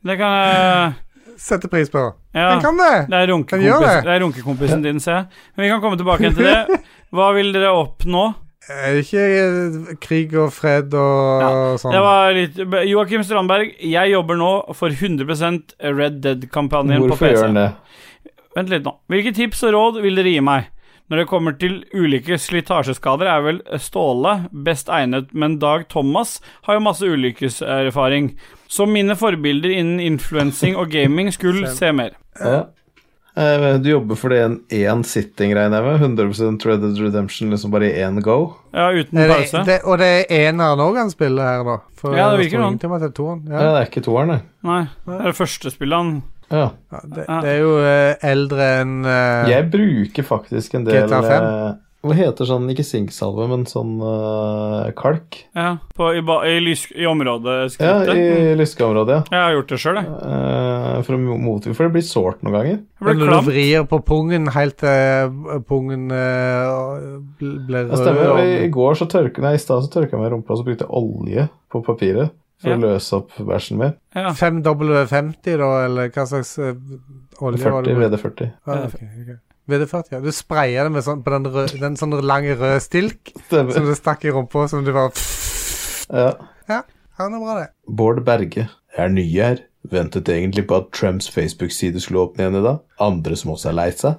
Det kan jeg Setter pris på. Ja. Den kan det. Det er, Den runkekompis, gjør det. det er runkekompisen din, ser jeg. Men vi kan komme tilbake igjen til det. Hva vil dere oppnå? Er det ikke eh, krig og fred og sånn? Det var litt Joakim Strandberg, jeg jobber nå for 100 Red Dead-kampanjen på PC. Hvorfor gjør han det? Vent litt nå. Hvilke tips og råd vil dere gi meg? Når det kommer til ulike slitasjeskader, er vel Ståle best egnet, men Dag Thomas har jo masse ulykkeserfaring. Så mine forbilder innen influensing og gaming skulle se mer. Ja. Eh, Du jobber for det en én sitting, regner jeg med? 100 Red Dead Redemption liksom bare i én go? Ja, uten Er pause. Det, det, og det er eneren òg han spiller her, da. For Ja, det det virker står sånn. ingenting om at det er toeren. Ja, Ja. det er ikke toeren, det. Nei, det er det første spillet han Ja. Ja, det, det er jo eh, eldre enn eh, Jeg bruker faktisk en del GTA 5? eh, Hva heter sånn, ikke sinksalve, men sånn eh, kalk? Ja, på, i, ba, i, lys, i området Ja, skrittet. i lyskeområdet, ja. Jeg har gjort det sjøl, jeg. Eh, For å motvirke For det blir sårt noen ganger. Jeg ble Når du klam. vrir på pungen helt til eh, pungen eh, bl- blir Det stemmer. Og i- I rød. går så tørka Nei, i stad så tørka jeg meg i rumpa, og så brukte jeg olje på papiret for Ja. å løse opp bæsjen min. Ja. 5W50, da, eller hva slags eh, olje 40 var det? VD40. Ja, ok, ok. VD40, ja. Du sprayer det med sånn, på den, rød, den sånn lange røde stilk som Stemmer. du stakk i rumpa, som du bare Ja. Ja, han er bra, det. Bård Berge. Jeg er ny her. Ventet egentlig på at Trumps Facebook-side skulle åpne igjen i dag. Andre som også er lei seg.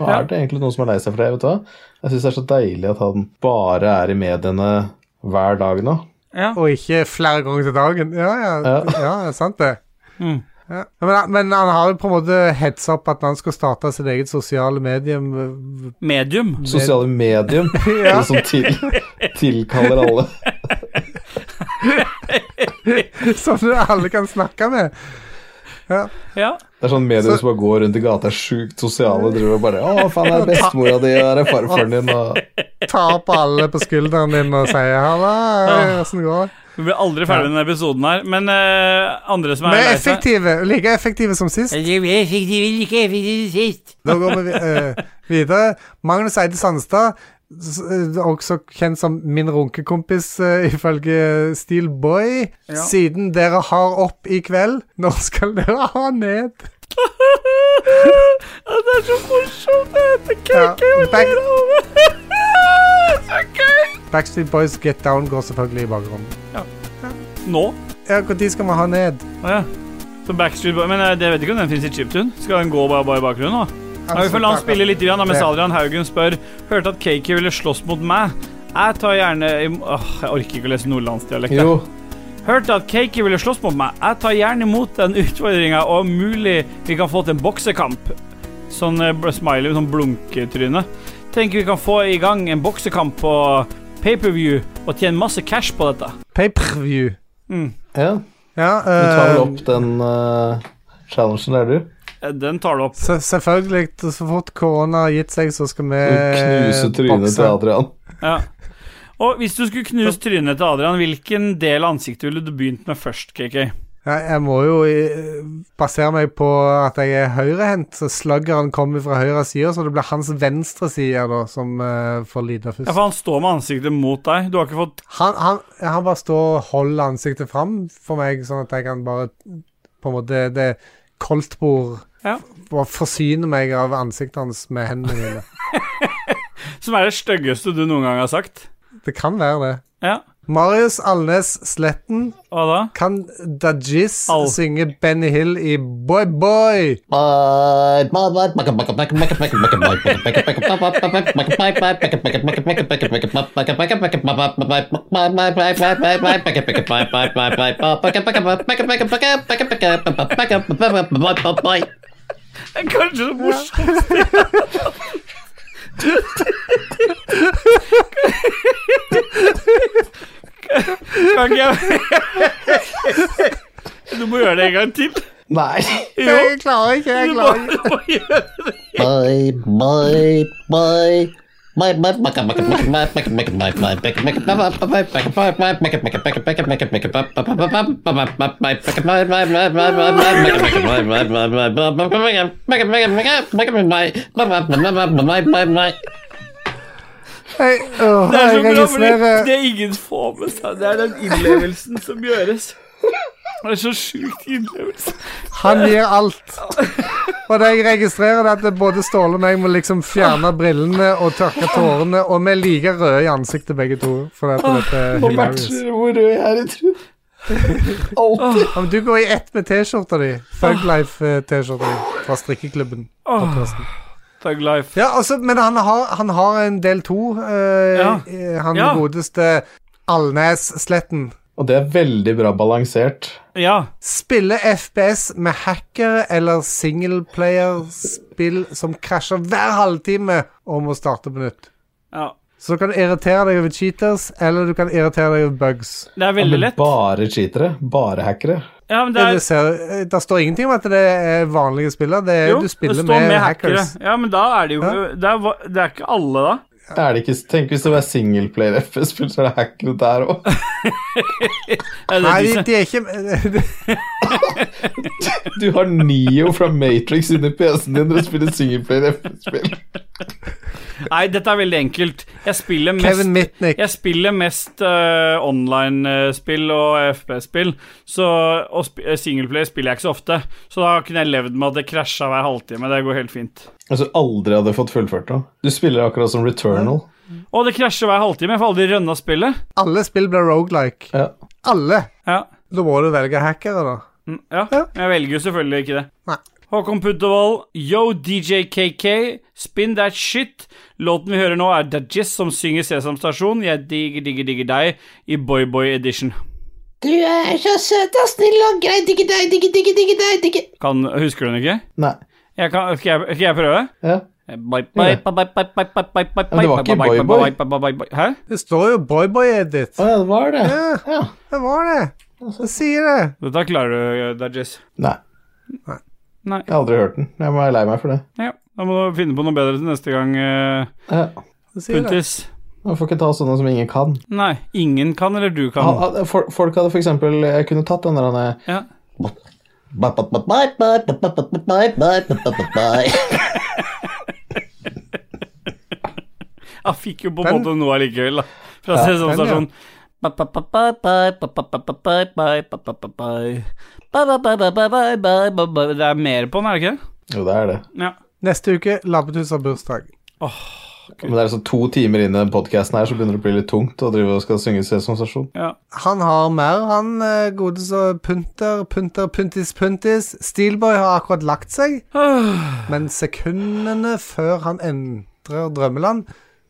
Og er det egentlig noen som er lei seg for det? vet du hva? Jeg syns det er så deilig at han bare er i mediene hver dag nå. Og ikke flere ganger til dagen. Ja, ja, ja. Ja. det er sant det. Mm. Ja. Men, han- men han har jo på en måte heads up at han skal starte sitt eget sosiale medium. øh, Medium. Sosiale medium, Ja. det som til, tilkaller alle. Som du alle kan snakke med. Ja. Det er sånn medier som bare går rundt i gata, er sjukt sosiale, driver og bare 'Å, faen, det er bestemora di, og det er farfaren din', og Ta opp alle på skulderen din og si 'halla, åssen går det?' Vi blir aldri ferdig med denne episoden her. Men eh, andre som er Vi er lei seg effektive. Like effektive som sist. Da går vi øh, videre. Magnus Eide Sandstad, s- øh, også kjent som min runkekompis øh, ifølge Steelboy. Siden dere har opp i kveld, nå skal dere ha ned. Ja, Det er så morsomt! Det heter KK. Ja, og back- ler av det. Så gøy! Backstreet Boys Get Down går selvfølgelig i bakgrunnen. Nå? Ja, Når skal vi ha ned? Å ja. Så Backstreet Boy Men eh, jeg vet ikke om den fins i chiptune. Skal den gå bare, bare i bakgrunnen? da? Ja, vi får la han spille litt grann, da, mens Ja. Adrian Haugen spør Hørte at KK ville slåss mot meg. Jeg tar gjerne im Åh, Jeg orker ikke å lese nordlandsdialekt. Jo, Hørte at KK ville slåss mot meg. Jeg tar gjerne imot den utfordringa, og mulig vi kan få til en boksekamp. Sånn eh, bl- smiley, sånn blunketryne. Tenker vi kan få i gang en boksekamp på pay-per-view og tjene masse cash på dette. Pay-per-view. ja. Ja, Du tar vel øh, opp den eh, challengen der, du? Eh, Den tar du opp. se- selvfølgelig. Så fort korona har gitt seg, så skal vi Du knuser trynet til Adrian. Ja. Og hvis du skulle knust trynet til Adrian, hvilken del av ansiktet ville du begynt med først, KK? Ja, jeg må jo eh, basere meg på at jeg er høyrehendt, så sluggeren kommer fra høyre side, så det blir hans venstre side da som eh, får lide Ja, først. for han står med ansiktet mot deg. Du har ikke fått Han, han, han bare står og holder ansiktet fram for meg, sånn at jeg kan bare på en måte Det er koldtbord Ja. Bare forsyne meg av ansiktet hans med hendene mine. Som er det styggeste du noen gang har sagt. Det kan være det. Ja. Marius Alnes Sletten. Hva da? Kan Dajis Al. synge Benny Hill i Boy Boy? Det er kanskje det morsomste Kan ikke jeg Du må gjøre det en gang til. Nei. Jo, Jeg klarer ikke, jeg du må, klarer ikke. du må gjøre det. Jeg, åh, Det er så bra, jeg for det, registrerer det ingen får med seg. Det er den innlevelsen som gjøres. Det er så sjukt innlevelse. Han gir alt. Og det jeg registrerer, er at både Ståle og meg må liksom fjerne brillene og tørke tårene, og vi er like røde i ansiktet begge to. For at dette er Og hilarious. matcher hvor rød jeg er i trynet. Alltid. Ja, men du går i ett med T-skjorta di. Fuglife-T-skjorta di fra strikkeklubben. Podcasten. Thug Life. Ja, altså, men han har, han har en del to. eh, Ja. eh, Han Ja. godeste Alnes-sletten. Og det er veldig bra balansert. Ja. Spille FPS med hackere eller singleplayerspill som krasjer hver halvtime og må starte på nytt. ja. Så du kan irritere deg over cheaters, eller du kan irritere deg over bugs. Det er veldig Men lett. bare cheatere. Bare hackere. Ja, men det Det er ser, eh, der står ingenting om at det er vanlige spillere. Det er, jo, du det spiller står med, hackers. Ja, men da er det jo Det er, va- det er ikke alle, da. Er det ikke, tenk hvis det var singleplayer FP-spill, så er det hackere der òg. Er det Nei, de de, som- de er ikke Du har Neo fra Matrix inni PC-en din når du spiller singleplayer FP-spill. Nei, dette er veldig enkelt. Jeg spiller mest Kevin Mitnick. Jeg spiller mest eh, online-spill og FP-spill, så, og sp singleplay spiller jeg ikke så ofte. Så da kunne jeg levd med at det krasja hver halvtime. Det går helt fint. Altså aldri hadde fått fullført noe. Du spiller akkurat som Returnal. Og det krasjer hver halvtime. Jeg får aldri rønna spillet. Alle spill blir rogelike. Ja. Alle. Ja. Da må du velge hackere, da. Mm, ja. Jeg velger jo selvfølgelig ikke det. Nei. Håkon Puntervold, yo DJ KK, spin that shit. Låten vi hører nå, er Dajis som synger Sesam Stasjon. Jeg digger, digger, digger deg i Boyboy Edition. Du er så søt og snill og grei, digge deg, digge, digge, digge deg, digge Kan, husker du den ikke? Nei. Jeg kan, skal, jeg, skal jeg prøve? Ja. Bye, bye, bye, bye, bye, bye, bye, bye, Men det var ikke bye, bye, Boy Boy. bye, bye, bye, bye. Hæ? Det står jo boyboy-edit. Å ja, det var det. Ja. Ja. Det var det. Det sier det. Dette klarer du, eh, Dajis. Nei. Nei. Jeg har aldri hørt den. Jeg må være lei meg for det. Ja, da må du finne på noe bedre til neste gang, eh, Ja. det, sier det. Puntis. Man får ikke ta sånne som ingen kan. Nei, ingen kan, eller du Han, Ah, kan. han- fol- folk hadde for eksempel Jeg kunne tatt den der han er Ja. Jeg fikk jo på en Den- måte noe allikevel, da. Fra Sesam den, ja. Stasjon. Det er mer på den, er det ikke det? Jo, det er det. Ja. Neste uke Labbetuss har bursdag. Men det er sånn to timer inn i den podkasten her, så begynner det å bli litt tungt å drive og skal synge Sesam Stasjon. ja. Han har mer, han eh, gode så punter, punter, puntis, puntis. Steelboy har akkurat lagt seg, men sekundene før han entrer drømmeland,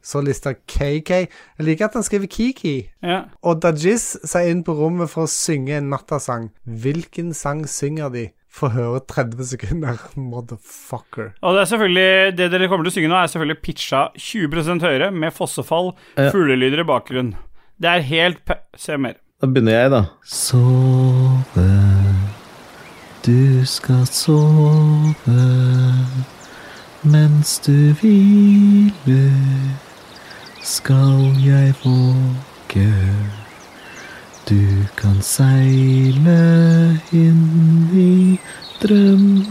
så lister KK Jeg liker at han skriver Kiki. ja. Og Dajis seg inn på rommet for å synge en nattasang. Hvilken sang synger de? Få høre 30 sekunder, motherfucker. Og det er selvfølgelig Det dere kommer til å synge nå, er selvfølgelig pitcha 20 høyere, med fossefall, fuglelyder i bakgrunnen. Det er helt pe... Se mer. Da begynner jeg, da. Sove, du skal sove mens du hviler. Skal jeg våge? Du kan seile inn i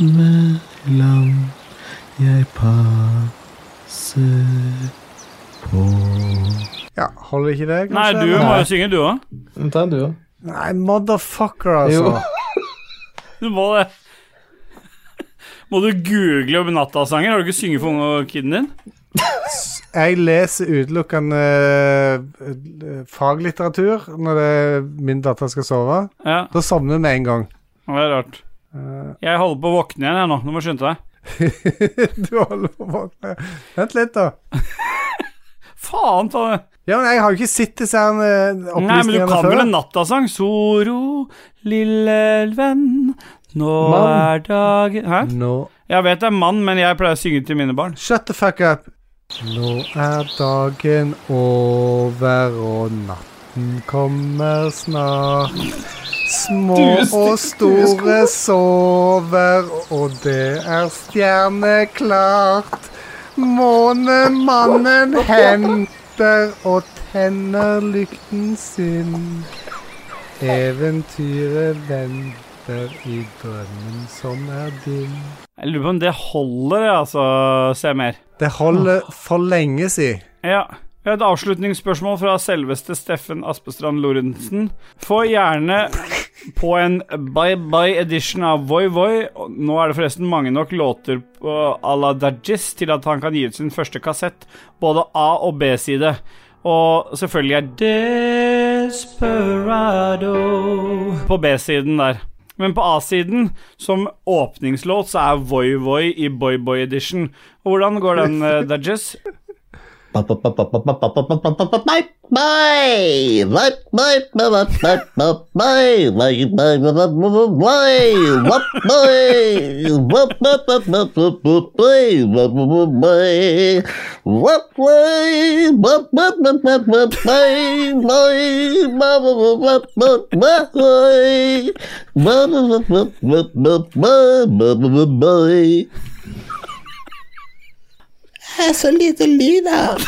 drømmeland. Jeg passer på. Ja, holder ikke det, Nei, kanskje? du eller? må jo synge, du òg. Ta en du, da. Nei, motherfucker, altså. Jo. Du må det. Må du google om nattasanger? Har du ikke sunget for ungene og kiden din? jeg leser utelukkende eh, faglitteratur når det, min datter skal sove. Ja. Da sovner hun med en gang. Det er rart. Eh. Jeg holder på å våkne igjen, jeg nå. Du må skynde deg. du holder på å våkne. Vent litt, da. Faen ta det. Ja, men Jeg har jo ikke sett disse her eh, Nei, men du opplysningene kan før. vel en nattasang? Soro, lille venn, nå Mann. er dagen Hæ? Nå- Jeg vet det er mann, men jeg pleier å synge til mine barn. Shut the fuck up. Nå er dagen over, og natten kommer snart. Små Du, Stig- og store du, Skål. sover, og det er stjerneklart. Månemannen henter og tenner lykten sin. Eventyret venter i drømmen som er din. Jeg lurer på om det holder, jeg, altså. Se mer. Det holder for lenge siden. Ja. Vi har et avslutningsspørsmål fra selveste Steffen Aspestrand Lorentzen. Få gjerne på en bye-bye-edition av Voi Voi. Nå er det forresten mange nok låter på à la Dajis til at han kan gi ut sin første kassett, både A- og B-side. Og selvfølgelig er Desperado på B-siden der. Men på A-siden, som åpningslåt, så er Voi Voi i Boy Boy Edition. Og hvordan går den, eh, Dajis? Det er så lite lyd her.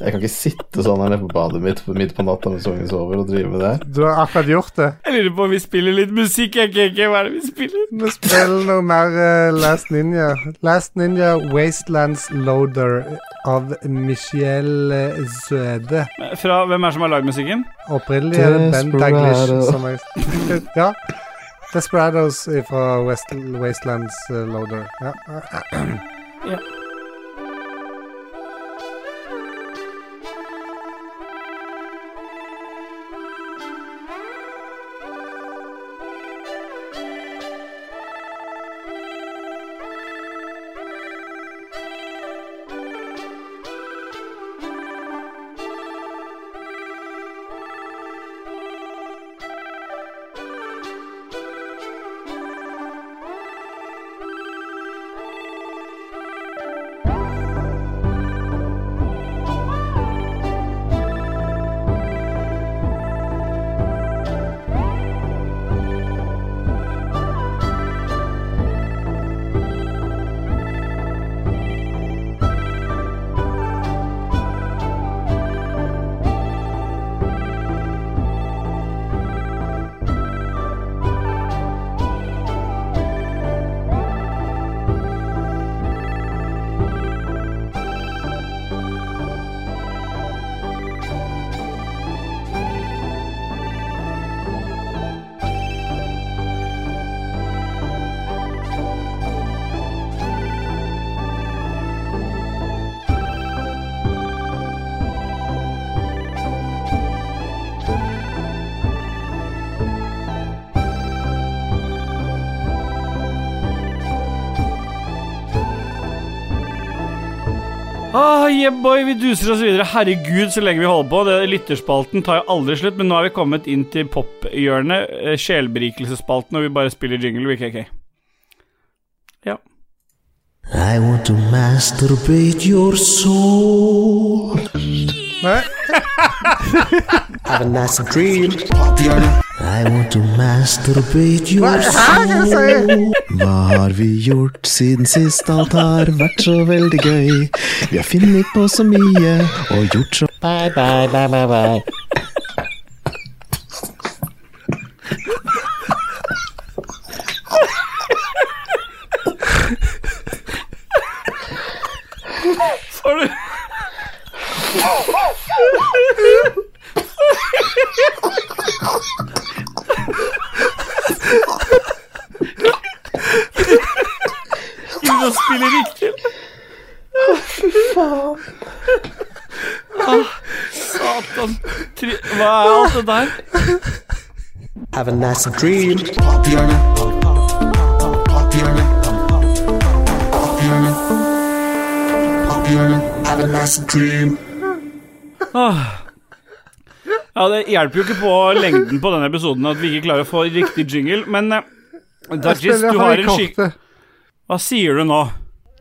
Jeg kan ikke sitte sånn her nede på badet mitt midt på natta mens ungen sover og drive med det her. Du har akkurat gjort det. Jeg lurer på om vi spiller litt musikk, jeg, KK. Hva er det vi spiller? Vi spiller noe mer eh, Last Ninja. Last Ninja Wastelands Loader av Michel eh, Søde. Fra hvem er det som har lagd musikken? Opprinnelig er det Ben Daglish Desperado. som er Ja. Desperados fra West, Wastelands eh, Loader. Ja. Ah, yeah boy, vi duser oss videre. Herregud, så lenge vi holder på. Det, lytterspalten tar jo aldri slutt, men nå er vi kommet inn til pophjørnet, eh, sjelberikelsesspalten, og vi bare spiller jingle, vi, KK. I want to masturbate your soul. Nei. Have a nice dream. I want to masturbate your Hva soul. Hva har vi gjort siden sist? Alt har vært så veldig gøy. Vi har funnet på så mye og gjort så Bye, bye, bye, bye, bye. Får du Å, fy faen. Ah, satan. Tri Hva er alt det der? Have a nice dream. Have a nice dream. Ah. Ja, det hjelper jo ikke på lengden på denne episoden at vi ikke klarer å få riktig jingle, men eh, Dajis, du har en skikk... Hva sier du nå?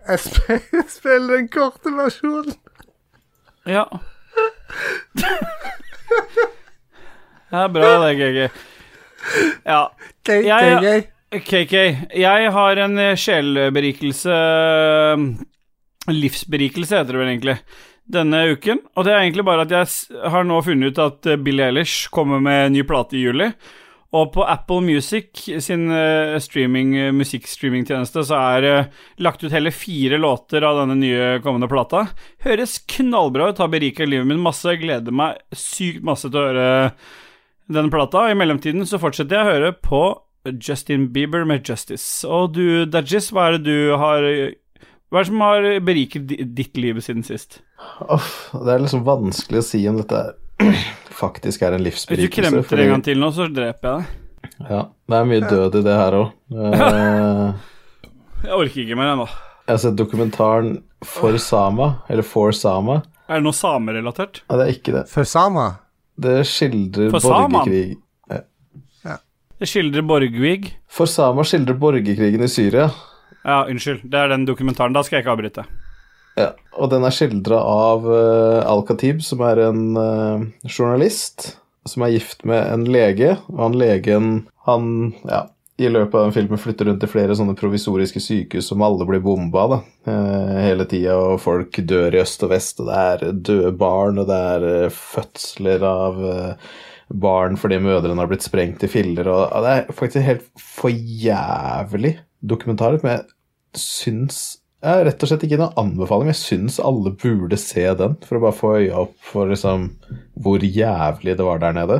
Jeg spiller, jeg spiller den korte versjonen. Ja. Det er bra, det, KK. Ja. Jeg, KK, jeg har en eh, sjelberikelse eh, Livsberikelse heter det vel egentlig. Denne uken. Og det er egentlig bare at jeg s- har nå funnet ut at eh, Billie Eilish kommer med en ny plate i juli. Og på Apple Music sin eh, streaming, eh, musikkstreamingtjeneste så er det lagt ut hele fire låter av denne nye kommende plata. Høres knallbra ut, har berika livet mitt masse, gleder meg sykt masse til å høre denne plata. I mellomtiden så fortsetter jeg å høre på Justin Bieber med Justice. Og du, Dajis, hva er det du har Hva er det som har beriket di- ditt liv siden sist? Uff, det er liksom vanskelig å si om dette er- faktisk er en Hvis du livsberikelse. kremter fordi- en gang til nå, så dreper jeg deg. Ja, det er mye død i det her òg. Jeg orker ikke mer ennå. Jeg har sett dokumentaren For Sama, eller For Sama. Er det noe samerelatert? Nei, det er ikke det. For Sama? Det skildrer For Sama? borgerkrig Det skildrer borgerkrig. For Sama skildrer borgerkrigen i Syria. Ja, unnskyld. Det er den dokumentaren. Da skal jeg ikke avbryte. Ja, og den er skildra av eh, Al-Khatib, som er en eh, journalist som er gift med en lege, og han legen, han, ja, i løpet av den filmen flytter rundt til flere sånne provisoriske sykehus som alle blir bomba, da, eh, hele tida, og folk dør i øst og vest, og det er døde barn, og det er eh, fødsler av eh, barn fordi mødrene har blitt sprengt i filler, og ja, det er faktisk en helt for jævlig dokumentar, men jeg syns jeg har rett og slett ikke noen anbefaling. Jeg syns alle burde se den, for å bare få øya opp for liksom hvor jævlig det var der nede.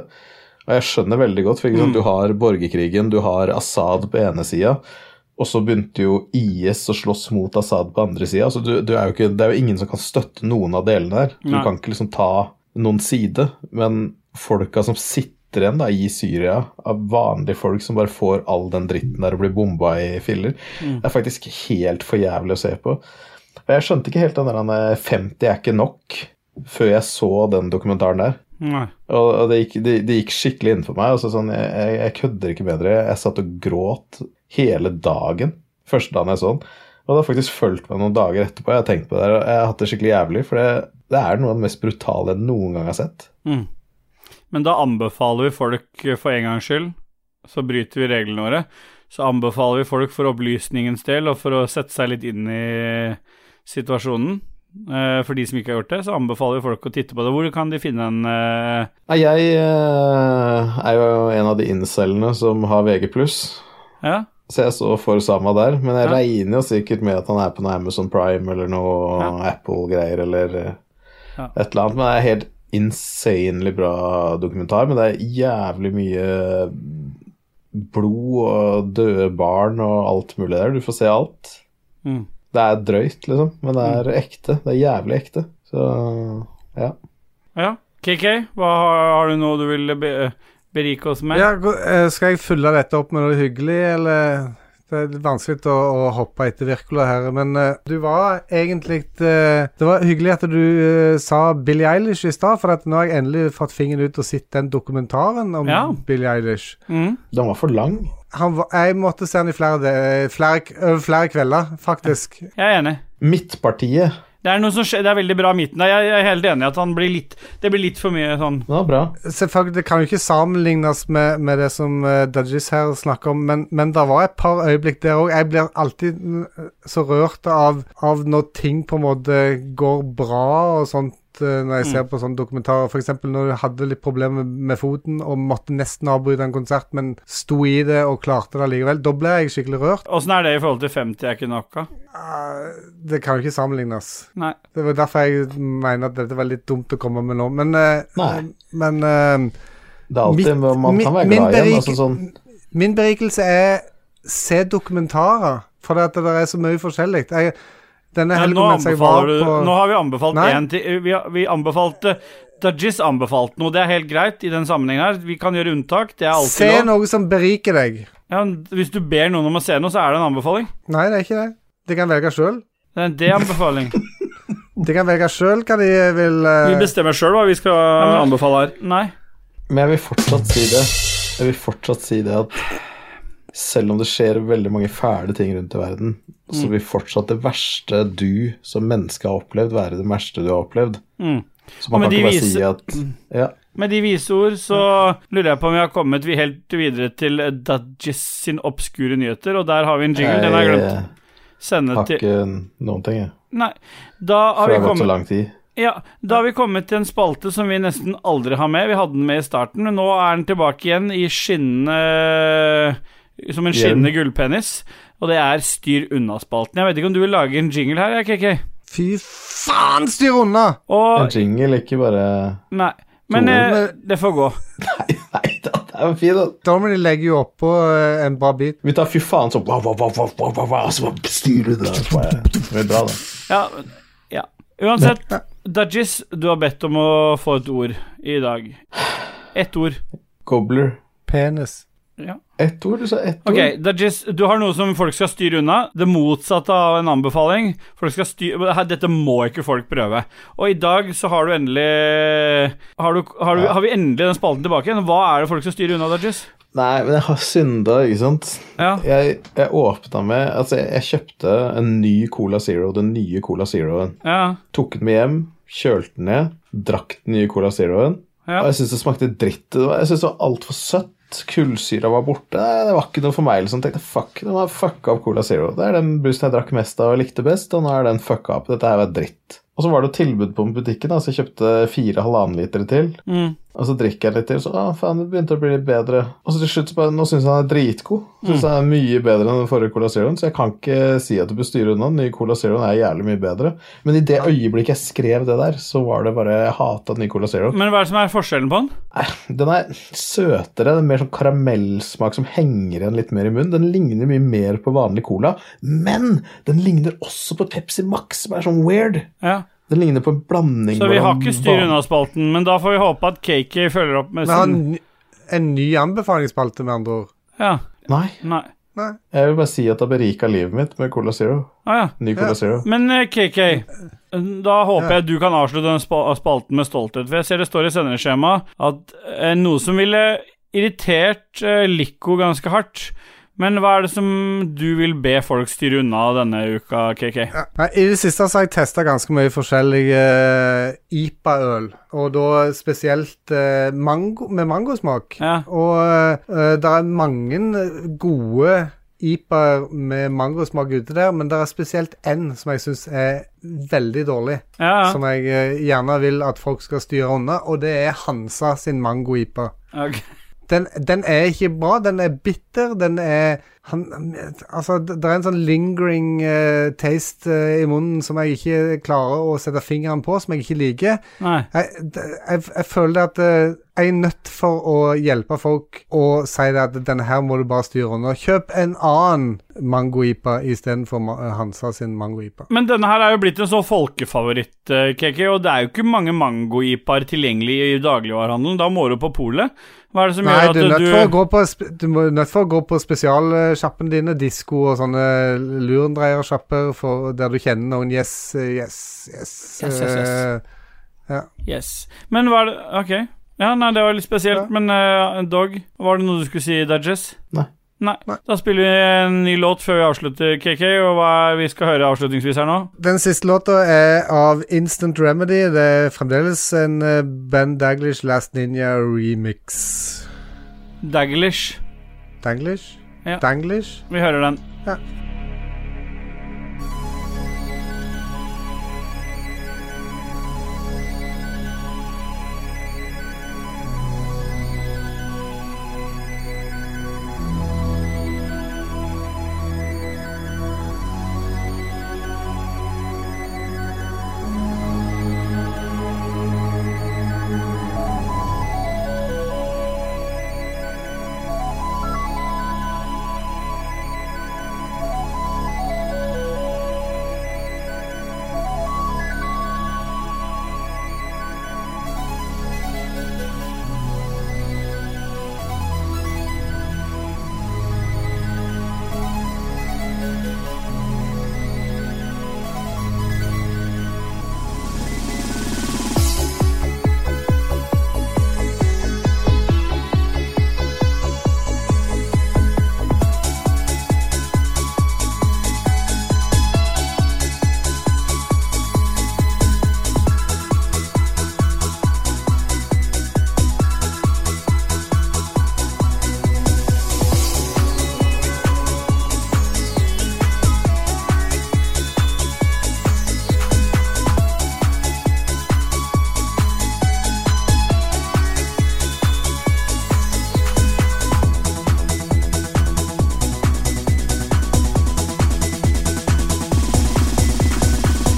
Og jeg skjønner veldig godt, for ikke Mm. sant, du har borgerkrigen, du har Assad på ene sida, og så begynte jo IS å slåss mot Assad på andre sida. Så du, du er jo ikke, det er jo ingen som kan støtte noen av delene her. Du Nei. kan ikke liksom ta noen side, men folka som sitter igjen da i Syria, av vanlige folk som bare får all den dritten der og blir bomba i filler, Mm. det er faktisk helt for jævlig å se på. Og jeg skjønte ikke helt den der han, eh, 50 er ikke nok før jeg så den dokumentaren der. Nei. Og, og det, gikk, det, det gikk skikkelig inn for meg. Altså, sånn, jeg, jeg, jeg kødder ikke bedre. Jeg satt og gråt hele dagen første dagen jeg så den. Og det har faktisk fulgt meg noen dager etterpå. Jeg har tenkt på det der, og jeg har hatt det skikkelig jævlig, for det, det er noe av det mest brutale jeg noen gang har sett. Mm. Men da anbefaler vi folk eh, for en gangs skyld, så bryter vi reglene våre, så anbefaler vi folk for opplysningens del og for å sette seg litt inn i situasjonen. Eh, For de som ikke har gjort det, så anbefaler vi folk å titte på det. Hvor kan de finne en eh, Nei, Jeg eh, er jo en av de incellene som har VG+. Ja? Så jeg så for Sama der, men jeg Ja. regner jo sikkert med at han er på noe Amazon Prime eller noe Apple-greier eller eh, Ja. et eller annet. Men det er helt insanely bra dokumentar, men det er jævlig mye blod og døde barn og alt mulig der. Du får se alt. Mm. Det er drøyt, liksom, men det er ekte. Det er jævlig ekte. Så ja. ja. KK, hva, har har du noe du vil be berike oss med? Ja, gå- eh, skal jeg følge dette opp med noe hyggelig, eller Det er vanskelig å, å hoppe etter Wirkola her, men eh, du var egentlig eh, Det var hyggelig at du eh, sa Billie Eilish i stad, for at nå har jeg endelig fått fingeren ut og sett den dokumentaren om Ja. Billie Eilish. Den var for lang. Han var, jeg måtte se den i flere, de- flere, k- over flere kvelder, faktisk. Jeg er enig. Midtpartiet. Det er, noe som skjer, det er veldig bra midten der. Jeg jeg er helt enig i at han blir litt, det blir litt for mye sånn Det var bra. Selvfølgelig, det kan jo ikke sammenlignes med, med det som uh, Dudgies her snakker om, men, men det var et par øyeblikk der òg. Jeg blir alltid mm, så rørt av, av når ting på en måte går bra og sånt, eh, når jeg ser på sånne dokumentarer. F.eks. når du hadde litt problemer med foten og måtte nesten avbryte en konsert, men sto i det og klarte det likevel. Da ble jeg skikkelig rørt. Åssen er det i forhold til 50 er ikke nok av? Det kan jo ikke sammenlignes. Nei. Det var derfor jeg mener at dette var litt dumt å komme med nå, men eh, Men eh, Det er alltid Mitt- Man kan mi- være min glad igjen. berik- Altså sånn Min berikelse er se dokumentarer, for det, at det er så mye forskjellig. Jeg, Denne Nei, helgen nå, mens jeg var anbefaler du, på nå har vi anbefalt Nei. én til Vi, har- vi anbefalte Dajis anbefalte noe. Det er helt greit i den sammenhengen her. Vi kan gjøre unntak. Det er alltid Se lov. noe som beriker deg. Ja, men hvis du ber noen om å se noe, så er det en anbefaling. Nei, det er ikke det. De kan velge sjøl. Det er en anbefaling. De kan velge sjøl hva de vil Vi eh, bestemmer sjøl hva vi skal anbefale her. Nei. Men jeg vil fortsatt si det. Jeg vil fortsatt si det at selv om det skjer veldig mange fæle ting rundt i verden, så Mm. vil fortsatt det verste du som menneske har opplevd, være det verste du har opplevd. Mm. Så Og man med kan de Mm. ikke bare vise- si at Ja. Med de vise ord så lurer jeg på om vi har kommet vi helt videre til Dajis sin obskure nyheter, og der har vi en jingle. Den har jeg Eh, Jeg glemt. Sende Har til ikke noen ting, jeg. Nei, da For har det vi har gått så kommet lang tid. Ja, da har vi kommet til en spalte som vi nesten aldri har med. Vi hadde den med i starten, men nå er den tilbake igjen i skinnende Som en Hjelm. skinnende gullpenis. Og det er Styr unna-spalten. Jeg vet ikke om du vil lage en jingle her, jeg, KK? Fy faen, styr unna! En Og jingle, ikke bare Nei. Men Tore. eh, det får gå. Det er jo fint, da. Domini legger jo oppå eh, en bra bit. Vi tar fy faen sånn wow, wow, wow, wow, wow, wow, wow, Så bare styrer du det der. Så bare- Det blir bra, det. Ja. ja. Uansett, Dajis, du har bedt om å få et ord i dag. Ett ord. Cobbler. Penis. Ja. Ett ord? Du sa ett Ok, ord. Dajis, du har noe som folk skal styre unna. Det motsatte av en anbefaling. Folk skal styre, her, dette må ikke folk prøve. Og i dag så har du endelig Har, du, har, du, har vi endelig den spalten tilbake igjen? Hva er det folk skal styre unna, Dajis? Nei, men jeg har synda, ikke sant? Ja. Jeg, jeg åpna med Altså, jeg, jeg kjøpte en ny Cola Zero, den nye Cola Zeroen. Ja. Tok den med hjem, kjølte den ned, drakk den nye Cola Zeroen. Ja. Og jeg syns det smakte dritt. Det var, jeg synes det var altfor søtt. Kullsyra var borte. Nei, Det var ikke noe for meg. liksom. tenkte fuck, den var fucka opp Cola Zero. Det er den brusen jeg drakk mest av og likte best, og nå er den fucka opp. Dette her var dritt. Og så var det jo tilbud på den butikken, da, så jeg kjøpte fire halvannen liter til. Mm. Og så drikker jeg litt til, så ah, faen, det begynte å bli litt bedre. Og så til slutt så bare, Nå syns jeg han er dritgod. Mm. Synes han er Mye bedre enn den forrige Cola Zeroen, så jeg kan ikke si at du bør styre unna. Den nye Cola Zeroen er jævlig mye bedre. Men i det øyeblikket jeg skrev det der, så var det bare Jeg hata den nye Cola Zero. Men hva er det som er forskjellen på den? Den er søtere, den er mer sånn karamellsmak som henger igjen litt mer i munnen. Den ligner mye mer på vanlig cola, men den ligner også på Pepsi Max, som er sånn weird. Ja. Den ligner på en blanding Så vi har mellom ikke styr van- unna-spalten, men da får vi håpe at Kaki følger opp med Vi har en, sin ny- en ny anbefalingsspalte, med andre ord. Ja. Nei, Nei. Nei. jeg vil bare si at det har berika livet mitt med Cola Zero. Å ja. Ny Cola Ja. Zero. Men eh, KK, da håper jeg du kan avslutte den spa- spalten med stolthet. For jeg ser det står i sendeskjemaet at eh, noe som ville irritert eh, Lico ganske hardt. Men hva er det som du vil be folk styre unna denne uka, KK? Ja. Nei, I det siste så har jeg testa ganske mye forskjellige eh, IPA-øl, og da spesielt eh, mango, med mangosmak. Ja. Og eh, det er mange gode IPA-er med mangosmak ute der, men det er spesielt én som jeg syns er veldig dårlig, Ja, som jeg eh, gjerne vil at folk skal styre unna, og det er Hansa sin mango-IPA. ja. ok. Den, den er ikke bra. Den er bitter. Den er han, Altså, det det er en sånn lingering eh, taste eh, i munnen som jeg ikke klarer å sette fingeren på, som jeg ikke liker. Nei. Jeg, d- jeg, jeg føler at eh, jeg er nødt for å hjelpe folk å si det at denne her må du bare styre unna. Kjøp en annen mango-ipa istedenfor ma Hansa sin mango-ipa. Men denne her er jo blitt en sånn folkefavoritt, eh, KK, og det er jo ikke mange mango-ipaer tilgjengelig i dagligvarehandelen. Da må du på polet. Hva er det som Nei, gjør at du er nødt for å du gå på, sp- du må- nødt for å gå på spesialsjappene dine, disko og sånne lurendreiersjapper for- der du kjenner noen yes, yes, yes. Yes, yes, yes. eh, Yes. Men hva er det Ok. Ja, nei, det var litt spesielt, men eh, Dog, var det noe du skulle si, Dajess? Nei. Nei. Da spiller vi en ny låt før vi avslutter, KK, og hva er vi skal høre avslutningsvis her nå? Den siste låta er av Instant Remedy. Det er fremdeles en eh, Ben Daglish Last Ninja remix. Daglish. Danglish? Ja. Danglish? Vi hører den. Ja. Thank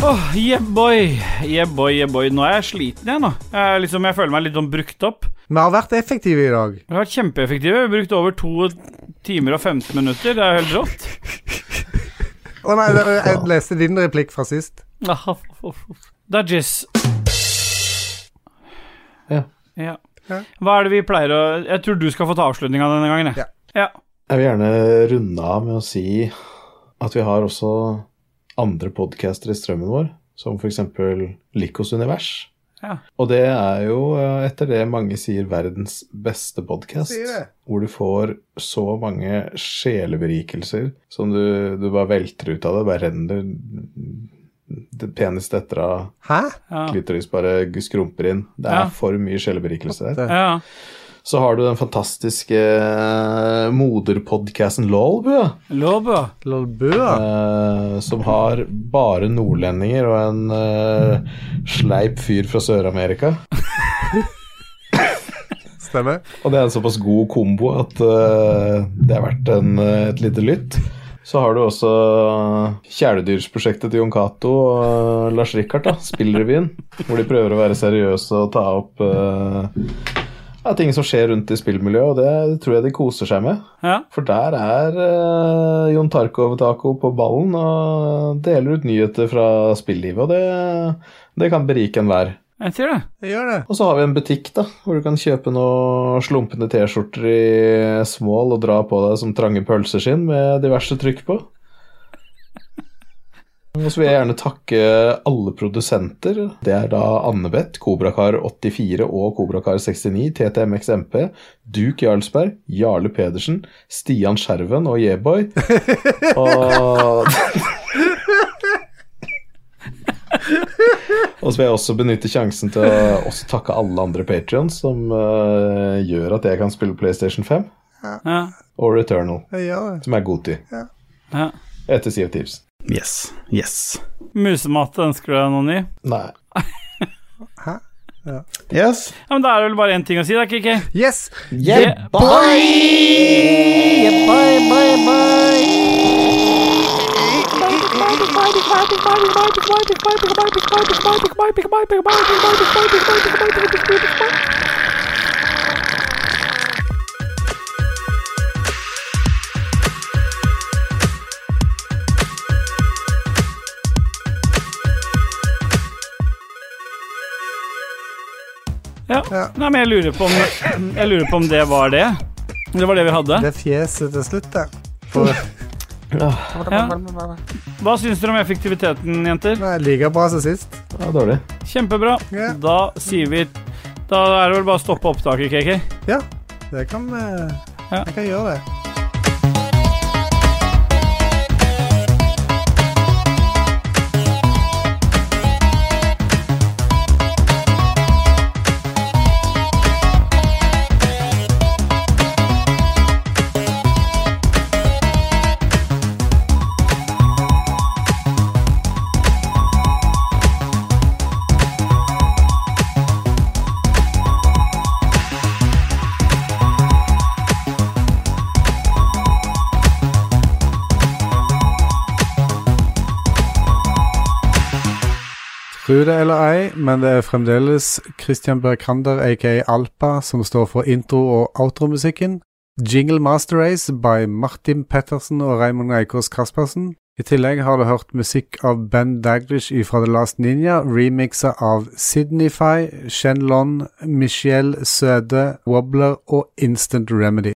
Åh, yeah boy. Yeah boy, yeah boy. Nå er jeg sliten, jeg, nå. Jeg, er liksom, jeg føler meg litt sånn brukt opp. Vi har vært effektive i dag. Vi har vært kjempeeffektive. Vi har brukt over to timer og 15 minutter. Det er jo helt rått. Å nei, det- jeg leste din replikk fra sist. Ah, f- f- f- Dudgies. Ja. ja. Hva er det vi pleier å Jeg tror du skal få ta avslutninga denne gangen, jeg. Ja. Jeg vil gjerne runde av med å si at vi har også andre podcaster i strømmen vår, som f.eks. Likos univers. Ja. Og det er jo, eh, etter det mange sier, verdens beste podkast. Sier det. Hvor du får så mange sjeleberikelser som du, du bare velter ut av det. Bare renner det penis detter av. Hæ? Klitoris bare skrumper inn. Det er Ja. for mye sjeleberikelser der. Ja. Så har du den fantastiske moderpodkasten Lolbua. Lolbua. Eh, som har bare nordlendinger og en eh, sleip fyr fra Sør-Amerika. Stemmer. Og det er en såpass god kombo at eh, det er verdt en, eh, et lite lytt. Så har du også eh, kjæledyrsprosjektet til Jon Cato og eh, Lars Rikard, da, spillrevyen, hvor de prøver å være seriøse og ta opp eh, ja, ting som skjer rundt i spillmiljøet, og det tror jeg de koser seg med. Ja. For der er eh, Jon Tarkov-Taco på ballen og deler ut nyheter fra spillivet, og det, det kan berike enhver. Jeg sier det. Og så har vi en butikk da, hvor du kan kjøpe noen slumpende T-skjorter i small og dra på deg som trange pølseskinn med diverse trykk på. Og så vil jeg gjerne takke alle produsenter. Det er da Annebeth, Kobrakar84 og Kobrakar69, TTMXMP, Duke Jarlsberg, Jarle Pedersen, Stian Skjerven og Yeboy. Og Og så vil jeg også benytte sjansen til å også takke alle andre Patreons som eh, gjør at jeg kan spille PlayStation 5 Ja. og Returnal, Jeg gjør det. som er god tid. Ja. Etter Sea of Thieves. Yes. Yes. Musematte ønsker du deg noe ny? Nei. Yes. Ja, men da er det vel bare én ting å si, da, Kiki. Yes! Yeah, bye, bye, bye. Ja. Nei, men jeg lurer, på om, jeg lurer på om det var det. Det var det vi hadde. Det fjeset til slutt, der. For, Ja. Hva syns dere om effektiviteten, jenter? Nei, Like bra som sist. Ja, dårlig. Kjempebra. Da sier vi Da er det vel bare å stoppe opptaket, KK. Ja, det kan eh, Jeg kan gjøre det. Tro det eller ei, men det er fremdeles Christian Berkander, aka Alpa, som står for intro- og outromusikken. Jingle Master Race by Martin Pettersen og Raymond Eikås Kaspersen. I tillegg har du hørt musikk av Ben Daglish fra The Last Ninja, remixer av Sydneyfy, Shenlon, Michelle Søde, Wobbler og Instant Remedy.